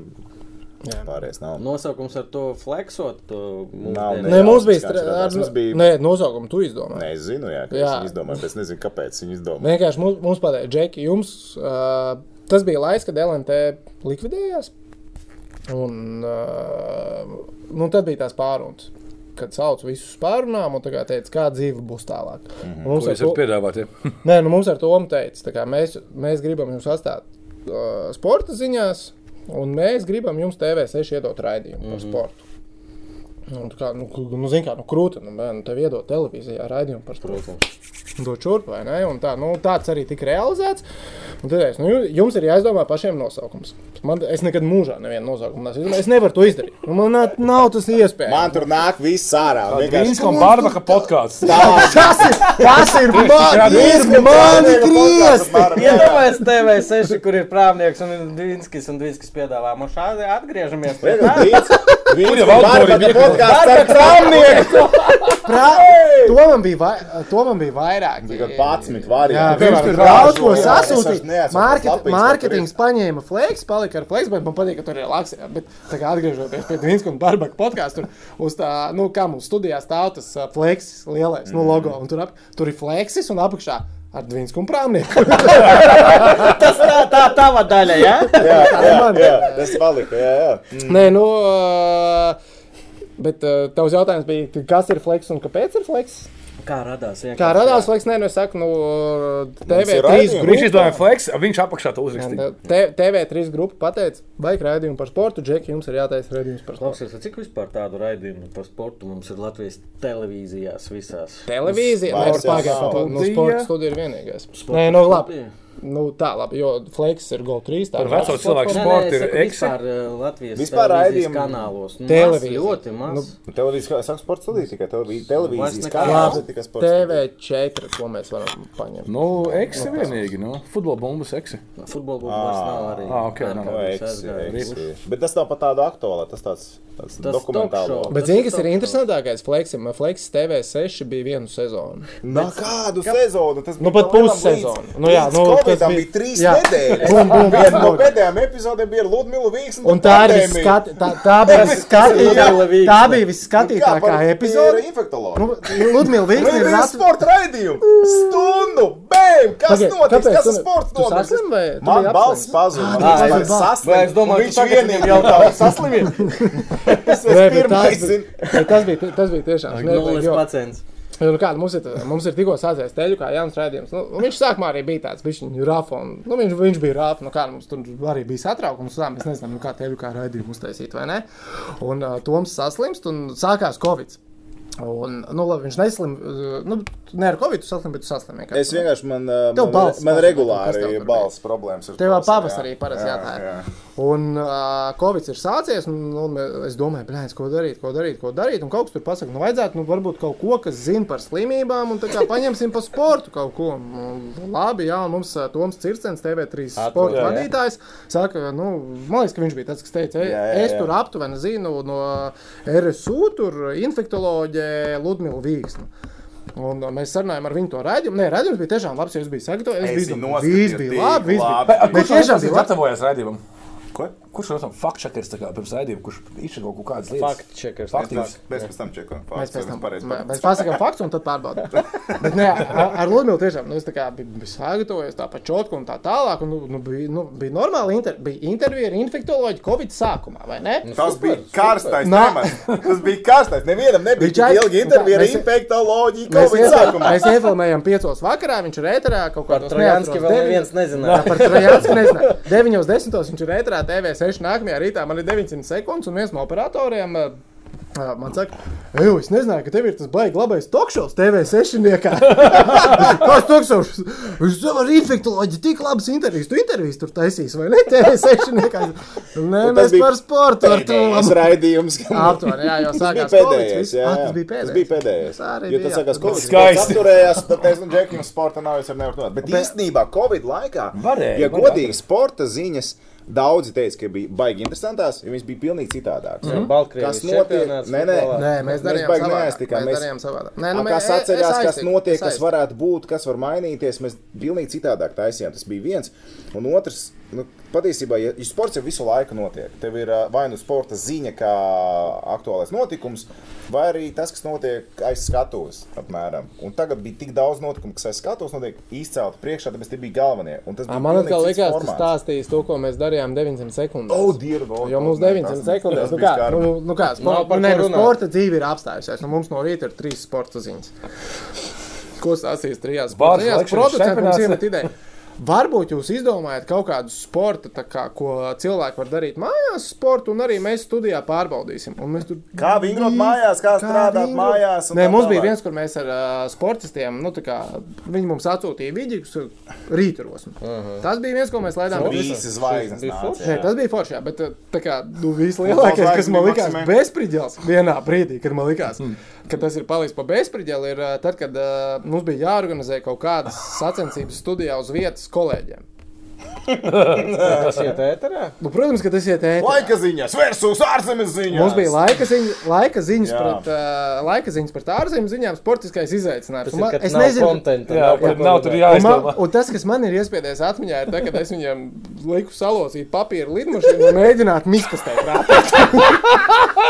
pārējais
Nu.
nav.
Nosaukums ar to fleksot, to
Nav
mūsdienu.
ne-
Nē, mums
jā,
bija.
tas
stra-
izrādās.
ar-
Mums bija-
Nē, nosaukumu tu izdomāji.
Nē, es zinu, jā, ka
Jā.
viņi izdomāja, bet es nezinu, kāpēc viņi izdomāja.
Vienkārši mums, mums pateica, Džeki, jums uh, tas bija laiks, kad LNT likvidējās. Un uh, nu, tad bija tās pārunas, kad sauca visus uz pārunām un tā kā teica, kā dzīve būs tālāk. Mm -hmm. mums,
Ko
ar
es varu
to,
piedāvāt? Ja?
nē, nu, mums ar to teica, tā kā mēs, mēs gribam jums atstāt uh, sporta ziņās, un mēs gribam jums TV6 iedot raidījumu mm -hmm. par sportu.
Nu, tā kā, nu, k- nu zini, kā, nu, krūti, nu, bērnu, tev iedod televīzijā raidījumu par to.
Protams.
Dod šurp, vai ne? Un tā, nu, tāds arī tika realizēts. Un tad es, nu, ju- jums ir jāizdomā pašiem nosaukums. Man, es nekad mūžā nevienu nosaukumu neesmu izdomājis. Es nevaru to izdarīt. Nu, Man nav, nav tas iespējams.
Man tur nāk viss ārā.
Grīsīs un Bārbaka podkāsts.
Tas ir, tas ir man, ir man griezti!
Iedomājieties, TV6, kur ir prāvnieks un Dīnskis un Dīnskis piedāvā. Mums šādi atgriežamies pie tā.
Kur
Kur
jau autori bija?
Prā... To, man bija vai... to man bija vairāk.
Tikai 11 varianti.
Jā, viņš tur daudz ko sasūtīja. Market, mārketings paņēma fleks, palika ar fleks, bet man patīk, ka tur ir laks. Bet, tā kā atgriežoties pie Dienas un Barbaka podkāstu, tur uz tā, nu, kā mums studijā stāv tas uh, fleks, lielais, nu, logo. Un tur, ap, tur ir fleksis un apakšā. Ar Dienas un Prāmnieku.
Tas tā, tā tava daļa, jā?
Jā, jā, jā, tas palika. Jā, jā.
Nē, nu. Uh, bet uh, tavs jautājums bija, kas ir fleks un kāpēc ir fleks?
Kā radās? vienkārši?
Kā radās fleks? Nē, nu, es saku, nu, TV
Viņš
3
raidījums.
grupas.
izdomāja fleks, viņš apakšā to uzrakstīja.
TV3 grupa pateica, vajag raidījumu par sportu. Džeki, jums ir jātaisa raidījums par sportu.
Klausies, cik vispār tādu raidījumu par sportu mums ir Latvijas televīzijās visās?
Televīzija,
Uz
nevis
sporta
pagājušā gada. Nu,
studija.
sporta studija ir vienīgais. Nē, nu labi. Nu, tā labi, jo Flakes ir Gold 3. Tā
Par veco
nav.
cilvēku
Nē, nē,
sporta
es
ir
saku,
eksa.
Vispār eh, Latvijas
Vispār
televīzijas
raidījumu-
kanālos. Nu,
Televīzija.
Televīzija. Ļoti maz.
Mm.
Nu,
Televīzija, saka, sports studija tikai televī- televīzijas
Vairs nekā.
kanāls, tikai sports. studija.
TV4, ko mēs varam paņemt.
Nu, eksa vienīgi, nu, futbola bumbas eksa.
Futbola bumbas nav arī.
Ā, Ah, ok, nav.
No,
Ārkārtas
Nu. Ah. eks,
aizgājums.
eks. Bet tas nav pat tāda aktuāla, tas tāds, tāds
Tas
dokumentāls.
talk show.
Bet, zini, kas ir interesantākais? Flaksim, Flaksim TV6 bija vienu sezonu.
Nā, kādu sezonu tas bija?
Nu, pat
pa lielam
pussezonu.
līdz-
Nu, jā,
līdz
nu,
Covidam
tas bija-
bija trīs
jā.
nedēļas.
Bum, bum,
Viena no
bum.
pēdējām epizodēm bija Ludmila Vīgs.
Un tā ir viskat, tā, tā bija
Ludmila
visskatītākā,
Vīksne.
tā bija
Nu,
visskatītākā epizode.
Infektologa.
Nu, Ludmila Vīksne ir
Redzēsim,
Latvijas
sporta raidījumu! Stundu! Bēm! Kas
Pagaid,
notiks?
kāpēc
Kas
tu
ar
ne-
sporta
tu saslim vai tu
Man
biji
balss
apslims?
pazuda.
Ā,
man
jā,
balss
jā.
saslims,
Vai es domāju,
un
tu
viņš
tagad
vienīgi
viņam
jautā,
jautā,
kas saslimis. Es
Nē,
esmu
bet
pirmais.
tas,
zinu.
bija, bet tas bija, tas bija tiešām smieklīgi.
nu,
Nulles
jo-
pacients.
Jo, Nu, kā, mums, ir, tā- mums ir tikko sācies teļu, kā Jānis Rādījums. Nu, un viņš sākumā arī bija tāds viņa rafa. Un, nu, viņš, viņš bija rafa. Nu, kā, mums tur arī bija satraukums. Tā, mēs nezinām, nu, kā teļu kā raidījumu uztaisīt. vai ne? Un uh, Toms saslimst un sākās Covid. Un, nu, labi, viņš neslim, uh, nu, ne ar Covid saslim, bet tu saslim. vienkārši.
Es vienkārši man, uh,
Tev
man,
balss
man
pazuda, kas tev
regulāri
tur
ir balss problēmas. ar
Tev jau
balsi,
pavasarī
jā.
parasti
Jā,
jā, tā ir.
jā.
Un uh, Covid ir sācies, un, nu, un es domāju, blēņas, ko darīt, ko darīt, ko darīt. Un kaut kas tur pasakā, nu, vajadzētu, nu, varbūt kaut ko, kas zina par slimībām, un tā kā paņemsim par sportu kaut ko. Un, labi, jā, un mums uh, Toms Circens, TV3 sporta
jā, jā.
vadītājs, saka, nu, man liekas, ka viņš bija tas, kas teica, "Ei,
Jā, jā,
es
jā.
tur aptuveni zinu no RSU, tur infektoloģija Ludmila Vīgsna. Un uh, mēs sarunājām ar viņu to raidījumu. Nē, raidījums bija tiešām labs, jo es biju sagatavojis.
Es
Es
biju
biju
noskatījis,
labi, viss bija
tik
labi. viss bija-
labi. Bet-
Bet tiešām bija labi.
gatavojas raidījumam?
Ko?
Kurš no mums faktčekers tā kā pirms raidījuma, kurš izšķiro kaut kādas lietas?
Fakt checkers.
Faktīvs.
Mēs pēc tam čekam.
Mēs pēc tam
pareizi.
mē- mēs pasakām faktu un tad pārbaudām. Bet nē, ar ar Ludmilu tiešām nu, es tā kā biju biju sagatavojies tā pa čotku un tā tālāk. Un, nu, nu, bija, nu, bija normāli inter, bija intervija ar infektoloģiju Covid sākumā, vai
Nu,
ne?
Tas bija karstais
Nā.
temats. Tas bija karstais. Nevienam nebija
Viņš aiz-
tik ilgi intervija ar
Mēs-
infektoloģiju.
Mēs,
Covid
iefil,
sākumā.
mēs iefilmējām piecos vakarā, viņš ir ēterā kaut
Par
kādā
Trojanski vēl neviens nezināja.
Par Trojansku nezinu. 9.10. viņš ir ēterā TV6. Nākamajā rītā man ir 900 sekundes, un viens no operatoriem uh, uh, man saka, ej, es nezināju, ka tev ir tas baigs labais tokšovs TV6. Kāds tokšovs? Viņš jau ar infektoloģiju tik labas intervijas. Tu intervijas tur taisīs, vai ne? TV6. Nē,
Un Nu, tas
mēs
bija
par sportu ar to.
Pēdējais raidījums.
Aptuveni, jā, jau
Tas bija
sākās
pēdējais. Jā,
jā.
jā.
Tas bija pēdējais.
Tas bija pēdējais.
Tā arī
Jo
bija,
tas
jā.
sākās Covid.
Skaisti.
Skaisti. Turējās, tad es un Džekim sporta nav, es arī nevaru runāt. Bet īstenībā Covid laikā,
Varēja,
ja
varēja
godīgi sporta ziņas, daudzi teica, ka bija baigi interesantās, ja viņas bija pilnīgi citādākas.
Mhm.
Mhm. Kas
Baltkrievijas
notiek?
čempionāts.
Nē, nē,
futbolā.
Nē, mēs darījām
baigi
savādāk.
neaiztikām.
Mēs darījām savādāk. Nē,
Nu,
mē- e-
kas
es
atcerās, kas
aiztiku,
notiek,
es
kas
aiztiku.
varētu būt, kas var mainīties. Mēs pilnīgi citādāk taisījām. Tas bija viens. Un otrs, nu, patiesībā, ja, ja sports jau visu laiku notiek, tev ir ā, vai nu sporta ziņa, kā aktuālais notikums, vai arī tas, kas notiek aiz skatuves. apmēram. Un tagad bija tik daudz notikumu, kas aiz skatuves notiek izcelti priekšā, tāpēc tie bija galvenie. Un tas
Ā,
bija
Man atkal
pilnīgi cits
liekas, tas
formāts.
stāstīs to, ko mēs darījām 900 sekundēs.
Oh, Dievu, no,
Jo mums
nē,
900
tas-
sekundēs,
tas
nu
bija
kā,
skarbi.
nu, nu kā,
Nav
sport,
par
nu, nē,
ko
nu,
runāt.
sporta dzīve ir apstājusies. Nu, mums no rīta ir trīs sporta ziņas. Ko stāstīs trijās
Bārs
sporta ziņās?
Lekšanas
Producents mums
čempionāts.
iemet ideju. Varbūt jūs izdomājat kaut kādu sportu, tā kā, ko cilvēki var darīt mājās, sportu, un arī mēs studijā pārbaudīsim. Un Mēs tur...
Kā vingrot mājās, kā strādāt
vingrot?
mājās un
Nē,
tā
mums bija
tālāk.
viens, kur mēs ar uh, sportistiem, nu, tā kā viņi mums atsūtīja video, rīturos.
Mhm.
Tas bija viens, ko mēs laidām. bet
Visi zvaigznes
bija
nāca,
forši.
jā.
Nē, tas bija forši, jā, bet uh, tā kā nu, vislielākais,
Volkswagen
kas man
bija
likās
maksimē.
bezspridzels, vienā brīdī, kad man likās,
Mm.
ka tas ir palicis pa bezspridzeli, ir uh, tad, kad uh, mums bija jāorganizē kaut kādas sacensības studijā uz vietas kolēģiem.
Tas iet ēterā?
Nu, protams, ka tas iet ētā.
Laika ziņas versus ārzemes ziņas.
Mums bija laika, ziņ, laika, ziņas
Jā.
pret, uh, laika ziņas par ārzemju ziņām, sportiskais izaicinājums.
Tas
Un
ir,
man-
kad nav kontenta.
Jā, kad nav tur
Un, man,
jāizdomā.
un tas, kas man ir iespiedies atmiņā, ir tas, ka es viņam lieku salocīt papīru lidmašīnu un mēģinātu miskastēt rāpā.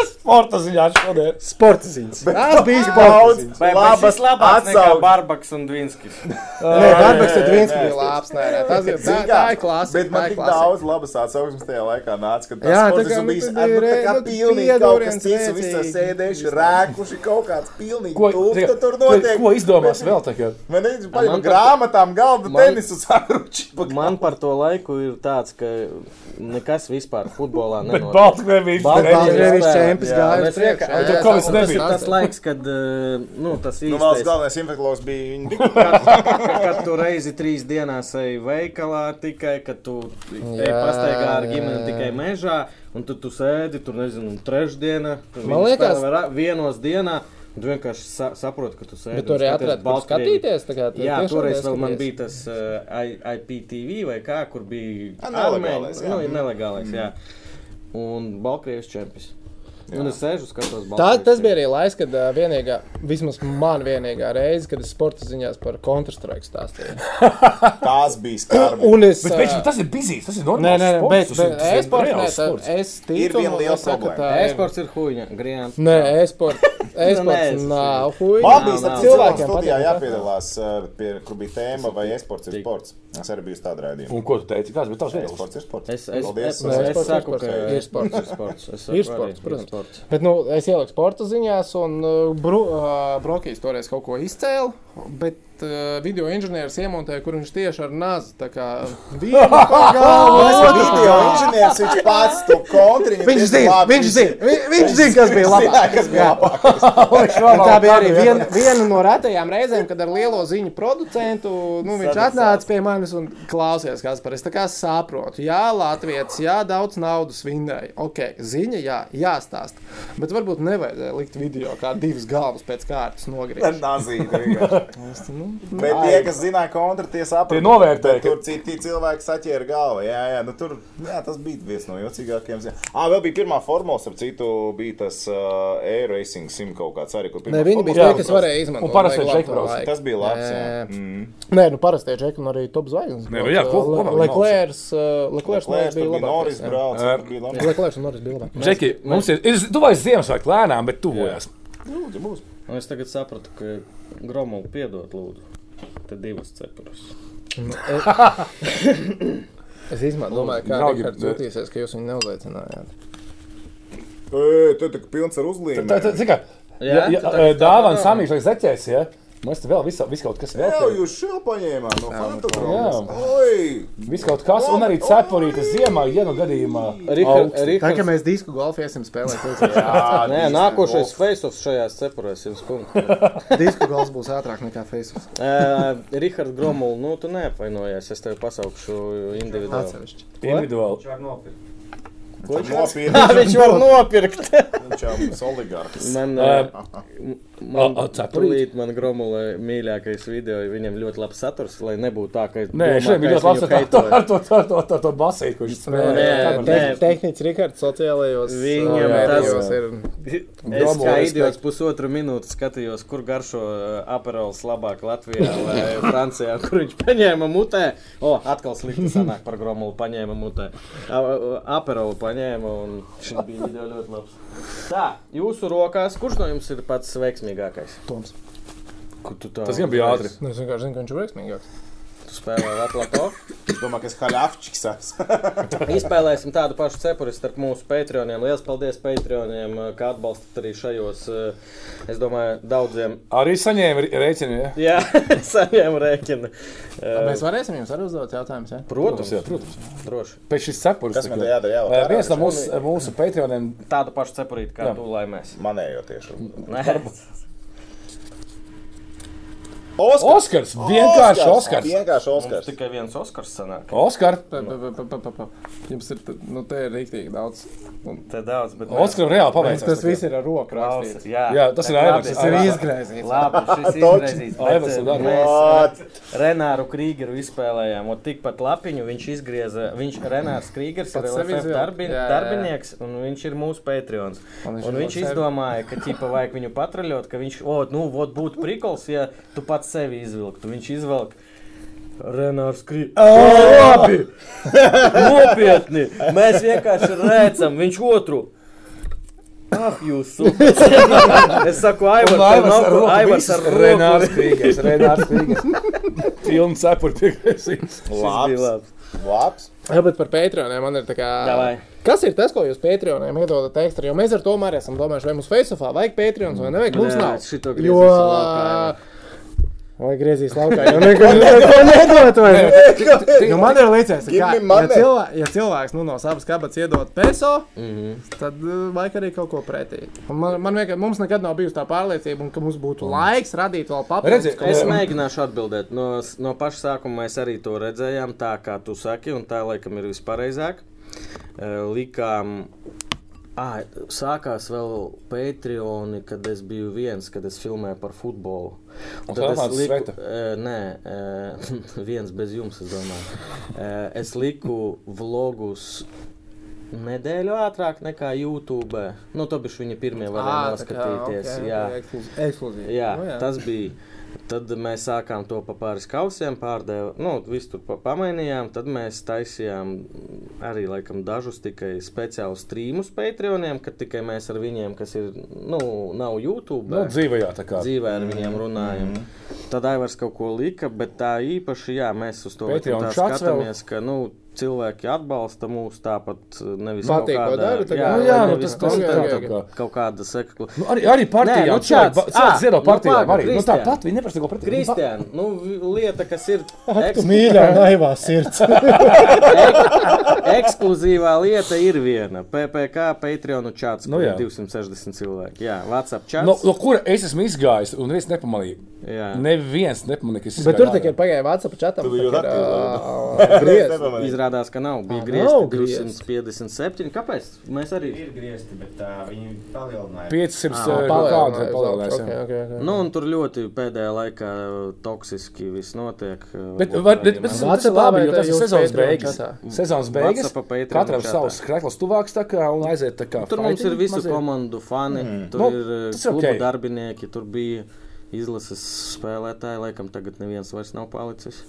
Sporta ziņā šodien.
Sporta ziņas. Tas bija sports.
daudz
Labas, labas
labas
nekā
atsauksmes.
Barbaks un Dvinskis.
Nē, darbs ir
nē,
viens, kurš
nē, es-
bija labs. Nē, nē, tas ir tā,
Zini
tā
kā,
ir klasika.
Bet man tik daudz labas atsauksmes tajā laikā nāca, ka tas
Jā,
sports
tā kā,
esmu
nu,
bijis
tad
ar- nu,
ir,
tā kā
nu,
pilnīgi kaut
pieduriens
kas cits, un viss tas
vērtīgi.
sēdējuši, rēkuši kaut kāds pilnīgi
Ko,
tūks, ka tur
ko,
notiek.
ko izdomās vēl tagad?
Man nezinu, paļu
man
pa
par-
grāmatām galda
man-
tenisu sāruči. pa
Man par to laiku ir tāds, ka nekas vispār futbolā
Bet
nenotiek.
Baltkrievijas
Baltkrievijas-
treneris.
Baltkrievijas čempions gāja uz
uz priekšu.
priekšu, jā, jā,
Covid
Tas ir
nebija.
tas laiks, kad eh, nu, tas
Nu, valsts
īstais.
galvenais infeklogs bija viņa bija.
Kad tu reizi trīs dienās eji veikalā tikai, kad tu eji
Jā,
pastaigā ar
jā,
ģimeni tikai mežā, un tu, tu sēdi tur, nezinu, un trešdiena. tur
Man
viņi
liekas-
spēlē ra- vienos dienā. Un tu vienkārši sa saproti, ka tu sēdi.
Bet tur arī atrada, kur skatīties. tā kā tu
Jā,
tiešām
toreiz vēl
neskaties.
man bija tas uh, IPTV vai kā, kur bija
Ah, nelegālais,
armēņi,
jā. Mm.
Nu, ir nelegālais, jā. Un Baltkrievijas čempions. Un es sēžu, skatos
Tā,
Baltkrievijas
tas bija arī laiks, kad uh, vienīgā, vismaz man vienīgā reize, kad es sporta ziņās par Counter-Strike stāstīju.
Tās bija skarbi.
Un es.
Bet,
ā,
bet tas ir bizīs, tas ir normāli.
Nē, nē, nē, bet,
sports, tas ir-
bet
tas ir
e-sports, nē,
reāls sports.
tā, es ticu,
Ir viena
un
liela
es saku,
problēma.
tā ir-
E-sports ir huīņa, Grijāns.
Nē, e-sports, e-sports
nē,
nav
Man
huīga.
bija starp
nav.
cilvēkiem
Cilvēkiem patīk,
studijā
jā.
jāpiedalās, eh, pie, kur bija tēma vai esports ir sports. Es arī biju uz tādu raidījumu.
Un ko tu teici? Kāds bija tavs viedoklis?
Esports ir sports.
Es, es,
Paldies.
es,
Nē,
es, es
sports,
saku,
sports,
ka
ir sports.
ir sports. Es saku
Ir
arī,
sports, protams.
sports.
Bet, nu, es ieliku sporta ziņās, un uh, bru, uh, Brokīs toreiz kaut ko izcēla. Bet uh, video inženieris iemontēja, kur viņš tieši ar nāzi tā kā vīnu
Tas
pagāvu.
video inženieris, viņš pats to kontriņu.
Viņš zina, viņš zina, vi- viņš zina, kas bija labāk.
Kas bija labāk?
Un Tā bija arī vien, viena no retajām reizēm, kad ar lielo ziņu producentu nu, viņš atnāca pie manis un klausījās, kas par es tā kā saprotu. Jā, Latvijas, jā, daudz naudas vinnēja. Ok, ziņa, jā, jāstāsta. Bet varbūt nevajadzēja likt video, kā divas galvas pēc kārtas nogriezt.
Nazīda. Bet tie, kas zināja kontru, tie saprata.
Tie novērtēja, ka-
Tur citi cilvēki saķēra galvu. Jā, jā, nu tur, jā, tas bija viens no jocīgākajiem. zi- Ā, vēl bija pirmā formula, ap citu bija tas uh, Air Racing sim kaut kāds arī, kur pirmā
Nē, viņi bija
formula
tie,
jā,
kas
jāuzbrauc.
varēja izmantot.
Un parastie
vajag labu
čekbrauc.
laiku.
Tas bija labs. Jā,
Jā, jā.
Mm.
Nē, nu parasti čekam arī top zvaigznes.
Nē, nu jā, ko- ko- ko-
Leclerc, uh, Leclerc
Klērs,
Norris
tur
bija
bija Norris
labākais. jā.
brauc.
jā.
tur bija labāk.
Leclerc un Norris bija labāk.
Džeki, mums ir, ir tuvais Ziemassvētku lēnām, bet tuvojās.
Un Nu, es tagad sapratu, ka Gromulu piedod lūdzu. Tad divas cepures.
Es īstenībā domāju, ka
Draugi,
Rihards
bet-
jūtīsies, ka jūs viņu neuzaicinājāt.
Ē, Tu tik pilns ar uzlīmēm.
Tā, tā, tā kā, ja, ja, dāvana samīšana zeķēs, ja? Mēs te vēl visu, visu kaut kas vēl.
Jā,
te-
jūs šeit paņēmāt no
Jā.
fantasmas. Oi!
Visu kaut kas, un arī cepurītas ziemā, ja nu gadījumā. augsti.
Tā kā
Rihards.
mēs disku golfu iesim spēlēt,
Jā,
Nē, nākošais face-offs šajās cepurēs jums punkts.
tad disku golfs būs ātrāk nekā Facebook.
Rihards Gromulu, Eh, nu tu neapvainojies, es tevi pasaukšu individuāli.
Atsevišķi.
Individuāli.
Nopietni,
Viņš var nopirkt!
viņš ir oligarks.
Eh,
Man, eh,
Ā,
Man
A- a, cepurīt?
tūlīt man gromulē mīļākais video, jo viņam ļoti labs saturs, lai nebūtu tā, ka es
Nē, šeit bija ļoti labi ar to, ar to, ar to, ar to basīju, kurš
Nē,
spēlēja.
nē.
Tehnicis Rikards sociālajos
Viņam
uh,
tas-
mēdījos ir.
Es kā
Gromulu
idiots pusotru minūti skatījos, kur garšo uh, aperols labāk Latvijā vai Francijā, kur viņš paņēma mutē. O, atkal slikti sanāk par gromulu paņēma mutē. A- a- Aperolu paņēma un šis bija video ļoti labs. Tā, jūsu rokās, kurš no jums ir pats veiksmīgākais?
Toms.
Kur tu tā?
Tas gan bija
uzreiz?
ātri.
Nu, Es vienkārši zinu, ka viņš ir veiksmīgāks.
Tu spēlē Latvijas.
Es domāju, ka es haļāfčiks esmu.
Izspēlēsim tādu pašu cepuri starp mūsu patroniem. Lielas paldies patroniem, kā atbalstat arī šajos, eh, es domāju, daudziem.
Arī saņēma ri- rēķinu. Ja?
Jā, saviem rēķiniem.
Mēs varēsim jums arī uzdot jautājumus. Ja?
Protams,
Jā, protams.
droši.
Pēc šis cepures.
Kas man
tā kā-
te jādara? Jā,
Eh, Viens
ārā
no mūsu, mūsu Patreoniem
Tādu pašu cepurīti kā
Jā.
tu, lai mēs.
Manējo tieši.
Nē,
Oskars!
Oskars! Vienkārši Oskars!
Vienkārši Oskars.
tikai viens Oskars sanāk.
Oskar!
Pa- pa- pa- pa- pa- pa. Jums ir, t- nu, te ir rīktīgi daudz.
Te daudz, bet
Oskaram reāli paveicās.
Tas viss ir ar roku
Klausa,
rakstīts.
jā,
Jā, tas ir
labi,
Aivars.
tas
Tas ir
labi.
izgrēzīts.
Labi, šis
Toks.
izraisīs.
Aivars ir darbā.
Mēs ar Renāru Krīgeru izspēlējām, un tikpat lapiņu viņš izgrieza. Viņš Renārs Krīgers ir
Pats sevi
LFF
izvilka.
darbi,
Jā, jā, jā.
darbinieks, un viņš ir mūsu Patreons.
Un
Un
viņš
viņš, un
ir
viņš
no sevi.
izdomāja, ka tīpa vajag viņu patraļot, ka viņš, o, nu, vot būtu prikols, ja tu pats sevi izvilktu. Viņš izvelk. Renārs Krīgers.
Labi!
Nopietni! Mēs vienkārši redzam, viņš otru. Ah, jūs! supers. Es saku, Aivars, tev nav ko- Aivars ar
Renārs
Renāru.
Krīgers. Renārs Krīgers. Pilns cepuri piekrīsīs.
Labs. Labs.
Jā, bet par Patreoniem man ir tā kā.
Davai.
Kas ir tas, ko jūs Patreoniem iedodat ekstra? Jo mēs ar to arī esam domājuši, vai mums Facebookā vajag Patreons vai nevajag. Mums
Nē,
nav.
šito
jo...
griezīs laukā,
Vai griezīs laukā, jau neko, neko nedot. vai ne?
Nu, man ir līdzies,
Give
ka, ja,
me money.
cilvē, ja cilvēks nu, no savas kabatas iedod peso, mm
Mhm.
-hmm. tad uh, vajag arī kaut ko pretī. Un Man, man vienkārši, mums nekad nav bijusi tā pārliecība, un ka mums būtu laiks radīt vēl papildus.
Redzi,
kaut
Mm. Es
Un-
mēģināšu atbildēt. No, s- no paša sākuma mēs arī to redzējām, tā kā tu saki, un tā laikam ir vispareizāk. Eh, Likām, ah, sākās vēl Patreoni, kad es biju viens, kad es filmēju par futbolu.
Un
Tad es
sanāca
liku,
sveta?
eh, nē, eh, viens bez jums, es domāju. Eh, Es liku vlogus. Nedēļu ātrāk nekā YouTube. Nu, to bija viņa pirmie, varēja
Ā, Ah, tā kā,
noskatīties.
ok,
jā.
ok, ekskluzīvi- Ekskluzīvi.
Jā,
Oh,
Nu, jā.
tas bija. Tad mēs sākām to pa pāris kausiem, pārdevām, nu, visu tur pa- pamainījām. Tad mēs taisījām arī laikam, dažus tikai speciālus streamus Patreoniem, kad tikai mēs ar viņiem, kas ir, nu, nav YouTube.
Nu, Mhm. dzīvajā tā kā.
Dzīvē ar viņiem runājam. Mm -hmm. Tad Aivars kaut ko lika, bet tā īpaši, jā, mēs uz to
Patreon
tā
chats vēl.
skatāmies, ka nu, cilvēki atbalsta mūs tāpat nevis
Patīk,
kaut
ko
kādā-
dara tagad?
jā,
Nu,
vai
jā, nu,
nevis
tas, tas ir tā,
Ok,
tā
ok.
kā.
kaut kāda sekla.
Nu, arī, arī partijā.
Nē, nu,
Nu, cilvēki,
čāds-
ba- cilvēki
ā,
zero
nu,
partijā.
pagad,
Nu, arī, nu, tā
Kristian.
pat viņi neprasa neko pretī.
Kristija, nu, vi- lieta, kas ir
Tu
eksklu-
Mīļā, naivā sirds.
ekskluzīvā lieta, ir viena. PPC, Patreon čats,
Nu
kur ir
jā. Nu,
260 cilvēki. Jā, WhatsApp čats.
No, no kura es esmu izgājis, un viens nepamanīja.
Jā.
Neviens nepamanīja, ka es esmu
Bet tur tikai pagāja Vācijā čatā.
Tu biji ļoti
Griez.
aktīvs.
Izrādās, ka nav. Bija
nav
griezti
griezti.
257. Kāpēc? Mēs arī.
Ir griezti, bet uh, viņi palielināja.
500
Ā,
eh, kaut kādu palielinājis.
Vācijā
Nu, un tur ļoti pēdējā laikā eh, toksiski viss notiek. eh,
Bet,
varbūt
var, bet,
arī
bet tas,
man-
tas ir labi, jo
Vācijā
tas ir
jūs
sezonas
Patreon
beigas.
čatā.
Sezonas beigas.
WhatsApp pa Patreon
Katram
čatā.
savs krēsls tuvāks tā kā un aiziet tā kā.
Tur mums ir
fighting
visu
mazliet.
komandu fani, mm. tur
Nu,
no, ir eh,
tas ir
klubu
okei.
okay. darbinieki, tur bija izlases spēlētāji. Laikam tagad neviens vairs nav palicis.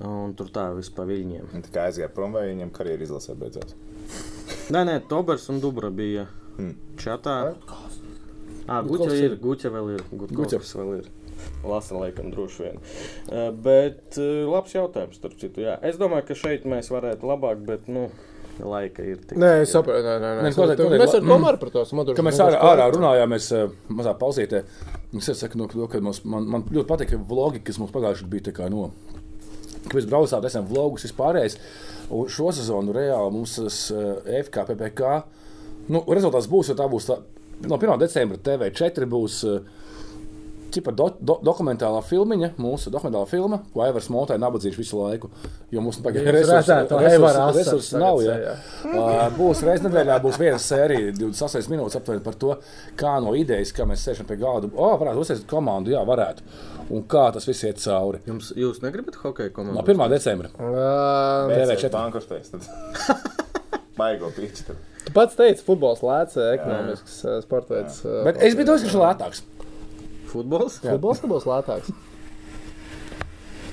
Un tur tā vispār viņiem.
Un tikai aizgāja prom, vai viņam karjeras izlasē beidzās.
Nē, nē, Tobers un Dubra bija mm. čatā. Ah, Guķa ir, Guķa vēl ir, Guķa vēl ir. Lasa laikam droši vien. Eh, Bet eh, labs jautājums, starp citu. Jā. Es domāju, ka šeit mēs varētu labāk, bet, nu, laika ir tik.
Nē, es saprotu. Nē, nē, nē.
Nē,
es
noteikti,
saprotu.
noteikti.
Mēs ar Tomaru par to esam
Kad mēs ārā, ārā runājām, mēs eh, mazā pauzītē. Es saku, no, no, ka mums, man, man ļoti patīk vlogi, kas mums pagājušajā bija. tā kā, No, ka mēs braucām, esam vlogus vispārējais. Un šo sezonu reāli mums tas eh, FKPPK. Nu, rezultāts būs, jo tā būs tā, no 1. decembra TV4 būs. Čipa do, do, dokumentālā filmiņa, mūsu dokumentālā filma, ko Aivars Montai nabadzīs visu laiku. Jo mums tagad ir
redzētu, Aivara asars
resursi nav.
tagad,
Jā.
jā.
Ā, Būs reizes nedēļā, būs viena sērija, 26 minūtes aptuveni par to, kā no idejas, kā mēs sēžam pie gada. O, varētu uzsākt komandu, jā, varētu. Un kā tas viss iet cauri.
Jums, jūs negribat hokeja komandu?
No 1. decembra.
runājām.
TV
Beidzās
četri.
bankrotēs. Baigo pīķi. tad.
Tu pats teici, futbols lēts, ekonomisks eh, sporta veids. eh,
Bet es biju daudz lētāks.
Futbols?
Futbols nebūs lētāks.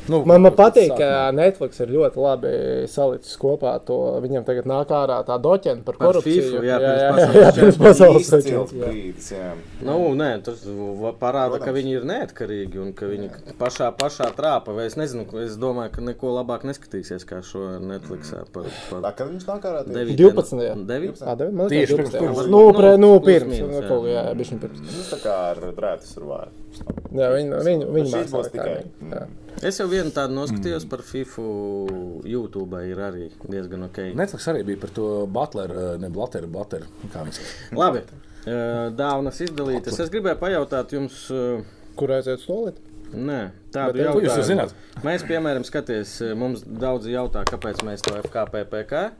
Nu,
Man, man
kaut kas
patīk,
sākumā.
ka Netflix ir ļoti labi salicis kopā to. Viņam tagad nāk ārā tā doķena par
Par
korupciju.
FIFA, jā,
jā,
pirms
jā, jā, pirms pasaules
Īsts
čempions, jā.
brīdis, jā.
Nu, nē, tas va- parāda,
Protams.
ka viņi ir neatkarīgi un ka viņi jā. pašā, pašā trāpa. vai Es nezinu, ko- es domāju, ka neko labāk neskatīsies kā šo Netflix par,
Tā
par
kad viņš nāk ārā, tad
12.
9.
Ā, devi- man liekas,
Tieši
12.
pirms-
Nu,
pirms-
pre, nu,
nu, plus
pirms.
mīnus,
nu,
jā.
kaut kā, Jā, bišķiņ pirms.
viņš tā kā ar drētas ar vārdu.
Jā, viņi, viņi, viņi
Šis būs
mācās tā,
tikai- mm.
viņi- jā.
Es jau vienu tādu noskatījos mm. par FIFA. YouTube ir arī diezgan ok. Ne.
Netflix arī bija par to Butleru, ne Butleru, Butleru. Kā viņš to
Labi. eh, Dāvanas izdalītas. Es gribēju pajautāt jums, eh,
Kur aiziet stulīt?
nē, tādu
Bet, eh, ko
jautājumu.
jūs jau zināt?
Mēs, piemēram, skaties, eh, mums daudzi jautā, kāpēc mēs to FKPPK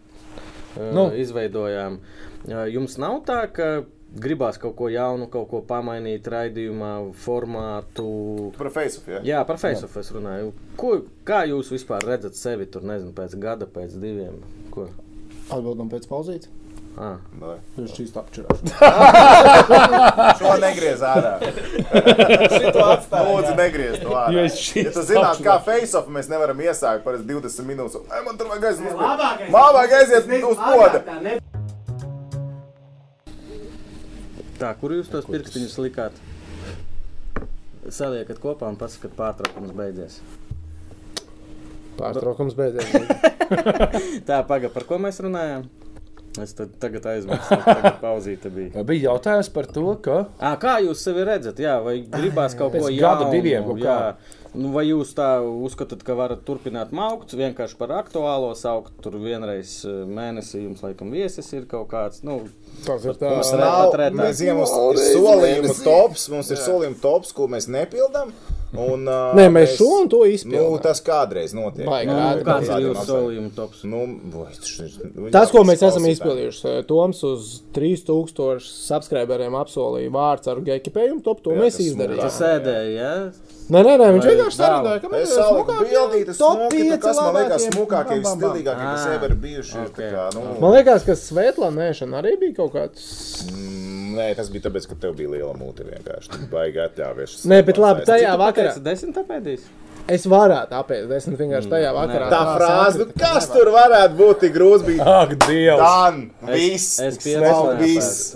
eh,
Nu.
izveidojām. Eh, Jums nav tā, ka gribās kaut ko jaunu, kaut ko pamainīt raidījumā, formātu.
Par Facebook, jā.
Nu.
Jā, par Facebook es runāju. Ko, kā jūs vispār redzat sevi tur, nezinu, pēc gada, pēc diviem? Ko?
Atbildam pēc pauzītes.
Ah.
Davai.
Viņš šīs apčurās.
Šo negriez ārā. Šito atstāj. Lūdzu, negriez to ārā. Ja tu zināt, kā face-off mēs nevaram iesākt par 20 minūtes. Ai, man tur vajag aiziet uz poda. Labāk aiziet uz poda.
Tā, kur jūs tos pirkstiņus likāt? Saliekat kopā un pasakiet, kad pārtraukums beidzies.
Pārtraukums beidzies.
Tā, pagaidi, par ko mēs runājām? Es tad, tagad aizmirsu, kāda pauzīte bija.
bija jautājums par to, ka
À, kā jūs sevi redzat? Jā, vai gribās kaut ko
Pēc
jaunu?
gada, diviem, kaut
jā.
kā.
Nu, vai jūs tā uzskatāt, ka varat turpināt maukt, vienkārši par aktuālo saukt, tur vienreiz eh, mēnesī jums laikam viesis ir kaut kāds, nu,
Tas ir tā.
Mums
Nav,
Patretā.
mēs zinām, mums ir solījuma tops, mums ir solījuma tops, ko mēs nepildām. Un, uh,
Nē, mēs šo un to
Nu,
izpildām.
tas kādreiz notiek.
Baigi
Nu,
rādi.
kaut
kāds ir
kādiem
jūsu
apstākļiem.
solījuma tops.
Nu, boj, tas ir-
Tas, ko mēs esam
klausītāji.
izpildījuši, Eh, Toms uz 3000 subscriberiem apsolīja vārds ar gekipējumu, top to
Jā,
mēs
tas
izdarījām.
mums-
Sēdēja, jā?
Nē, nē, nē, viņš
Vai
vienkārši
dāvā?
sarunāja, ka mēs
Es saliku bildītas, smuki, tu, kas man liekas smukākie,
stilīgākie.
visstilīgākie, kas
Ah,
ever bijuši. ir tā
ok.
kā, nu,
Man liekas, ka Svetlānēšana arī bija kaut kāds.
Mm, Nē, tas bija tāpēc, ka tev bija liela mūte vienkārši. Tu baigi atļāvies.
Nē, bet labi, tajā vakarā
Kāds desmit apēdīs?
es varētu apēst desmit vienkārši tajā vakarā.
Mm, Tā frāze, nu, kas tur varētu būt tik grūts, bija
Ak, Dievs!
Dan,
es
viss, nav
piedzīvoju
viss.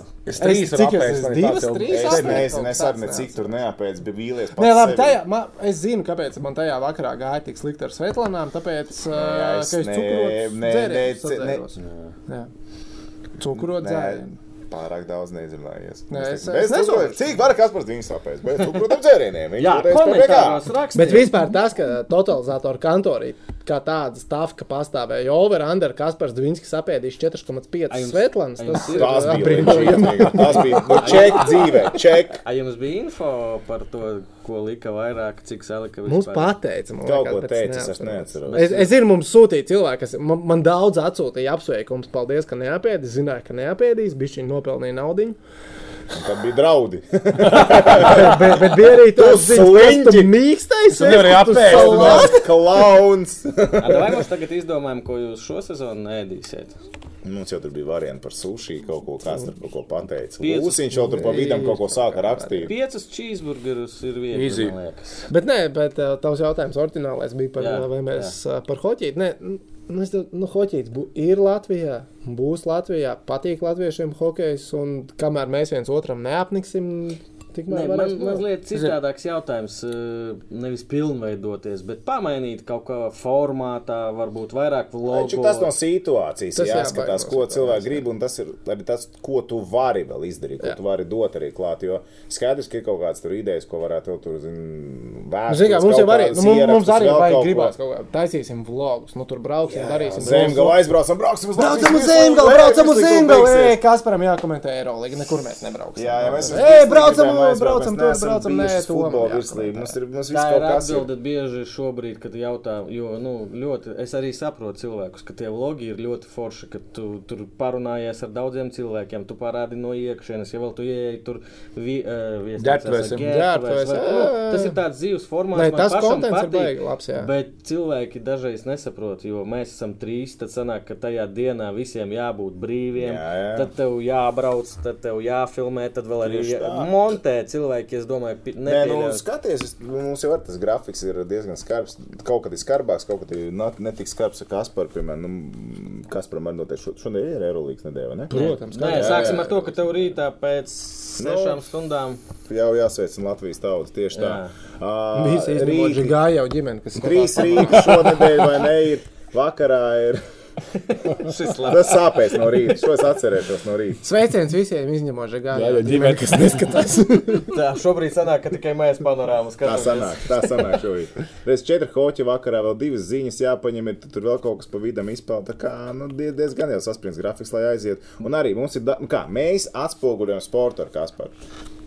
Es
Es- cik es esmu? Divas, trīs?
Es
Sāpēs
nezinu,
kaut
es
kas
arī necik tur neapēc, bija vīlies pats
Nē, labi,
sevi.
tajā, man, es zinu, kāpēc man tajā vakarā gāja tik slikti ar Svetlānām. Tāpēc, nē,
Jā,
ka es
es ne-
cukuru
ne- ne- ce- ne-
nē. Cukuru
Nē,
dzēru.
Pārāk daudz neizrunājies.
Nē,
Mēs
es-
teiksim,
es
bez
nezinu.
cukuru- Cik var kas par viņu sāpēs? Bet, nu, protams, dzērieniem. Viņš
Jā,
toreiz
komentāros rakstīt.
Bet vispār tas, ka totalizatoru kantorī kā tāda stāvka pastāvēja over, under, Kaspars Dvinskis apēdīs 4,5
jums-
Svetlānas.
a jums
Tas
ir-
ir
Tās bija
apbrīnojami.
līdzīgas. Tās bija nu, ček dzīvē, ček.
A jums bija info par to, ko lika vairāk, cik salika vispār?
Mums pateica, man
Kaut
liekas,
ko
bet
teicis, es
neatceros.
neatceros.
Es, es zinu, mums sūtīja cilvēki, kas man, man daudz atsūtīja apsveikumus. Paldies, ka neapēdīs. Zināju, ka neapēdīs. Bišķi nopelnīja naudu.
Tad bija draudi.
Bet, bet bija arī tas
sliņķi!
mīkstais.
Tu nevari apēst, tu
apēst.
Klauns.
A, Vai mēs tagad izdomājam, ko jūs šo sezonu ēdīsiet?
Mums jau tur bija varianti par sushi, kaut ko kāds tur kaut ko pateica.
Piecus-
Lūsiņš jau tur pa vidam kaut ko sāka rakstīt.
Piecus cheeseburgerus ir
Easy.
viegli, man liekas.
Bet nē, bet uh, tavs jautājums oriģinālais bija par,
Jā,
jā, vai mēs jā. par hoķīti. Nē, nu, es tev- nu, hoķītis bū, ir Latvijā, būs Latvijā, patīk latviešiem hokejs, un kamēr mēs viens otram neapniksim,
Nē,
tikmēr
man
varēs. vēl.
mazliet citādāks jautājums. eh, Nevis pilnveidoties, bet pamainīt kaut kā formātā, varbūt vairāk
Taču tas no
vlogu.
situācijas
Tas
ir jāskatās,
jābaidās,
ko
protams,
cilvēks grib, un tas ir arī tas, ko tu vari vēl izdarīt, ko
Jā.
tu vari dot arī klāt. Jo skaidrs, ka ir kaut kādas tur idejas, ko varētu vēl tur vērst.
Zinām, mums jau arī, nu, mums, mums arī vajag gribēt kaut kā. Taisīsim vlogus, nu tur brauksim, darīsim.
Zemgala aizbraucam, brauksim uz
Braucam uz
Latvijas
zemgālu,
virslīgu,
braucam uz
Latvijas virslīgu
zemgālu.
beigsies.
Ej, Kasparam jākomentē Eirolanda, nekur mēs nebrauksim.
Jā, jā, mēs
Ej, braucam, braucam, tur, braucam, nē,
nē,
tomēr
futbola
jākomentē.
virslība. Mums ir mums viss
Tā ir
kaut kas. ir.
atbilde bieži šobrīd, kad jautā, jo nu, ļoti, es arī saprotu cilvēkus, ka tie vlogi ir ļoti forši, ka tu tur parunājies ar daudziem cilvēkiem, tu parādi no iekšienes, ja vēl tu ieeji tur vi, uh, viesnīcās,
Ģērbtuvēs, jā.
Ģērbtuvēs, jā.
nu, tas ir tāds dzīves formāts,
Nē,
man
tas
pašam
kontents ir
patīk,
baigi labs, jā.
Bet cilvēki dažreiz nesaprot, jo mēs esam trīs. Tad sanāk, ka tajā dienā visiem jābūt brīviem.
Jā, jā.
Tad tev jābrauc, tad tev jāfilmē, tad vēl arī
Tieši
jā-
tā.
montē Nē, cilvēki, es domāju, pi-
Nē, nu,
nepieļaus.
skaties, es, mums jau ir tas grafiks, ir diezgan skarbs. Kaut kad ir skarbāks, kaut kad ir not, netik skarbs. Kas par piemēram, nu, kas par mani notiek? šo- Šodien ir aerolīks nedēļa, ne?
Protams,
Nē, sāksim ar to, ka tev rītā pēc
Nu.
sešām stundām
Jau jāsveicina Latvijas tauta tieši tā. Ā,
Visi
rīti-
izdevuši gāja jau ģimene, kas
Trīs rīta šonadēļ vai ne? Ir, vakarā ir.
šis labs.
Tas sāpēs no rīta. Šo es atcerēšos no rīta.
Sveiciens visiem izņemot žagāju.
ģimene, kas neskatās.
Tā, šobrīd sanāk, ka tikai mēs panorāmu
Tā
skatāmies.
sanāk, tā sanāk šodien. Reiz četri hoci vakarā, vēl divas ziņas jāpaņem, ir, tur vēl kaut kas pa vidam izpelnīt. Tā kā nu, die- diezgan jau saspringts grafiks, lai aizietu. Un arī mums ir, da- nu kā mēs atspoguļojam sportu ar Kasparu.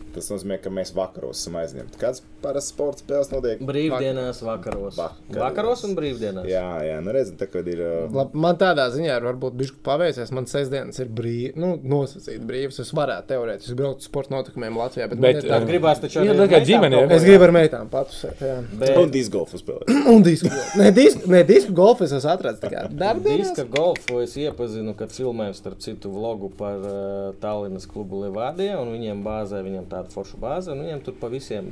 Tas nozīmē, ka mēs vakaros esam aizņemti. Kāds parasts sports spēles notiek?
Brīvdienās, vakaros.
Vakaros.
Vakaros un brīvdienās.
Jā, jā, nu redziet, tā kad ir. uh,
Lab, man tādā ziņā ir varbūt bijis paveicies. Man sestdienas ir brīvs, nu, nosacīts brīvs. Es varētu teorētiski braukt uz sporta notikumiem Latvijā, bet,
Bet,
bet
eh,
tā,
Gribās taču
Jā,
arī
tā kā
meitām
ģimenē.
kaut ko,
es gribu ar meitām patusēt. jā.
Un
bet
disgolfu spēlē.
Un disku. Nē, disku, nē, disku golfu es esmu atradzis tikai darbdienās.
Diska golfu es iepazinu, kad filmēju starp citu vlogu par uh, Tallinas klubu Levādie, un viņiem bāzē, viņiem tāda forša bāze, un viņiem tur pa visiem,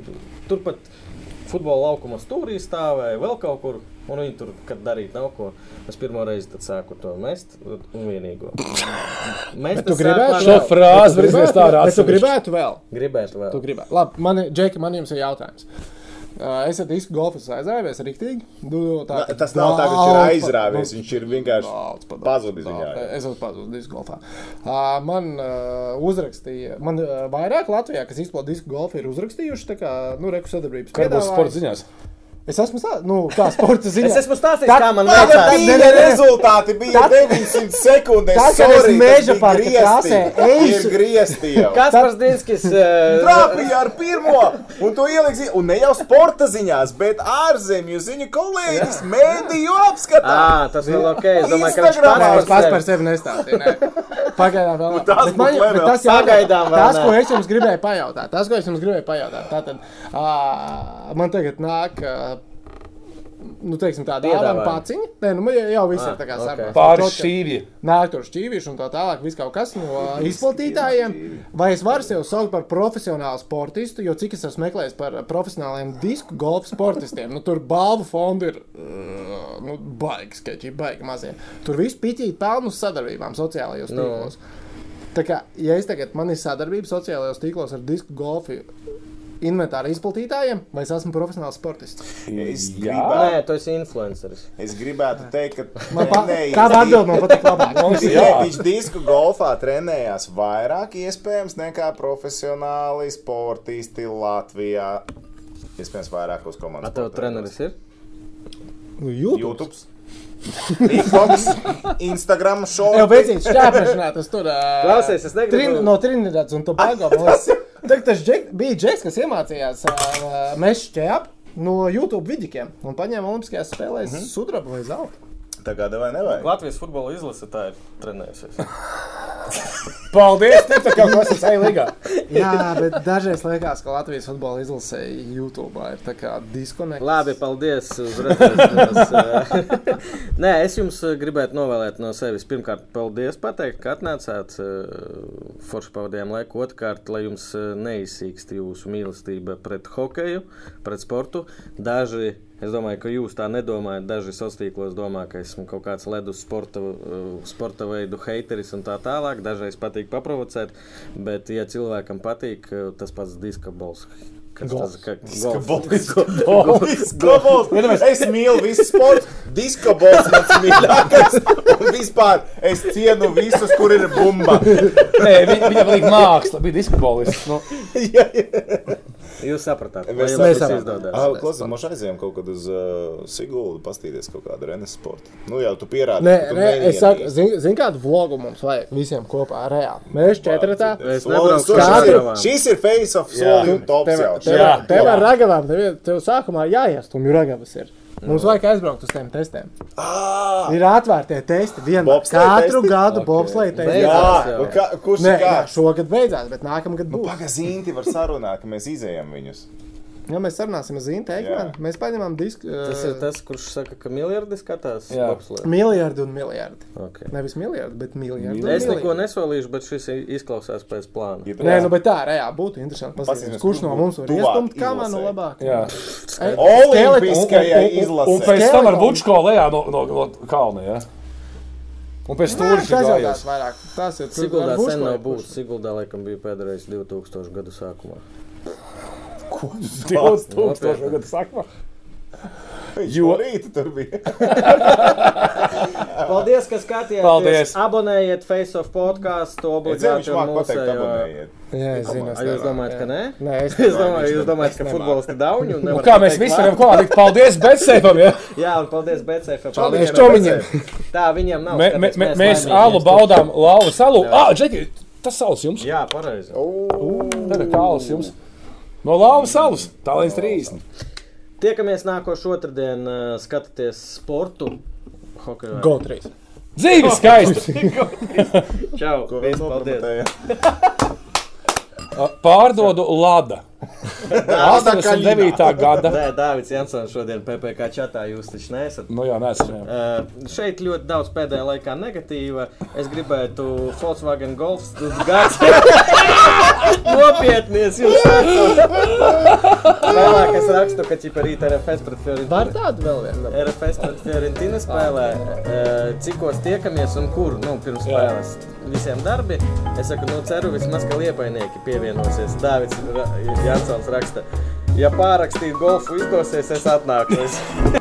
tur pat futbola laukuma stūrī stāvēja, vēl kaut kur, un viņi tur, kad darīt nav ko, es pirmo reizi tad sāku to mest, un vienīgo. Mēs
Tu
tad
gribētu
sākām-
Šo frāzi
Bet tu
brīznies tā
gribētu-
arī
bet tu
atsevišķi.
gribētu vēl.
Gribētu vēl.
Tu gribētu. Labi, man, ir- Džeki, man jums ir jautājums. Uh, Es ar disku golfu esmu aizrāvies riktīgi. Du, tā, ka
Tas nav tā, ka viņš ir
daudz pa- nu,
aizrāvies, viņš ir vienkārši.
Daudz, pa daudz,
Pazudis
daudz.
viņā, jā.
Es esmu pazudis disku golfā. Ā, Man ā, uzrakstīja, man ā, vairāk Latvijā, kas izplatīja disku golfu, ir uzrakstījuši, tā kā, nu, reku sadarbības.
Kur būs
piedāvājums.
sports ziņās?
Es esmu tā, nu, tā sporta ziņā.
Es esmu stāstījis,
Tā-
kā man
tā-
veicās.
tā- nē, nē, nē.
rezultāti bija
Tad-
900 sekundes.
Tad, kad es
sorry, tad
meža
bija
parka
griezti.
krāsē
Ir
eju-
griezti jau.
Kaspars eh, Dienskis.
Trāpīja ar pirmo, un to ielika, un ne jau sporta ziņās, bet ārzemju ziņu kolēģis mēdīju
Ā,
apskatā.
Ah, tas vēl ok. Es domāju, ka viņš
Instagramā
pats
Es pats par
par sevi.
sevi nestāstīju. nē. Pagaidām, vēl.
Nu, tas
Bet man
būtu
jau- bet
level.
tas jau
Pagaidām vēl
Tas,
nē.
ko es jums gribēju pajautāt, tas, ko es jums gribēju pajautāt, tātad ā, man tagad nāk. ā, Nu, teiksim, tā ir tā
Piedāvājumi.
līnija. Nē, nu, jau- jau viss ir tā kā
Ah, ok.
sarunā.
Pāri šķīvi.
Nāk tur šķīvīši un tā tālāk, viss kaut kas no izplatītājiem. Vai es varu sevi saukt par profesionālu sportistu, jo cik es esmu meklējis par profesionāliem disku golfa sportistiem, nu tur balvu fondu ir uh, nu, baigi, sketči, baigi mazie. Tur viss pitīgi pelnu sadarbībām sociālajos tīklos. Tā kā, ja es tagad man ir sadarbība sociālajos tīklos ar disku golfu inventāra izplatītājiem, vai es esmu profesionāls sportists?
Es
Nē,
gribētu,
tu esi influenceris.
es gribētu teikt, ka
Man pa, tā atbild man patīk labāk.
Jā, viņš disku golfā trenējās vairāk iespējams nekā profesionāli sportisti Latvijā. Iespējams, vairākos
A
komandas.
tev treneris ir?
Nu, YouTube.
YouTube. TikToks, Instagram
Jau
šovs.
veicīt, šķērpašanā tas tur. ā,
Klausies, es negribu-
Trin, no Trinidads un Tobago. man liekas. Tad tas Džek- bija Džeks, kas iemācījās ā, mežu šķērpu. No YouTube vidikiem un paņēma Olimpiskajās spēlēs mm
Mhm.
-hmm. sudrabu vai zelta.
Tā kā devai nevajag.
Latvijas futbola izlase tā ir trenējusies.
Paldies! Tev tā kā kas ir ceļā.
Jā, bet dažreiz liekas, ka Latvijas futbola izlasē YouTube ir tā kā diskonekts.
Labi, paldies. uz redzēšanos. Nē, es jums eh, gribētu novēlēt no sevis. Pirmkārt, paldies, pateikt, ka atnācāt. eh, Forši pavadījām laiku. Otrkārt, lai jums eh, neizsīkst jūsu mīlestība pret hokeju, pret sportu. Daži, es domāju, ka jūs tā nedomājat. Daži sociālos tīklos domā, ka esmu kaut kāds ledus sporta, eh, sporta veidu haiteris un tā tālāk. Dažreiz patīk paprovocēt, bet, ja cilvēkam patīk, eh, tas pats diskabols. Kas tas ir?
Diskobols. Es mīlu visu sportu. Diskobols mans mīļākais. Un vispār es cienu visus, kur ir bumba.
Nē, vi- viņam bija māksla, bija diskbolists. Nu,
Jūs sapratāt,
Mēs
vai jums tas
sapratām.
izdodās.
Ah, Klausies, mēs aizējām kaut kad uz uh, Sigūdu, pastīties kaut kādu renesu sportu. Nu jau tu pierādi.
Nē,
ka tu
nē, es
neienīsti.
saku, zini, zin, kādu vlogu mums vajag visiem kopā reāli. Mēs četratā.
Es
Solim,
nebraucu
solim,
ar
šis ir-
ragavām.
Šis ir face of solim tops jau.
Tev,
Jā,
tev ar ragavām, tev, tev sākumā jāiestumj ragavas ir. Mums vajag aizbraukt uz tiem testiem.
Ah,
Ir atvērtie testi vienmēr.
Bobsleja
Katru
testi?
gadu bobslēju testi.
Jā, un kā- kurš
Nē, jā,
ir kā? Nu,
šogad beidzās, bet nākamgad būs.
Pagazīnti var sarunāt, ka mēs izējām viņus.
Ja mēs sarunāsim ar Zīnu Teikmanu,
Jā.
mēs paņemam disku. eh,
Tas ir tas, kurš saka, ka miljardi skatās
Jā.
bobslēdu.
Miljardu un miljardu.
Okay.
Nevis miljardu, bet miljardu.
Nu,
un
Es neko
miljardu.
nesolīšu, bet šis izklausās pēc plāna.
Ja tu-
Nē, nu, bet tā, reāli būtu interesanti. Paskatīties,
Paskatīsimies,
kurš no
kurš
mums var
tuvāk
iestumt kamanu
izlasē.
labāk?
Jā.
Ei,
Olimpiskajai
Un- un- Un
izlasē.
pēc tam ar bučko lejā no, no, no kalna. Ja? Un pēc
Nē,
stūra
tas jau
gājās.
tāds vairāk. Tas ir
Siguldā
ar
sen
Buško
nav
ir
būtis. Siguldā laikam bija pēdējais 2000 gadu sākumā.
2000 gadu sakumā.
Jo rītu tur bija.
Paldies, ka skatījāties!
Paldies.
Abonējiet Face of podkāstu,
Es zinu, viņš
obligāti
māk pateikt,
mūsējo.
abonējiet.
Jā, es zinu.
Ai, Jūs domājat, ka nē?
Nē, es
Es domāju, jūs domājat, ka futbolisti dauņi un
Nu,
nevar
kā mēs
pateikt
visi
labi?
varam klāt, paldies Betsēpam! Ja?
Jā, un paldies BCF.
Paldies Čomiņam!
Tā viņiem nav.
Mē, mē,
skaties,
mē, mēs
laimīgi
alu
viens
baudām lauva salu. Ah, Džeki, tas salas jums!
tur- Jā, pareizi.
Tad ir kāls jums! No lauva salas! Tā līdz 30!
Tiekamies nākošo otrdienu, skatieties sportu. Hokejā.
Go 3!
Dzīve skaisti!
Čau! Viss, Paldies!
Nopromatēja.
Pārdodu Lada! 89. gada!
Nē, Dārvids Jansons šodien PPC čatā jūs taču nesat.
Nu jā, nesam. jā.
Uh, šeit ļoti daudz pēdējā laikā negatīva. Es gribētu Volkswagen Golf gāzt. Nopietni, es jūs saku. Vēlāk es rakstu, ka ķiparīt RFS
Var
pret Fiorentinu.
tādu vēl vienu?
RFS pret Fiorentinu spēlē, eh, cikos tiekamies un kur, nu, pirms spēles. Visiem darbi. Es saku, nu, ceru vismaz, ka liepainieki pievienosies. Dāvids Ra- Jansons raksta, ja pārrakstīt golfu izdosies, es atnāku. Es-